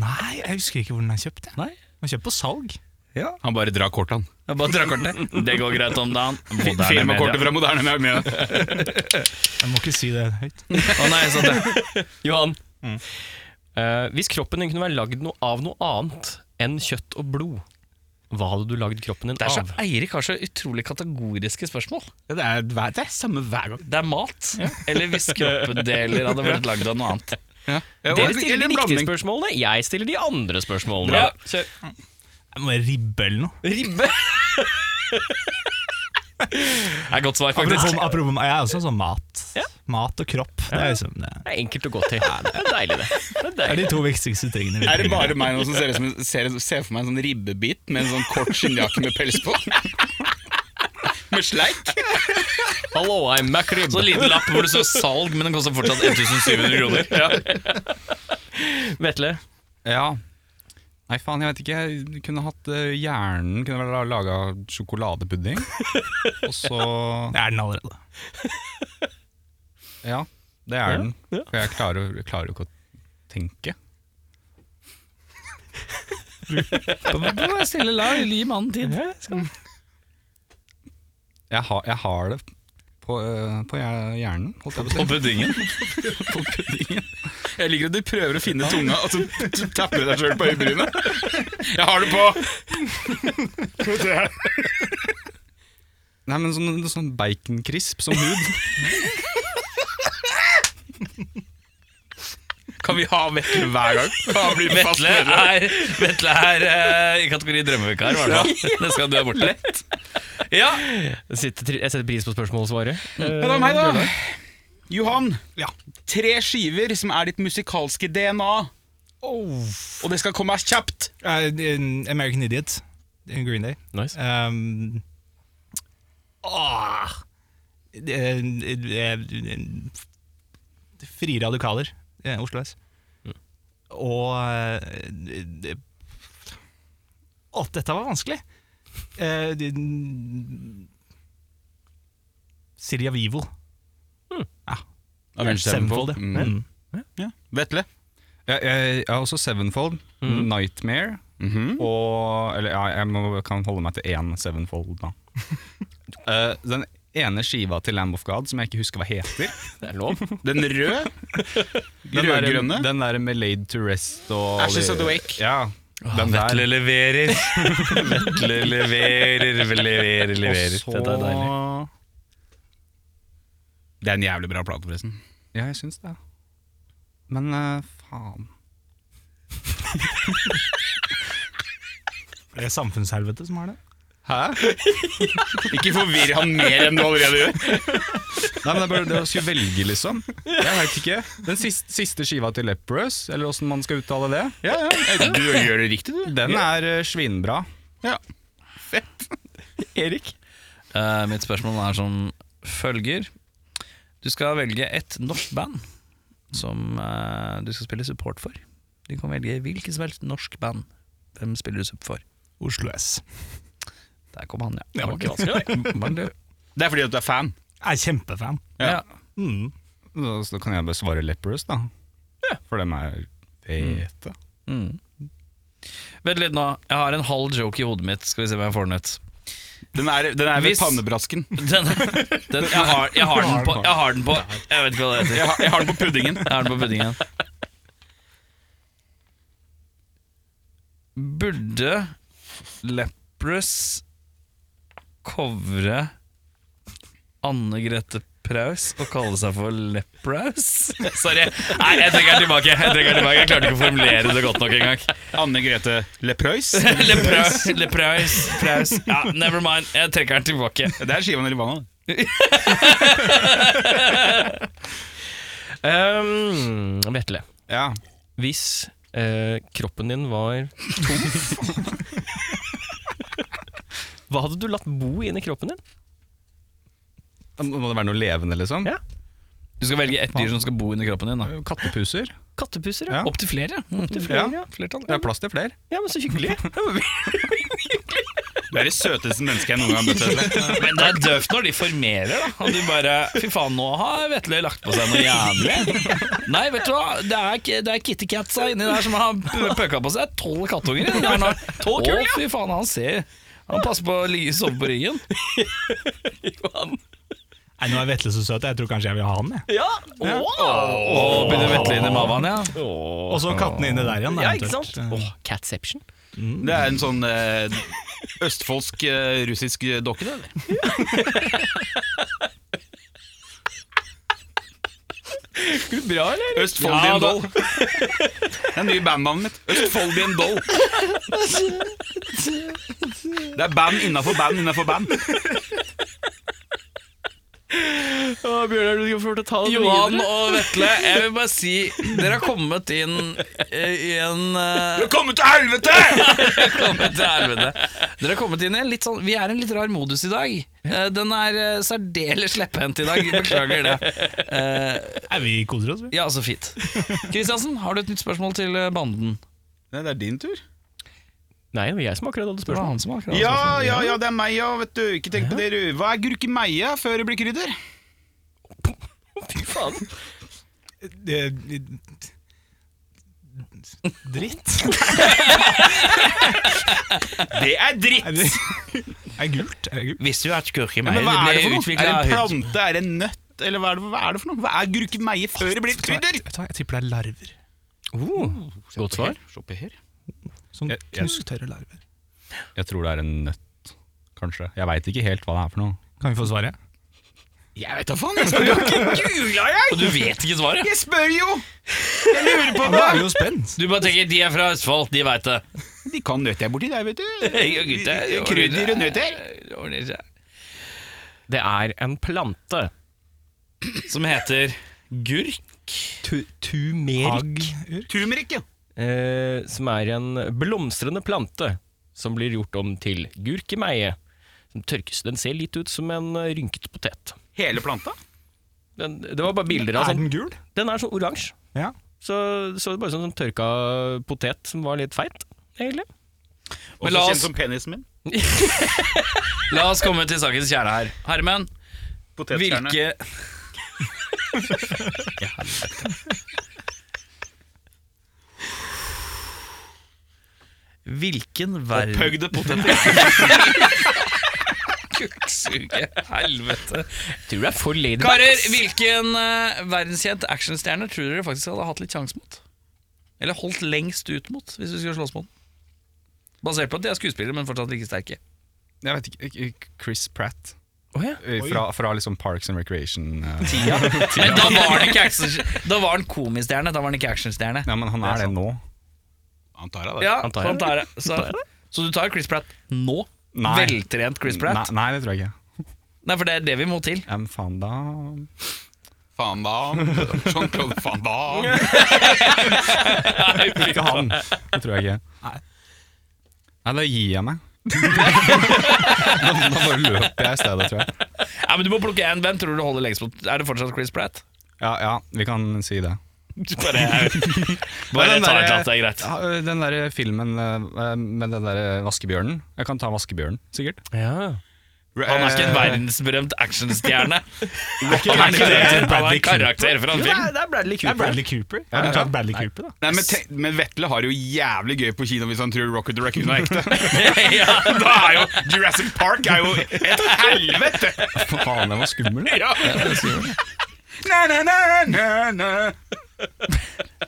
Speaker 6: Nei, jeg husker ikke hvor den er kjøpt. jeg.
Speaker 2: Nei.
Speaker 6: Den er kjøpt på salg.
Speaker 7: Han bare drar kortene.
Speaker 2: Jeg bare drar kortet. Det går greit om dagen.
Speaker 3: Firmakortet fra moderne media.
Speaker 6: Jeg må ikke si det høyt.
Speaker 2: Å nei, sant det.
Speaker 1: Johan. Eh, hvis kroppen din kunne være lagd noe av noe annet enn kjøtt og blod, hva hadde du lagd kroppen din
Speaker 2: Det er så
Speaker 1: av?
Speaker 2: Eirik har så utrolig kategoriske spørsmål.
Speaker 6: Det er, det er samme hver gang.
Speaker 2: Det er mat, eller hvis kroppsdeler hadde vært lagd av noe annet.
Speaker 1: Dere stiller de riktige spørsmålene, jeg stiller de andre spørsmålene.
Speaker 2: Bra.
Speaker 1: Kjør.
Speaker 6: Jeg må være ribbe eller noe.
Speaker 1: Ribbe! det er et godt svar, faktisk.
Speaker 6: Apropos, apropos, jeg er også sånn mat. Mat og kropp. Det er, liksom, det
Speaker 1: Det er enkelt å gå til. Det er deilig, det. det, er
Speaker 6: er
Speaker 1: deilig.
Speaker 6: de to viktigste tingene. vi
Speaker 3: Er det
Speaker 6: trenger.
Speaker 3: bare meg nå som ser, ut som, ser, ser for meg en sånn ribbebit med en sånn kort skinnjakke med pels på? med sleik?
Speaker 1: Hallo, I'm Mac
Speaker 2: Så en liten lapp hvor det står 'salg', men den koster fortsatt 1700 kroner.
Speaker 1: Vetle,
Speaker 7: Ja. Nei, faen, jeg vet ikke. Jeg kunne hatt eh, hjernen Kunne vel laga sjokoladepudding. Og så
Speaker 6: Det er den allerede.
Speaker 7: Ja, det er den. For jeg klarer, jeg klarer jo ikke å tenke.
Speaker 2: Du må stille lag, gi mannen tid.
Speaker 7: Jeg, har- jeg har det på, eh, på hjer- hjernen, holdt jeg på å si.
Speaker 2: Og puddingen.
Speaker 3: Jeg liker at du prøver å finne tunga, og så t- tapper du deg sjøl på øyebrynet. Jeg har det på!
Speaker 7: Nei, men sånn, sånn baconkrisp som hud.
Speaker 3: Kan vi ha Vetle hver gang? Han blir fast
Speaker 2: Vetle
Speaker 3: medlem.
Speaker 2: er, Vetle er eh, i kategori drømmevikar, i hvert fall. Det skal du ha borte. Ja,
Speaker 1: jeg setter jeg setter pris på spørsmålsvaret.
Speaker 3: Men det er meg, da. Johan. Tre skiver som er ditt musikalske DNA. Og det skal komme kjapt.
Speaker 6: Eh, in- American Idiot. in Green Day.
Speaker 1: Nice.
Speaker 6: Um, åh, Eh, eh, eh, Frie radikaler, eh, Oslo S. Og eh, eh, Å, dette var vanskelig! Eh, de- Silja Vivo. Sevenfold, ja. Mm.
Speaker 3: Vetle.
Speaker 2: Mhm.
Speaker 7: Jeg, jeg, jeg har også Sevenfold, Nightmare Og Eller ja, jeg må, kan holde meg til én Sevenfold, da. Eh, den ene skiva til Lamb of God som jeg ikke husker hva heter.
Speaker 1: Det er lov.
Speaker 3: Den røde?
Speaker 7: Den der-
Speaker 3: Rødgrønne?
Speaker 7: Den der med Laid to Rest og
Speaker 3: Ashes of the Wake.
Speaker 7: Ja. Den der.
Speaker 2: leverer. Vetle leverer, leverer, leverer.
Speaker 7: Og
Speaker 2: Dette er deilig.
Speaker 7: så-
Speaker 3: Det er en jævlig bra plate, forresten.
Speaker 7: Ja, jeg syns det. Men eh, faen
Speaker 6: Det er samfunnshelvete som har det.
Speaker 3: Ikke forvirr han mer enn du allerede gjør.
Speaker 7: Nei, men det er bare det å skulle velge, liksom. Jeg vet ikke. Den siste, siste skiva til Leprous, eller åssen man skal uttale det,
Speaker 3: Ja, ja. Du gjør det riktig, du.
Speaker 7: den er eh, svinbra.
Speaker 1: Erik?
Speaker 2: Eh, mitt spørsmål er som følger. Du skal velge et norsk band som eh, du skal spille support for. Du kan velge hvilket som helst norsk band. Hvem spiller du support for?
Speaker 6: Oslo S.
Speaker 2: Der kom han, ja.
Speaker 1: Det var ikke vanskelig, det.
Speaker 2: Var det?
Speaker 3: Det er fordi at du er fan.
Speaker 6: Jeg er kjempefan.
Speaker 2: Ja.
Speaker 6: Mm.
Speaker 7: Så så kan jeg besvare Leprous, da. For dem er fete.
Speaker 2: Mm. Vent litt nå. Jeg har en halv joke i hodet mitt. Skal vi se om jeg får den ut.
Speaker 3: Den er, den er ved
Speaker 2: Hvis-
Speaker 3: pannebrasken.
Speaker 2: Den, den, jeg, har, jeg har den på Jeg har den på Jeg vet ikke hva det heter.
Speaker 3: Jeg har, jeg har den på puddingen.
Speaker 2: Jeg har den på puddingen. Burde Leprous covre Anne Grete Praus og kalle seg for Lepraus? Sorry. Nei, jeg trekker den tilbake. Jeg trekker den tilbake Jeg klarte ikke å formulere det godt nok engang.
Speaker 3: Anne Grete Leprøys.
Speaker 2: Lepraus, Lepraus, Praus. Ja, never mind. Jeg trekker den tilbake.
Speaker 3: Det er skiva Nirvana. det.
Speaker 1: Um, Vetle,
Speaker 7: Ja.
Speaker 1: hvis eh, kroppen din var tom Hva hadde du latt bo inni kroppen din?
Speaker 7: Da Må må det være noe levende, liksom?
Speaker 1: Ja.
Speaker 2: Du skal velge ett dyr som skal bo under kroppen din. da Mm,
Speaker 7: Kattepuser.
Speaker 1: Kattepusser,
Speaker 7: Ja.
Speaker 2: Opptil flere.
Speaker 1: Opp til
Speaker 7: Ja.
Speaker 1: flere, ja. Flertall.
Speaker 7: Det er plass til flere.
Speaker 1: Ja, men så hyggelig.
Speaker 3: Du er det søteste mennesket jeg noen gang har møtt. Vetle.
Speaker 2: Men det er døvt når de formerer, da. Og du bare Fy faen, nå har Vetle lagt på seg noe jævlig. Nei, vet du hva. Det er, k- det er Kitty Katsa inni der som har p- pøka på seg tolv kattunger. inni der nå. Å, fy faen, han ser Han passer på å ligge sove på ryggen.
Speaker 6: Nei, nå er Vetle så søt, jeg tror kanskje jeg vil ha han. jeg.
Speaker 1: Ja!
Speaker 2: Å, begynner Vetle inn i mavaen, ja.
Speaker 6: Og så kattene inne der igjen. da,
Speaker 1: ja, ikke
Speaker 6: eventuelt.
Speaker 1: sant? Åh, Catception.
Speaker 3: Det er en sånn eh, østfoldsk eh, russisk dokke, det. eller?
Speaker 1: Bra, eller?
Speaker 3: Østfoldian Doll. Det er det nye bandnavnet mitt. Østfoldian Doll. Det er band innafor band innafor band.
Speaker 1: Ja, Bjørnar, du skal få lov til å ta det
Speaker 2: Johan
Speaker 1: videre.
Speaker 2: og Vetle, jeg vil bare si dere har kommet inn eh, i en eh,
Speaker 3: Velkommen til helvete!
Speaker 2: kommet til helvete. Dere har kommet inn i en litt sånn Vi er i en litt rar modus i dag. Eh, Den er eh, særdeles slepphendt i dag. Beklager det. Eh,
Speaker 6: Nei, vi koser oss, vi.
Speaker 2: Ja, så fint. Kristiansen, har du et nytt spørsmål til eh, banden?
Speaker 3: Nei, det er din tur.
Speaker 1: Nei, det var jeg som akkurat hadde
Speaker 2: Det var
Speaker 1: spørsmål.
Speaker 2: han som var akkurat
Speaker 3: Ja, ja, ja, det er meg, ja. Vet du. Ikke tenk på det, du. Hva er gurkemeie før det blir krydder?
Speaker 1: Fy faen.
Speaker 6: Dritt.
Speaker 3: Det er dritt!
Speaker 6: Er det er gult? Er det gult?
Speaker 2: Visste du at skurkemeie
Speaker 3: Men hva er det for noe? Er det en
Speaker 2: av
Speaker 3: plante? Er det en nøtt? Eller hva er det, hva er det for noe? Hva er gurkemeie før det blir krydder?
Speaker 6: Vet du hva, jeg tipper det er larver.
Speaker 7: Uh,
Speaker 1: Godt svar.
Speaker 6: Sånn
Speaker 7: Jeg- jeg-
Speaker 6: knusktørre larver.
Speaker 7: Jeg tror det er en nøtt, kanskje. Jeg veit ikke helt hva det er for noe.
Speaker 6: Kan vi få svaret?
Speaker 3: Jeg vet da faen! Jeg spør jo ikke googla, jeg!
Speaker 2: Og du vet ikke svaret?
Speaker 3: Jeg spør jo! Jeg lurer på
Speaker 6: Da
Speaker 3: hva
Speaker 6: er vi jo spent.
Speaker 2: Du bare tenker de er fra Østfold, de veit det.
Speaker 3: De kan nøtter borti der, vet du.
Speaker 2: Hey, gutter, det ordner
Speaker 3: Krydder og
Speaker 2: seg.
Speaker 3: nøtter.
Speaker 2: Det ordner seg.
Speaker 1: Det er en plante.
Speaker 2: Som heter gurk.
Speaker 1: Tu- Turmerik.
Speaker 6: Agurk.
Speaker 3: Turmerikk, ja.
Speaker 1: eh, som er en blomstrende plante som blir gjort om til gurkemeie. Som tørkes. Den ser litt ut som en eh, rynket potet.
Speaker 3: Hele planta?
Speaker 1: Den, det var bare bilder av
Speaker 6: Er
Speaker 1: sånn.
Speaker 6: den gul?
Speaker 1: Den er sånn oransje.
Speaker 6: Ja.
Speaker 1: Så så det bare sånn, sånn tørka potet som var litt feit, egentlig.
Speaker 2: Men
Speaker 3: Også
Speaker 2: la
Speaker 3: kjent
Speaker 2: oss-
Speaker 3: som penisen min.
Speaker 2: La oss komme til sakens kjerne her. Herman,
Speaker 3: Potetkjerne.
Speaker 2: hvilke Hvilken verden
Speaker 7: Pøgde poteter.
Speaker 2: Kukksuge, helvete.
Speaker 1: Tror du det er for
Speaker 2: Karer,
Speaker 1: ladyback?
Speaker 2: hvilken eh, verdenskjent actionstjerne tror dere faktisk hadde hatt litt sjanse mot? Eller holdt lengst ut mot, hvis du skulle slåss mot den? Basert på at de er skuespillere, men fortsatt like sterke.
Speaker 7: Jeg vet ikke, ikke, Chris Pratt.
Speaker 1: Oh, ja.
Speaker 7: Eh, Fra, fra liksom Parks and Recreation. eh.
Speaker 2: Men da var han ikke action Da var han komistjerne, da var han ikke actionstjerne.
Speaker 7: Ja, men han er det nå.
Speaker 3: Antar jeg det.
Speaker 2: Ja,
Speaker 1: Antar jeg.
Speaker 2: sånn tar jeg. Så, så du tar Chris Pratt nå?
Speaker 7: Nei.
Speaker 2: Veltrent Chris Pratt? Nei.
Speaker 7: Nei, nei, det tror jeg ikke.
Speaker 2: for det er det vi må til.
Speaker 7: Ja, men faen da
Speaker 3: Van Damme. Jean-Claude Van Damme.
Speaker 7: Ikke han. Det tror jeg ikke. Nei, da gir jeg meg. da, da bare løper jeg i stedet, tror jeg.
Speaker 2: Ja, men du må plukke en. Hvem tror du holder lengst mot? Er det fortsatt Chris Pratt?
Speaker 7: Ja, ja, vi kan si det.
Speaker 2: Bare, bare
Speaker 7: Bare den
Speaker 2: ta et eller
Speaker 7: der-
Speaker 2: annet, det er greit.
Speaker 7: Ja, ø, den der filmen ø, med den der vaskebjørnen. Jeg kan ta vaskebjørnen, sikkert.
Speaker 2: Han er ikke en verdensberømt actionstjerne. Han Eh. er
Speaker 6: det.
Speaker 2: ikke det. Han er
Speaker 6: Bradley
Speaker 2: en karakter fra en film.
Speaker 1: det er Bradley
Speaker 6: Det er Bradley Cooper. Jeg ville tatt Bradley Cooper, da.
Speaker 3: Nei, men, tenk- men Vetle har det jo jævlig gøy på kino hvis han tror Rocket the Raccoon er ekte.
Speaker 2: Ja.
Speaker 3: Da er jo Jurassic Park er jo et helvete!
Speaker 7: Faen, den var skummel.
Speaker 3: Ja. Na, na, na, na, na.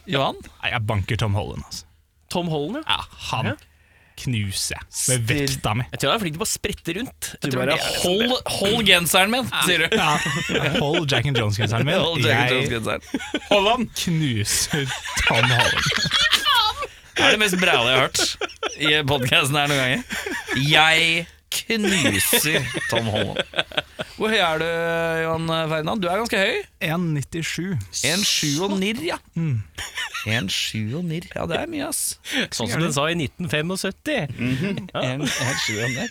Speaker 2: Johan?
Speaker 6: Nei, jeg banker Tom Holland, altså.
Speaker 1: Tom Holland, ja.
Speaker 6: Ja, han knuser jeg med vekta mi.
Speaker 1: Jeg tror han er flink til å bare sprette rundt. Jeg tror
Speaker 2: Bare
Speaker 1: det er det som-
Speaker 2: hold, hold genseren min, sier du.
Speaker 6: Hold Jack and Jones-genseren
Speaker 2: Hold
Speaker 6: min.
Speaker 2: Jack and
Speaker 6: Jeg
Speaker 2: Jones-genseren.
Speaker 6: knuser Tom Holland.
Speaker 2: Det er det mest bræle jeg har hørt i podkasten her noen ganger. Jeg knuser Tom Holland. Hvor høy er du, Johan Ferdinand? Du er ganske høy.
Speaker 6: 1,97.
Speaker 2: En sju og nirr, ja. En sju og nirr. Mm. Ja, det er mye, ass.
Speaker 1: Sånn som den sa i
Speaker 2: Mm.
Speaker 1: 1975.
Speaker 2: En, en sju og nirr.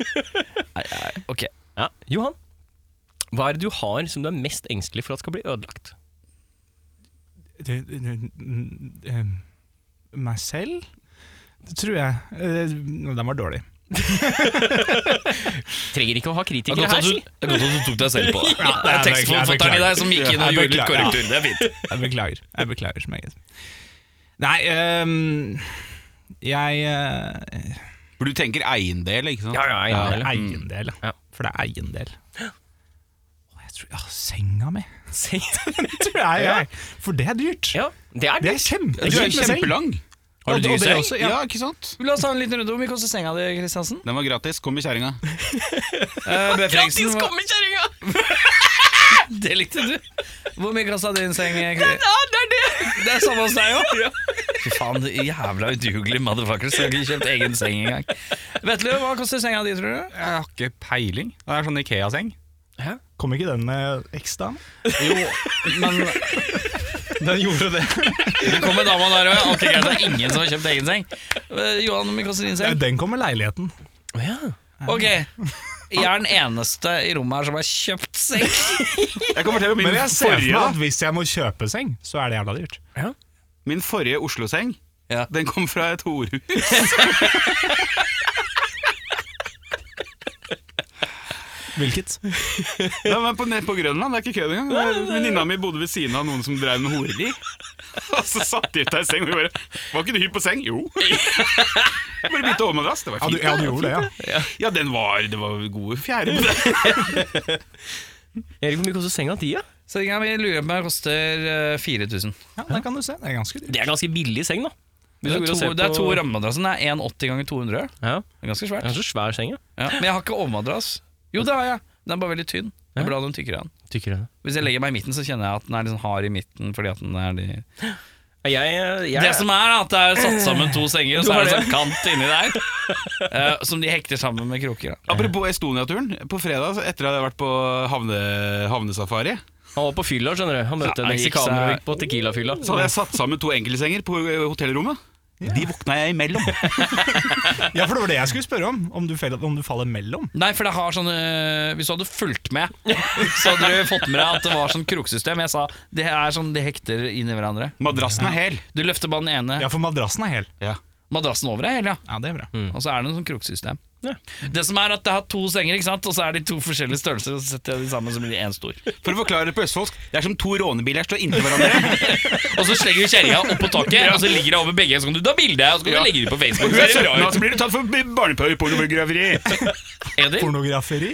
Speaker 2: Nei, nei, ok.
Speaker 1: Ja. Johan, hva er det du har som du er mest engstelig for at skal bli ødelagt?
Speaker 6: det, det, mm, eh, Meg selv? Det tror jeg. Eh, Den var dårlig.
Speaker 1: Trenger ikke å ha
Speaker 2: Det er
Speaker 1: kritikere
Speaker 2: godt
Speaker 1: her,
Speaker 2: at du,
Speaker 1: si.
Speaker 2: det er godt at du tok deg selv på det. det
Speaker 6: jeg
Speaker 2: er tekstforfatteren i deg som gikk inn og
Speaker 6: Jeg
Speaker 2: gjorde litt
Speaker 6: beklager.
Speaker 2: korrektur. Det er fint.
Speaker 6: Jeg beklager. Jeg beklager så meget. Nei ehm, Jeg eh,
Speaker 3: For du tenker eiendel, ikke sant?
Speaker 1: Ja, ja,
Speaker 6: det
Speaker 1: ja,
Speaker 6: er
Speaker 1: ja.
Speaker 6: Eiendel,
Speaker 2: Mm.
Speaker 6: ja.
Speaker 1: Ja.
Speaker 6: For det er eiendel. Å, jeg tror Ja, senga mi.
Speaker 1: Se-
Speaker 6: Tror jeg, jeg. For det er dyrt.
Speaker 1: ja, det er
Speaker 6: Det
Speaker 1: det.
Speaker 6: er kjempe-
Speaker 3: Du er
Speaker 6: dyrt med seng.
Speaker 3: kjempelang.
Speaker 6: Og- og
Speaker 2: dyr
Speaker 6: det
Speaker 2: seng?
Speaker 6: også,
Speaker 3: Ja,
Speaker 6: Ja.
Speaker 3: ikke sant?
Speaker 2: La oss ta en liten runde om hvor mye koster senga di, Kristiansen.
Speaker 3: Den var gratis. Kom i kjerringa.
Speaker 2: Gratis kommekjerringa! det likte du. Hvor mye kosta din seng? Ja, det er det! Det er samme hos deg òg. Fy faen, det er jævla udugelig motherfucker. Skulle ikke kjøpt egen seng engang. Vetle, hva koster senga di, tror du?
Speaker 7: Jeg har ikke peiling. Det er sånn Ikea-seng.
Speaker 6: Kom ikke den eh, med X, da?
Speaker 7: Den gjorde det.
Speaker 2: Det kom en dame der òg. Ok, greit, det er ingen som har kjøpt egen seng. Eh, Johan, hvor mye koster din
Speaker 6: Ja,
Speaker 2: seng?
Speaker 6: Den kom med leiligheten.
Speaker 1: Å, ja.
Speaker 2: Ok, jeg er den eneste i rommet her som har kjøpt seng.
Speaker 3: Jeg kan fortelle om
Speaker 6: Men
Speaker 3: min
Speaker 6: jeg ser for meg
Speaker 3: forrige,
Speaker 6: at hvis jeg må kjøpe seng, så er det jævla dyrt.
Speaker 3: min forrige Oslo-seng.
Speaker 2: Ja.
Speaker 3: Den kom fra et horehus.
Speaker 6: Hvilket?
Speaker 3: Den var på, ned på Grønland, det er ikke kødd engang. Venninna mi bodde ved siden av noen som drev med horeri. Og så satt de ut ei seng, og vi bare Var ikke du hypp på seng? Jo. Bare bytte overmadrass. Det var
Speaker 6: Ja, du,
Speaker 3: fint.
Speaker 6: ja, du gjorde det, ja.
Speaker 3: Ja, den var Det var gode fjerde.
Speaker 1: Erik, hvor mye koster senga di? Ja?
Speaker 2: Senga mi lurer jeg på meg koster eh, 4000.
Speaker 6: Ja, der kan du se. Det er ganske dyrt.
Speaker 1: Det er ganske billig seng, da. Hvis du
Speaker 2: Det er
Speaker 1: går og
Speaker 2: to,
Speaker 1: ser
Speaker 2: det er
Speaker 1: på-
Speaker 2: to rammemadrasser. Den er 1,80 ganger 200.
Speaker 1: Ja,
Speaker 2: Det er ganske
Speaker 1: det er
Speaker 2: svært.
Speaker 1: så svær seng, ja.
Speaker 2: Ja. Men jeg har ikke overmadrass. Jo, det har jeg. Den er bare veldig tynn. Det er bra den tykker den.
Speaker 1: Tykker du det?
Speaker 2: Hvis jeg legger meg i midten, så kjenner jeg at den er liksom hard i midten. Fordi at den er de...
Speaker 1: Jeg, jeg,
Speaker 2: Det som er, er at det er satt sammen to senger, og så er det en sånn kant inni der. eh, som de hekter sammen med kroker. Da.
Speaker 3: Apropos Estonia-turen. På fredag, etter at jeg hadde vært på havne, havnesafari,
Speaker 1: han var på fylla, skjønner du. Han møtte
Speaker 2: Ja,
Speaker 1: en
Speaker 2: han gikk seg- Sånn,
Speaker 1: meksikaner på Tequila-fylla.
Speaker 3: så hadde jeg satt sammen to enkeltsenger på eh, hotellrommet. De våkna jeg imellom.
Speaker 6: Ja, for det var det jeg skulle spørre om. Om du, faller- om du faller mellom.
Speaker 2: Nei, for det har sånn eh, Hvis du hadde fulgt med, så hadde du fått med deg at det var sånn kroksystem. Jeg sa det er sånn de hekter inni hverandre.
Speaker 3: Madrassen er hel.
Speaker 2: Du løfter bare den ene
Speaker 6: Ja, for madrassen er hel.
Speaker 2: madrassen over deg, eller?
Speaker 6: Ja, det er bra.
Speaker 2: Mm. Og så er det noe sånn kroksystem. Det som er at det har to senger, ikke sant? og så er de to forskjellige størrelser, og så setter jeg de sammen, så blir de én stor.
Speaker 3: For å forklare det på østfoldsk, det er som to rånebiler står inntil hverandre.
Speaker 2: Og så slenger du kjerringa oppå taket, og så ligger hun over begge, så kan du ta bilde, og så kan du legge det på
Speaker 3: Og
Speaker 2: Facebook.
Speaker 3: hun
Speaker 2: Så
Speaker 3: er
Speaker 2: ser det
Speaker 3: 17
Speaker 2: bra
Speaker 3: år,
Speaker 2: ut.
Speaker 3: så blir du tatt for barnepornografi.
Speaker 2: Edil,
Speaker 6: Pornograferi?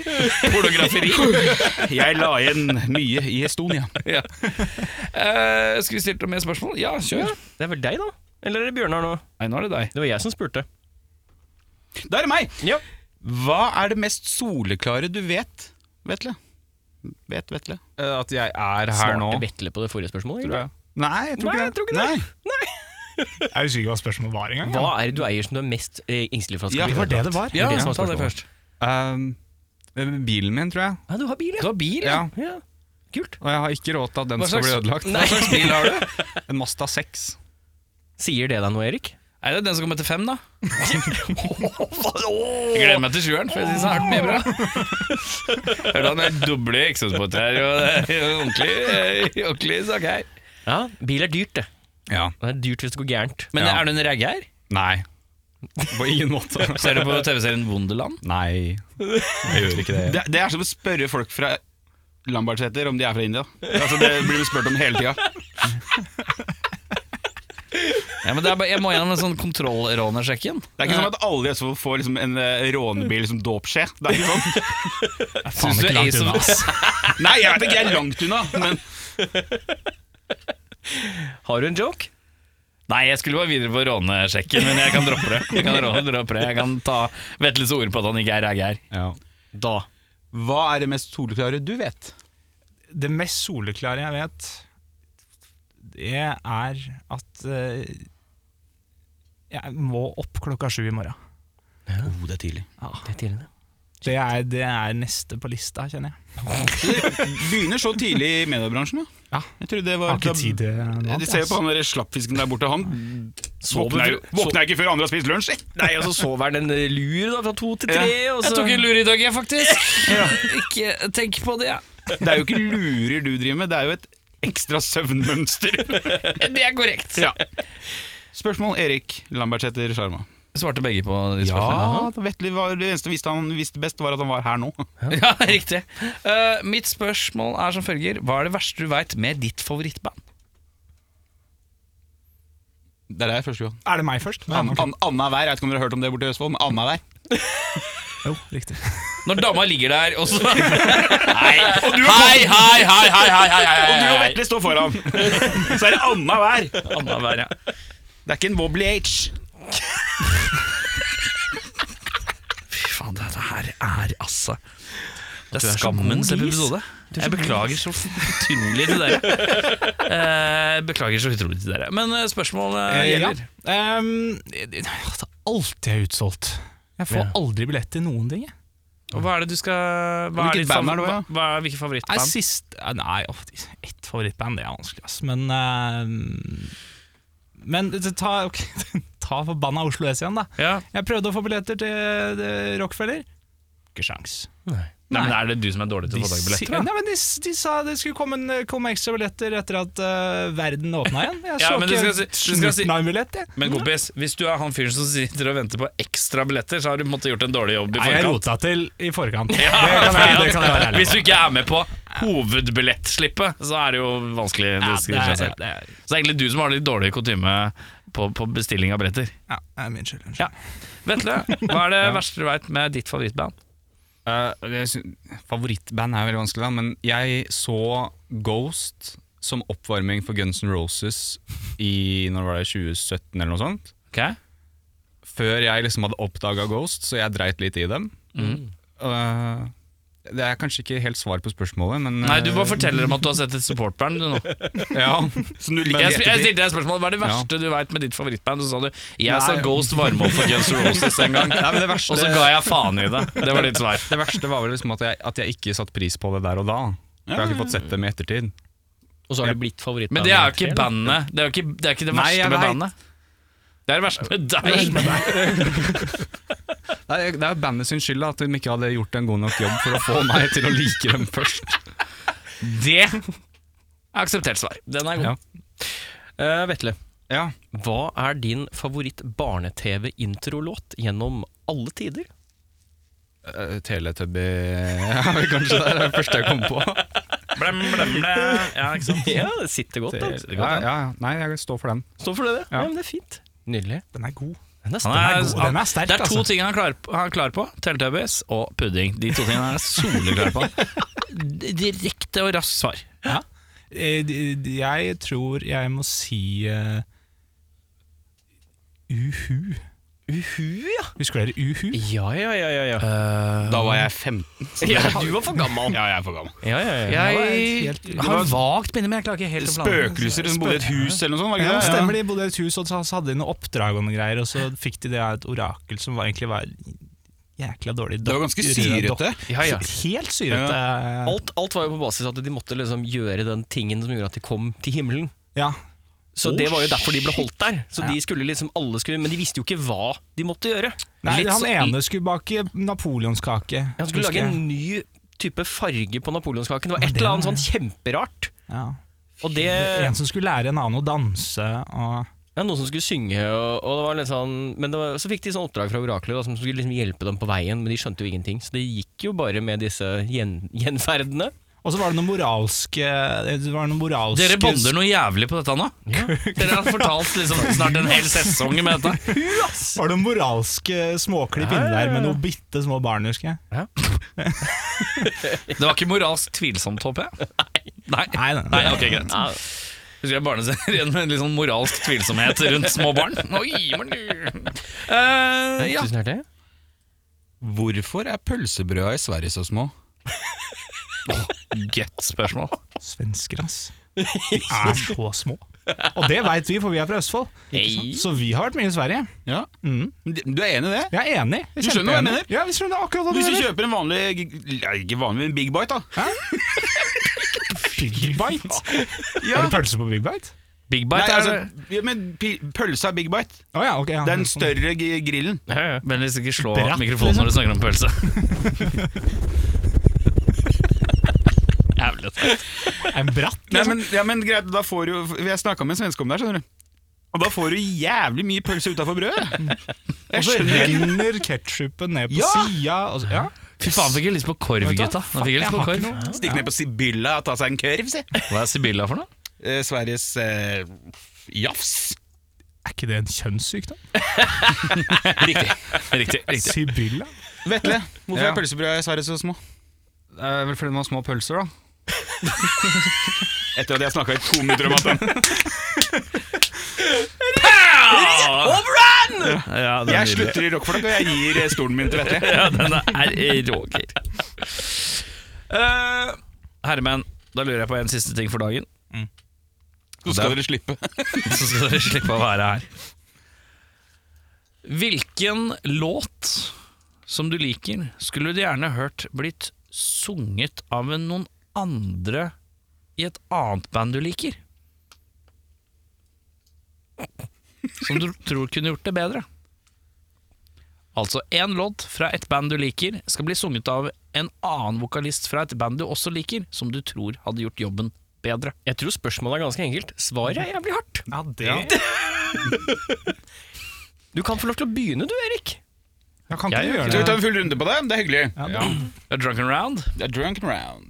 Speaker 2: pornograferi.
Speaker 3: Jeg la igjen mye i Estonia.
Speaker 2: Ja. Eh, skal vi stille mer spørsmål? Ja, kjør.
Speaker 1: Det er vel deg, da? Eller er det Bjørnar nå?
Speaker 2: Nei, nå er det deg.
Speaker 1: Det var jeg som spurte.
Speaker 3: Da er det meg!
Speaker 1: Ja.
Speaker 3: Hva er det mest soleklare du vet, Vetle? Vet, Vetle?
Speaker 7: Eh, At jeg er her nå.
Speaker 1: Svarte Vetle på det forrige spørsmålet?
Speaker 7: tror
Speaker 1: egentlig?
Speaker 7: jeg. Nei, jeg tror
Speaker 1: Nei,
Speaker 7: ikke
Speaker 1: jeg
Speaker 7: det.
Speaker 1: tror ikke det.
Speaker 6: Jeg husker ikke hva spørsmålet var engang.
Speaker 1: Hva er det du eier som du er mest eh, engstelig for at skal
Speaker 3: Ja,
Speaker 1: bli
Speaker 3: det
Speaker 6: Det var det det var.
Speaker 1: Ja,
Speaker 2: Ja,
Speaker 1: det som var
Speaker 2: ta det
Speaker 1: spørsmålet.
Speaker 2: først.
Speaker 7: Ehm, eh, bilen min, tror jeg.
Speaker 1: Ja, du har bil, ja.
Speaker 2: Du har bil, ja.
Speaker 7: Ja.
Speaker 1: ja. Kult.
Speaker 7: Og jeg har ikke råd til at den
Speaker 2: Hva
Speaker 7: skal bli
Speaker 2: slags-
Speaker 7: ødelagt.
Speaker 2: Nei.
Speaker 7: Hva slags bil har du? En Mazda 6.
Speaker 1: Sier det deg noe, Erik?
Speaker 2: Er det den som kommer til fem, da? Jeg gleder meg til sjueren, for jeg syns det sånn. har vært mye bra. Hørte han er doble eksosporter her, og det er jo ordentlig, eh, ordentlig sak her.
Speaker 1: Ja, Bil er dyrt, det.
Speaker 7: Ja.
Speaker 1: Det er dyrt hvis det går gærent.
Speaker 2: Men
Speaker 7: Ja.
Speaker 2: er du en raggeir?
Speaker 7: Nei. På ingen måte.
Speaker 2: Ser du på TV-serien Wonderland?
Speaker 7: Nei, jeg gjør ikke det.
Speaker 3: Det, det er som å spørre folk fra Lambertseter om de er fra India. Altså, det blir vi spurt om hele tida.
Speaker 2: Ja, men det er bare, jeg må gjennom en sånn kontrollrånersjekken.
Speaker 3: Det er ikke sånn at alle i Østfold får liksom en eh, rånebil som dåpsskje. Det er ikke sånn.
Speaker 2: Syns du Ace of Us
Speaker 3: Nei, jeg vet ikke, jeg er langt unna. Men
Speaker 1: Har du en joke?
Speaker 2: Nei, jeg skulle bare videre på rånesjekken, men jeg kan droppe det. Jeg kan, råne, droppe det. Jeg kan ta Vetles ord på at han ikke er raggeir.
Speaker 1: Da.
Speaker 3: hva er det mest soleklare du vet?
Speaker 6: Det mest soleklare jeg vet, det er at eh, jeg må opp klokka sju i morgen.
Speaker 3: Oh, det er tidlig.
Speaker 1: Det er tidlig, det.
Speaker 6: Det er, det er neste på lista, kjenner jeg.
Speaker 3: Begynner så tidlig i mediebransjen, da.
Speaker 6: Ja.
Speaker 3: Jeg trodde det
Speaker 6: Jeg
Speaker 3: var
Speaker 6: har ikke tid til noe annet,
Speaker 3: eh,
Speaker 6: altså.
Speaker 3: De ser jo på
Speaker 6: ass.
Speaker 3: han der slappfisken der borte. Han
Speaker 1: Våkner
Speaker 3: våkner
Speaker 1: jo-
Speaker 3: jo våkner ikke før andre har spist lunsj.
Speaker 1: Nei, og så sover han en eh, lur da, fra to til tre. Og så...
Speaker 2: Jeg tok en lur i dag, jeg, faktisk. Ikke tenk på det.
Speaker 3: Det er jo ikke lurer du driver med, det er jo et ekstra søvnmønster.
Speaker 2: Det er korrekt.
Speaker 3: Ja. Spørsmål Erik Lambertseter Sjarma.
Speaker 2: Svarte begge på de spørsmålene?
Speaker 3: Ja, Vetle var det eneste visste han visste best, var at han var her nå.
Speaker 2: Ja, riktig. Eh, mitt spørsmål er som følger Hva er det verste du veit med ditt favorittband?
Speaker 3: Det er der første gang.
Speaker 6: Er det meg først? Nei,
Speaker 3: An,
Speaker 6: ok.
Speaker 3: an, Anna Vær, jeg vet ikke om dere har hørt om det borte i Østfold, men Anna Vær.
Speaker 6: Jo, riktig.
Speaker 2: Når dama ligger der, og så Nei. Hei, hei, hei, hei, hei, hei, hei,
Speaker 3: Du og
Speaker 2: hei.
Speaker 3: Vetle står foran, så er det Anna Vær.
Speaker 2: Annenhver, ja.
Speaker 3: Det er ikke en Wobbly H.
Speaker 2: Fy faen, dette her er altså Det er
Speaker 1: så
Speaker 2: skammens
Speaker 1: god gris.
Speaker 2: episode. Jeg beklager så utrolig til dere. Eh, beklager så utrolig til dere. Men eh, spørsmålet
Speaker 6: Eh, ja.
Speaker 2: gjelder.
Speaker 6: Ehm, det det er alltid er utsolgt. Jeg får aldri billett til noen ting. jeg.
Speaker 2: Og Hva er det du skal hva
Speaker 3: Hvilket
Speaker 2: ditt
Speaker 3: band
Speaker 2: favor-
Speaker 3: er du, ja?
Speaker 2: hva- Hva er, hvilket
Speaker 6: Nei,
Speaker 2: favorittband?
Speaker 6: sist eh, Nei, åh, de- ett favorittband, det er vanskelig, ass. Men ehm, Men det- ta, ok, ta forbanna Oslo S igjen, da.
Speaker 2: Ja.
Speaker 6: Jeg prøvde å få billetter til eh, Rockefeller. Ikke sjans.
Speaker 2: Nei, men Er det du som er dårlig til å få tak i
Speaker 6: si-
Speaker 2: billetter? da?
Speaker 6: Nei, men de, s- de sa det skulle komme, en, komme ekstra billetter etter at eh, verden åpna igjen. Jeg
Speaker 2: Ja,
Speaker 6: så
Speaker 2: men du skal
Speaker 6: ikke
Speaker 2: si- du skal si-
Speaker 6: snutten av en billett, jeg.
Speaker 2: Men kompis, hvis du er han fyren som sitter og venter på ekstra billetter, så har du måttet gjort en dårlig jobb i
Speaker 6: Nei, jeg
Speaker 2: forkant.
Speaker 6: rota til i forkant.
Speaker 2: Ja,
Speaker 6: det kan jeg, det kan jeg være ærlig på.
Speaker 2: Hvis du ikke er med på hovedbillettslippet, så er det jo vanskelig. Det skriver seg selv.
Speaker 6: det er,
Speaker 2: Så det er egentlig du som har litt dårlig kutyme på, på bestilling av billetter.
Speaker 6: ja, det er min skyld. unnskyld.
Speaker 2: Ja. Vetle, hva er det verste du veit med ditt favorittband?
Speaker 7: Eh, jeg syn- favorittband er veldig vanskelig, da, men jeg så Ghost som oppvarming for Guns N' Roses i når var det, 2017 eller noe sånt.
Speaker 2: Ok?
Speaker 7: Før jeg liksom hadde oppdaga Ghost, så jeg dreit litt i dem.
Speaker 2: Mm.
Speaker 7: Eh, det er kanskje ikke helt svar på spørsmålet, men eh,
Speaker 2: Nei, du bare forteller dem at du har sett et supportband du, nå.
Speaker 7: ja.
Speaker 3: Som du liker
Speaker 2: Jeg, sp- jeg
Speaker 3: ettertid.
Speaker 2: stilte deg spørsmål hva er det verste du veit med ditt favorittband, og så sa du jeg sa Ghost varme opp for Guns N' Roses en gang,
Speaker 7: Nei, men det verste,
Speaker 2: og så ga jeg faen i det. Det var ditt svar.
Speaker 7: Det verste var vel liksom at jeg, at jeg ikke satt pris på det der og da. For jeg har ikke fått sett dem i ettertid.
Speaker 1: Og så har du blitt favorittband.
Speaker 2: Men det er jo
Speaker 1: nummer
Speaker 2: ikke
Speaker 1: tre,
Speaker 2: bandet. Det er jo ikke det, er ikke det
Speaker 7: Nei,
Speaker 2: verste
Speaker 7: jeg
Speaker 2: med
Speaker 7: vet.
Speaker 2: bandet. Det er det verste med deg.
Speaker 7: Det er, det er jo bandet sin skyld da, at de ikke hadde gjort en god nok jobb for å få meg til å like dem først.
Speaker 2: Det er akseptert svar. Den er god.
Speaker 7: Ja.
Speaker 1: da. Eh, Vetle,
Speaker 7: Ja,
Speaker 1: hva er din favoritt barne-TV-introlåt gjennom alle tider?
Speaker 7: Eh, Teletubby ja, Kanskje det er det første jeg kom på.
Speaker 2: Blem, blem, blem. Ja, ikke sant?
Speaker 1: Ja, det sitter godt. Da.
Speaker 7: Ja, ja, ja. Nei, jeg står for den.
Speaker 1: Stå for det, det. Ja, men det er fint. Nydelig.
Speaker 6: Den er god.
Speaker 1: Den er
Speaker 2: Han
Speaker 1: sterk.
Speaker 2: er,
Speaker 6: god. Den er sterk,
Speaker 2: det er to
Speaker 6: altså.
Speaker 2: ting han er klar, han er klar på. Teletubbies og pudding. De to tingene er jeg soleklar på. Direkte og raskt svar.
Speaker 6: Eh, d- d- Jeg tror jeg må si eh, Uhu.
Speaker 1: Uhu, ja.
Speaker 6: Husker dere Uhu?
Speaker 1: Ja, ja, ja, ja, ja.
Speaker 7: Da var jeg 15.
Speaker 1: ja du var for gammel.
Speaker 3: Ja, jeg er for gammel.
Speaker 1: Ja, ja, ja.
Speaker 2: Jeg har vagt minne, men jeg klarer ikke helt å planlegge.
Speaker 3: Spøkelser som bodde i et hus eller noe sånt. var det
Speaker 6: Ja,
Speaker 3: ikke det?
Speaker 6: stemmer De bodde i et hus, og så hadde de noe oppdrag og noen greier, og så fikk de det av et orakel som var, egentlig var jækla dårlig.
Speaker 3: Det var ganske
Speaker 6: dokker-
Speaker 3: syrete.
Speaker 1: Ja, ja.
Speaker 6: Helt syrete. Ja.
Speaker 1: Alt, alt var jo på basis at de måtte liksom gjøre den tingen som gjorde at de kom til himmelen. Så det var jo derfor de ble holdt der. Så de skulle liksom alle skulle, Men de visste jo ikke hva de måtte gjøre.
Speaker 6: Nei,
Speaker 1: Litt
Speaker 6: han
Speaker 1: så-
Speaker 6: ene skulle bake napoleonskake.
Speaker 1: Han skulle
Speaker 6: husker
Speaker 1: lage
Speaker 6: jeg.
Speaker 1: en ny type farge på napoleonskaken. Det var et
Speaker 6: det
Speaker 1: eller annet
Speaker 6: var
Speaker 1: sånn
Speaker 6: det.
Speaker 1: kjemperart.
Speaker 6: ja.
Speaker 1: Og det
Speaker 6: En som skulle lære en annen å danse. Og
Speaker 1: ja, Noen som skulle synge, og, og det var litt sånn Men det var, så fikk de sånn oppdrag fra oraklet da, som skulle liksom hjelpe dem på veien, men de skjønte jo ingenting. Så det gikk jo bare med disse gjen, gjenferdene.
Speaker 6: og så var det noen moralske, det var noen moralske
Speaker 2: Dere bonder noe jævlig på dette nå. Dere har fortalt liksom snart en hel sesong med dette.
Speaker 6: var det noen moralske eh, småklipp inni der med noen bitte små barn, husker jeg.
Speaker 2: Det var ikke moralsk tvilsomt, håper jeg? Nei. Nei.
Speaker 6: Nei, nei,
Speaker 2: Nei, ok, greit. Husker jeg barneserien med en litt sånn moralsk tvilsomhet rundt små barn. Oi, men du. Eh, ja.
Speaker 1: Tusen hjertelig.
Speaker 7: Hvorfor er pølsebrøda i Sverige så små?
Speaker 2: Godt spørsmål.
Speaker 6: Svensker, ass. De er så små. Og det veit vi, for vi er fra Østfold.
Speaker 1: Hey.
Speaker 6: Så vi har vært mye i Sverige.
Speaker 3: Ja.
Speaker 6: Mm.
Speaker 3: Men det- Du er enig i det?
Speaker 6: Jeg er enig. Jeg
Speaker 3: Du skjønner hva jeg
Speaker 6: kjempeenig.
Speaker 3: mener?
Speaker 6: Ja, vi skjønner akkurat hva du
Speaker 3: Hvis du
Speaker 6: mener.
Speaker 3: kjøper en vanlig g- ja, Ikke vanlig, men Big Bite, da.
Speaker 6: Big Bite? Har du pølse på Big Bite?
Speaker 2: Big
Speaker 3: Nei,
Speaker 2: bite er det. Sånn.
Speaker 3: altså, ja, men pi- Pølse er Big Bite.
Speaker 6: Å ja, ok. Ja.
Speaker 3: Den større g- grillen.
Speaker 2: Vennligst ikke slå
Speaker 6: Bratt,
Speaker 2: mikrofonen når du snakker om pølse. Jævlig.
Speaker 6: Sånn En bratt? liksom.
Speaker 3: Nei, men, ja, men greit, da får du jo- Jeg snakka med en svenske om det her, skjønner du. Og da får du jævlig mye pølse utafor
Speaker 2: Mm.
Speaker 3: brødet. Jeg
Speaker 6: Og så
Speaker 3: skjønner ikke
Speaker 6: renner ketsjupen ned på
Speaker 3: Ja!
Speaker 6: sida. og så- Ja.
Speaker 2: Fy faen, fikk jeg lyst på korv, gutta. Nå fikk jeg lyst på
Speaker 6: Jeg har ikke
Speaker 2: korv.
Speaker 6: noe.
Speaker 3: Stikk ned på Sibylla og ta seg en kørv, si.
Speaker 2: Hva er Sibylla for noe?
Speaker 3: Eh, Sveriges eh, jafs.
Speaker 6: Er ikke det en kjønnssykdom?
Speaker 2: Riktig. Riktig, riktig.
Speaker 6: Sibylla?
Speaker 3: Vetle, hvorfor
Speaker 7: Ja.
Speaker 3: er pølsebrøda i Sverige så små?
Speaker 7: Det er Eh, vel fordi de har små pølser, da.
Speaker 3: Etter at jeg snakka i to minutter om at den
Speaker 2: Ah. Ja, den er
Speaker 3: Jeg
Speaker 2: nydelig.
Speaker 3: slutter i rockflagg, og jeg gir eh, stolen min til Vetle.
Speaker 2: Ja, den er råger. Uh, Herremenn, da lurer jeg på en siste ting for dagen.
Speaker 3: Så skal dere slippe.
Speaker 2: Så skal dere slippe å være her. Hvilken låt som du liker, skulle du gjerne hørt blitt sunget av en- noen andre i et annet band du liker? Som du tror kunne gjort det bedre. Altså, én låt fra et band du liker, skal bli sunget av en annen vokalist fra et band du også liker, som du tror hadde gjort jobben bedre.
Speaker 1: Jeg tror spørsmålet er ganske enkelt. Svaret er jævlig hardt.
Speaker 6: Ja, det
Speaker 1: Du kan få lov til å begynne du, Erik.
Speaker 6: Jeg kan ikke
Speaker 2: Jeg
Speaker 6: du
Speaker 3: Skal vi ta
Speaker 6: gjøre det.
Speaker 3: en full runde på det? Det er hyggelig.
Speaker 6: Ja, det-
Speaker 2: A Drunken Round?
Speaker 3: Det er drunk and round.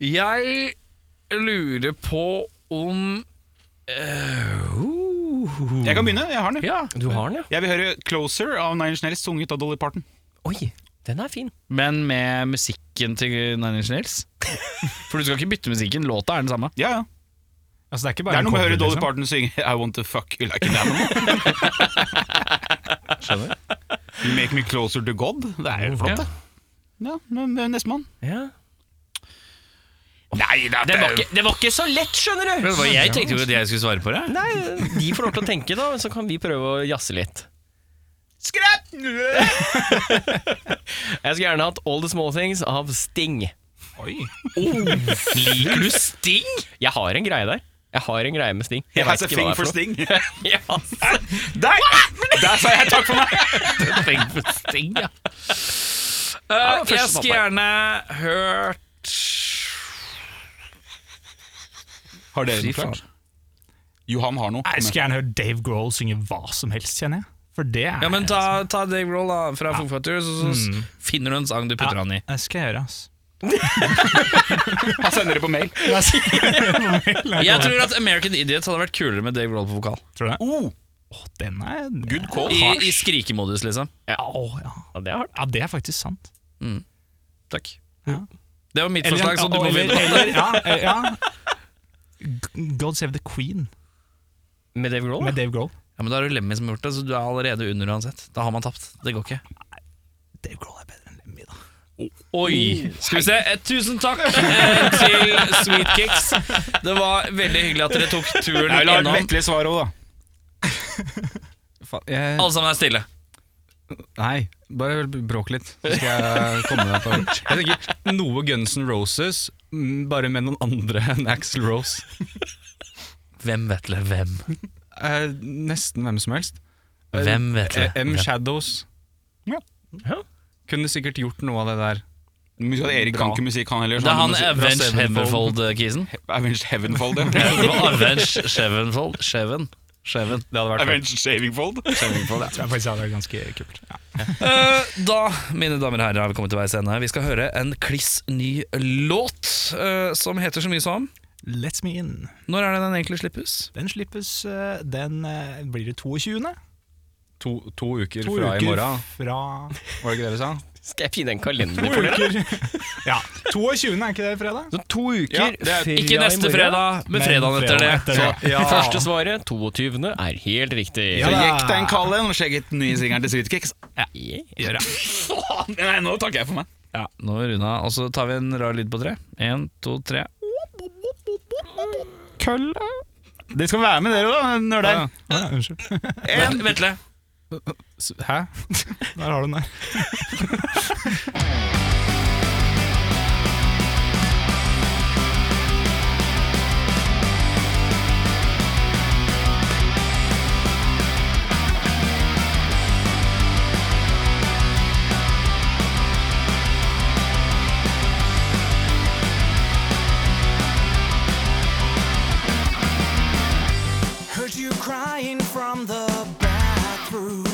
Speaker 2: Jeg lurer på om
Speaker 3: Jeg kan begynne. Jeg har den.
Speaker 2: Ja,
Speaker 1: Du har den, ja.
Speaker 3: Jeg vil høre 'Closer' av Nine Inch Nails, sunget av Dolly Parton.
Speaker 1: Oi, den er fin.
Speaker 2: men med musikken til Nine Inch Nails. For du skal ikke bytte musikken, låta er den samme.
Speaker 3: Ja, ja.
Speaker 6: Altså, det er ikke
Speaker 3: Det
Speaker 6: bare
Speaker 3: er
Speaker 6: liksom.
Speaker 3: noe med å høre
Speaker 6: en cover,
Speaker 3: Dolly Parton synge 'I want to fuck you like an animal'. Skjønner Make me closer to God. Det er jo flott, det. Ja, men eh, men nestemann.
Speaker 1: Ja.
Speaker 3: Nei, det
Speaker 1: Det var, ikke, det var ikke så lett, skjønner du!
Speaker 2: Jeg tenkte jo at jeg skulle svare på det.
Speaker 1: Nei, De får lov til å tenke, da, så kan vi prøve å jazze litt.
Speaker 3: Skrætt!
Speaker 1: Jeg skulle gjerne hatt All The Small Things av Sting. Oh,
Speaker 2: Liker du Sting?
Speaker 1: Jeg har en greie der. Jeg har en greie med Sting. Jeg
Speaker 3: Jeg har
Speaker 1: vet ikke
Speaker 3: thing
Speaker 1: hva det
Speaker 3: for
Speaker 1: er for noe.
Speaker 3: sting.
Speaker 1: Ja,
Speaker 3: Der! Der sa jeg takk for meg!
Speaker 2: Sting, Sting ja. jeg skulle gjerne hørt
Speaker 3: Har dere
Speaker 2: Fy
Speaker 3: noe
Speaker 2: faen.
Speaker 3: klart? Johan har noe.
Speaker 6: Jeg skulle gjerne hørt Dave Grohl synge hva som helst, kjenner jeg. For det er
Speaker 2: Ja, men ta, ta Dave Grohl da, fra Foo Fighters, og så s-
Speaker 6: Mm.
Speaker 2: finner du en sang du putter han i.
Speaker 6: Det skal jeg gjøre, ass.
Speaker 3: Han sender det på mail.
Speaker 2: Jeg tror at American Idiot hadde vært kulere med Dave Grohl på vokal.
Speaker 6: Tror du det? Åh, den er Good call.
Speaker 2: I, i skrikemodus, liksom.
Speaker 6: Ja, åh, ja.
Speaker 1: Ja, det er hardt.
Speaker 6: ja, det er faktisk sant.
Speaker 2: Takk.
Speaker 6: Ja.
Speaker 2: Det var mitt forslag, så du må
Speaker 6: eller,
Speaker 2: vinne.
Speaker 6: eller, ja, eh, ja. G- God Save the Queen
Speaker 1: Med Dave Grohl?
Speaker 6: med Dave Grohl.
Speaker 2: Ja, men da er det Lemmy som har gjort det, så du er allerede under uansett. Da har man tapt. Det går ikke.
Speaker 6: Dave Grohl er bedre enn Lemmy, da.
Speaker 2: Oi. Skal vi se. Eh, Tusen takk eh, til Sweet Kicks. Det var veldig hyggelig at dere tok turen
Speaker 3: Jeg vil ha et
Speaker 2: innom.
Speaker 3: vettlig svar òg, da.
Speaker 7: Fa- Jeg,
Speaker 2: Alle sammen er stille.
Speaker 7: nei, bare bråk litt, så skal jeg komme deg på Jeg tenker noe Guns N' Roses, mm, bare med noen andre enn Axl Rose.
Speaker 2: Hvem vet det? Hvem?
Speaker 7: Eh, nesten hvem som helst. Eh,
Speaker 2: Hvem vet det?
Speaker 7: eh, M Shadows.
Speaker 8: Ja.
Speaker 1: Ja.
Speaker 7: Kunne sikkert gjort noe av det der.
Speaker 8: Musikk, Erik kan ikke musikk, han heller. så
Speaker 2: Det er han
Speaker 8: må si- fra
Speaker 2: Avenge
Speaker 8: Sevenfold.
Speaker 2: Heavenfold-kisen.
Speaker 8: Avenged Heavenfold, ja.
Speaker 2: Avenge Shevenfold Sheven. Sheven. Det hadde vært
Speaker 8: Avenged Shavingfold.
Speaker 6: Jeg tror jeg faktisk hadde vært ganske kult. Ja.
Speaker 2: Eh, Da, mine damer og herrer, har vi kommet til veis ende. Vi skal høre en kliss ny låt eh, som heter så mye som
Speaker 6: Let's Me In.
Speaker 2: Når er det den egentlig slippes?
Speaker 6: Den slippes eh, Den eh, blir det 22.
Speaker 7: To, to uker
Speaker 6: To
Speaker 7: fra i
Speaker 6: uker
Speaker 7: morgen,
Speaker 6: fra
Speaker 7: var det ikke det du sa?
Speaker 1: Skal jeg finne en kalender for dere?
Speaker 6: Ja, 22. er ikke det fredag?
Speaker 1: Så to uker
Speaker 8: Ja, det er-
Speaker 1: fri
Speaker 2: Ikke
Speaker 1: av i
Speaker 2: neste
Speaker 1: morgen.
Speaker 2: fredag, men
Speaker 6: Men
Speaker 2: fredagen etter det.
Speaker 6: fredagen etter det.
Speaker 1: Så Første svaret, 22., er helt riktig.
Speaker 6: Ja da.
Speaker 8: Gikk deg en kall en og sjekket den nye singelen til Sweetkicks.
Speaker 1: Yeah.
Speaker 8: Nei, nå takker jeg for meg.
Speaker 2: Ja, nå er Runa, og så tar vi en rar lyd på tre. En, to, tre.
Speaker 8: Det skal være med dere, da, nerder.
Speaker 6: Ja, unnskyld.
Speaker 2: Vent, Vetle.
Speaker 7: S- Hæ?
Speaker 6: Der har du den der.
Speaker 4: Heard you crying from the bathroom.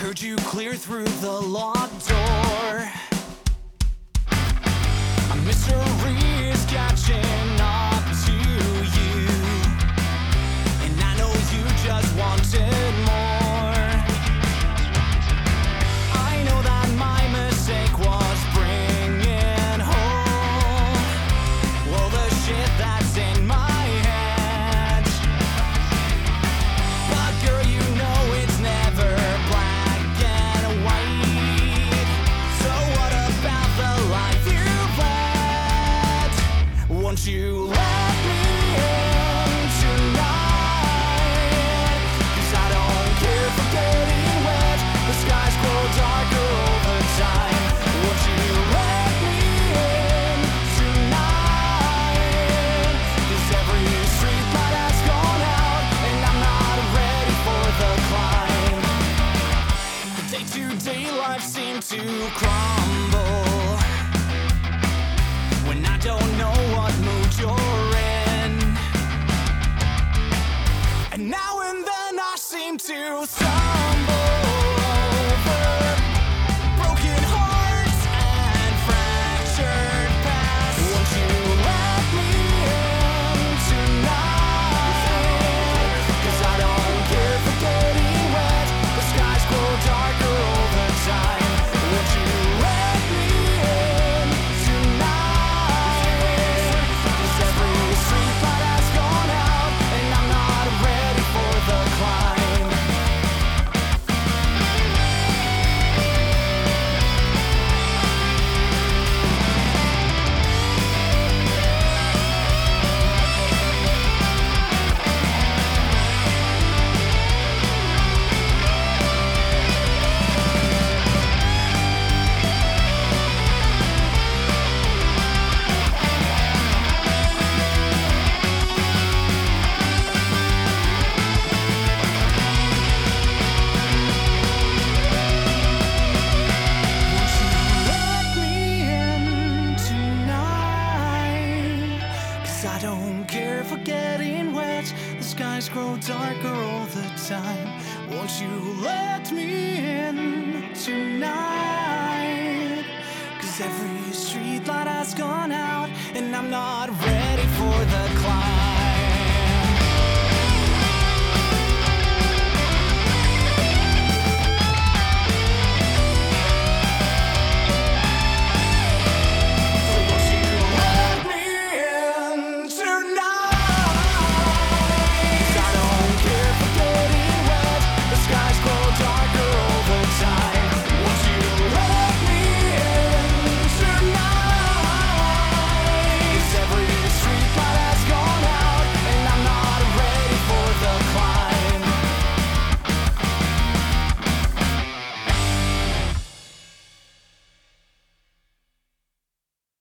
Speaker 4: Heard you clear through the locked door. A mystery is catching up to you. And I know you just wanted more. I know that my mistake was bringing home. All the shit that's in my head. But girl, you know it's never black and white. So what about the life you've led? Won't you let me in tonight? 'Cause I don't care for getting wet. The skies grow darker over time. Won't you let me in tonight? 'Cause every street light has gone out, and I'm not ready for the climb. The day-to-day life seemed to crumble when I don't know what mood you're in. And now and then I seem to stumble over broken hearts and fractured past. Won't you let me in tonight? 'Cause I don't care for getting wet. The skies grow darker over time. Won't you let me in tonight? 'Cause every street light has gone out, and I'm not ready for the climb. time. Won't you let me in tonight? Cause every streetlight has gone out, and I'm not ready for the climb.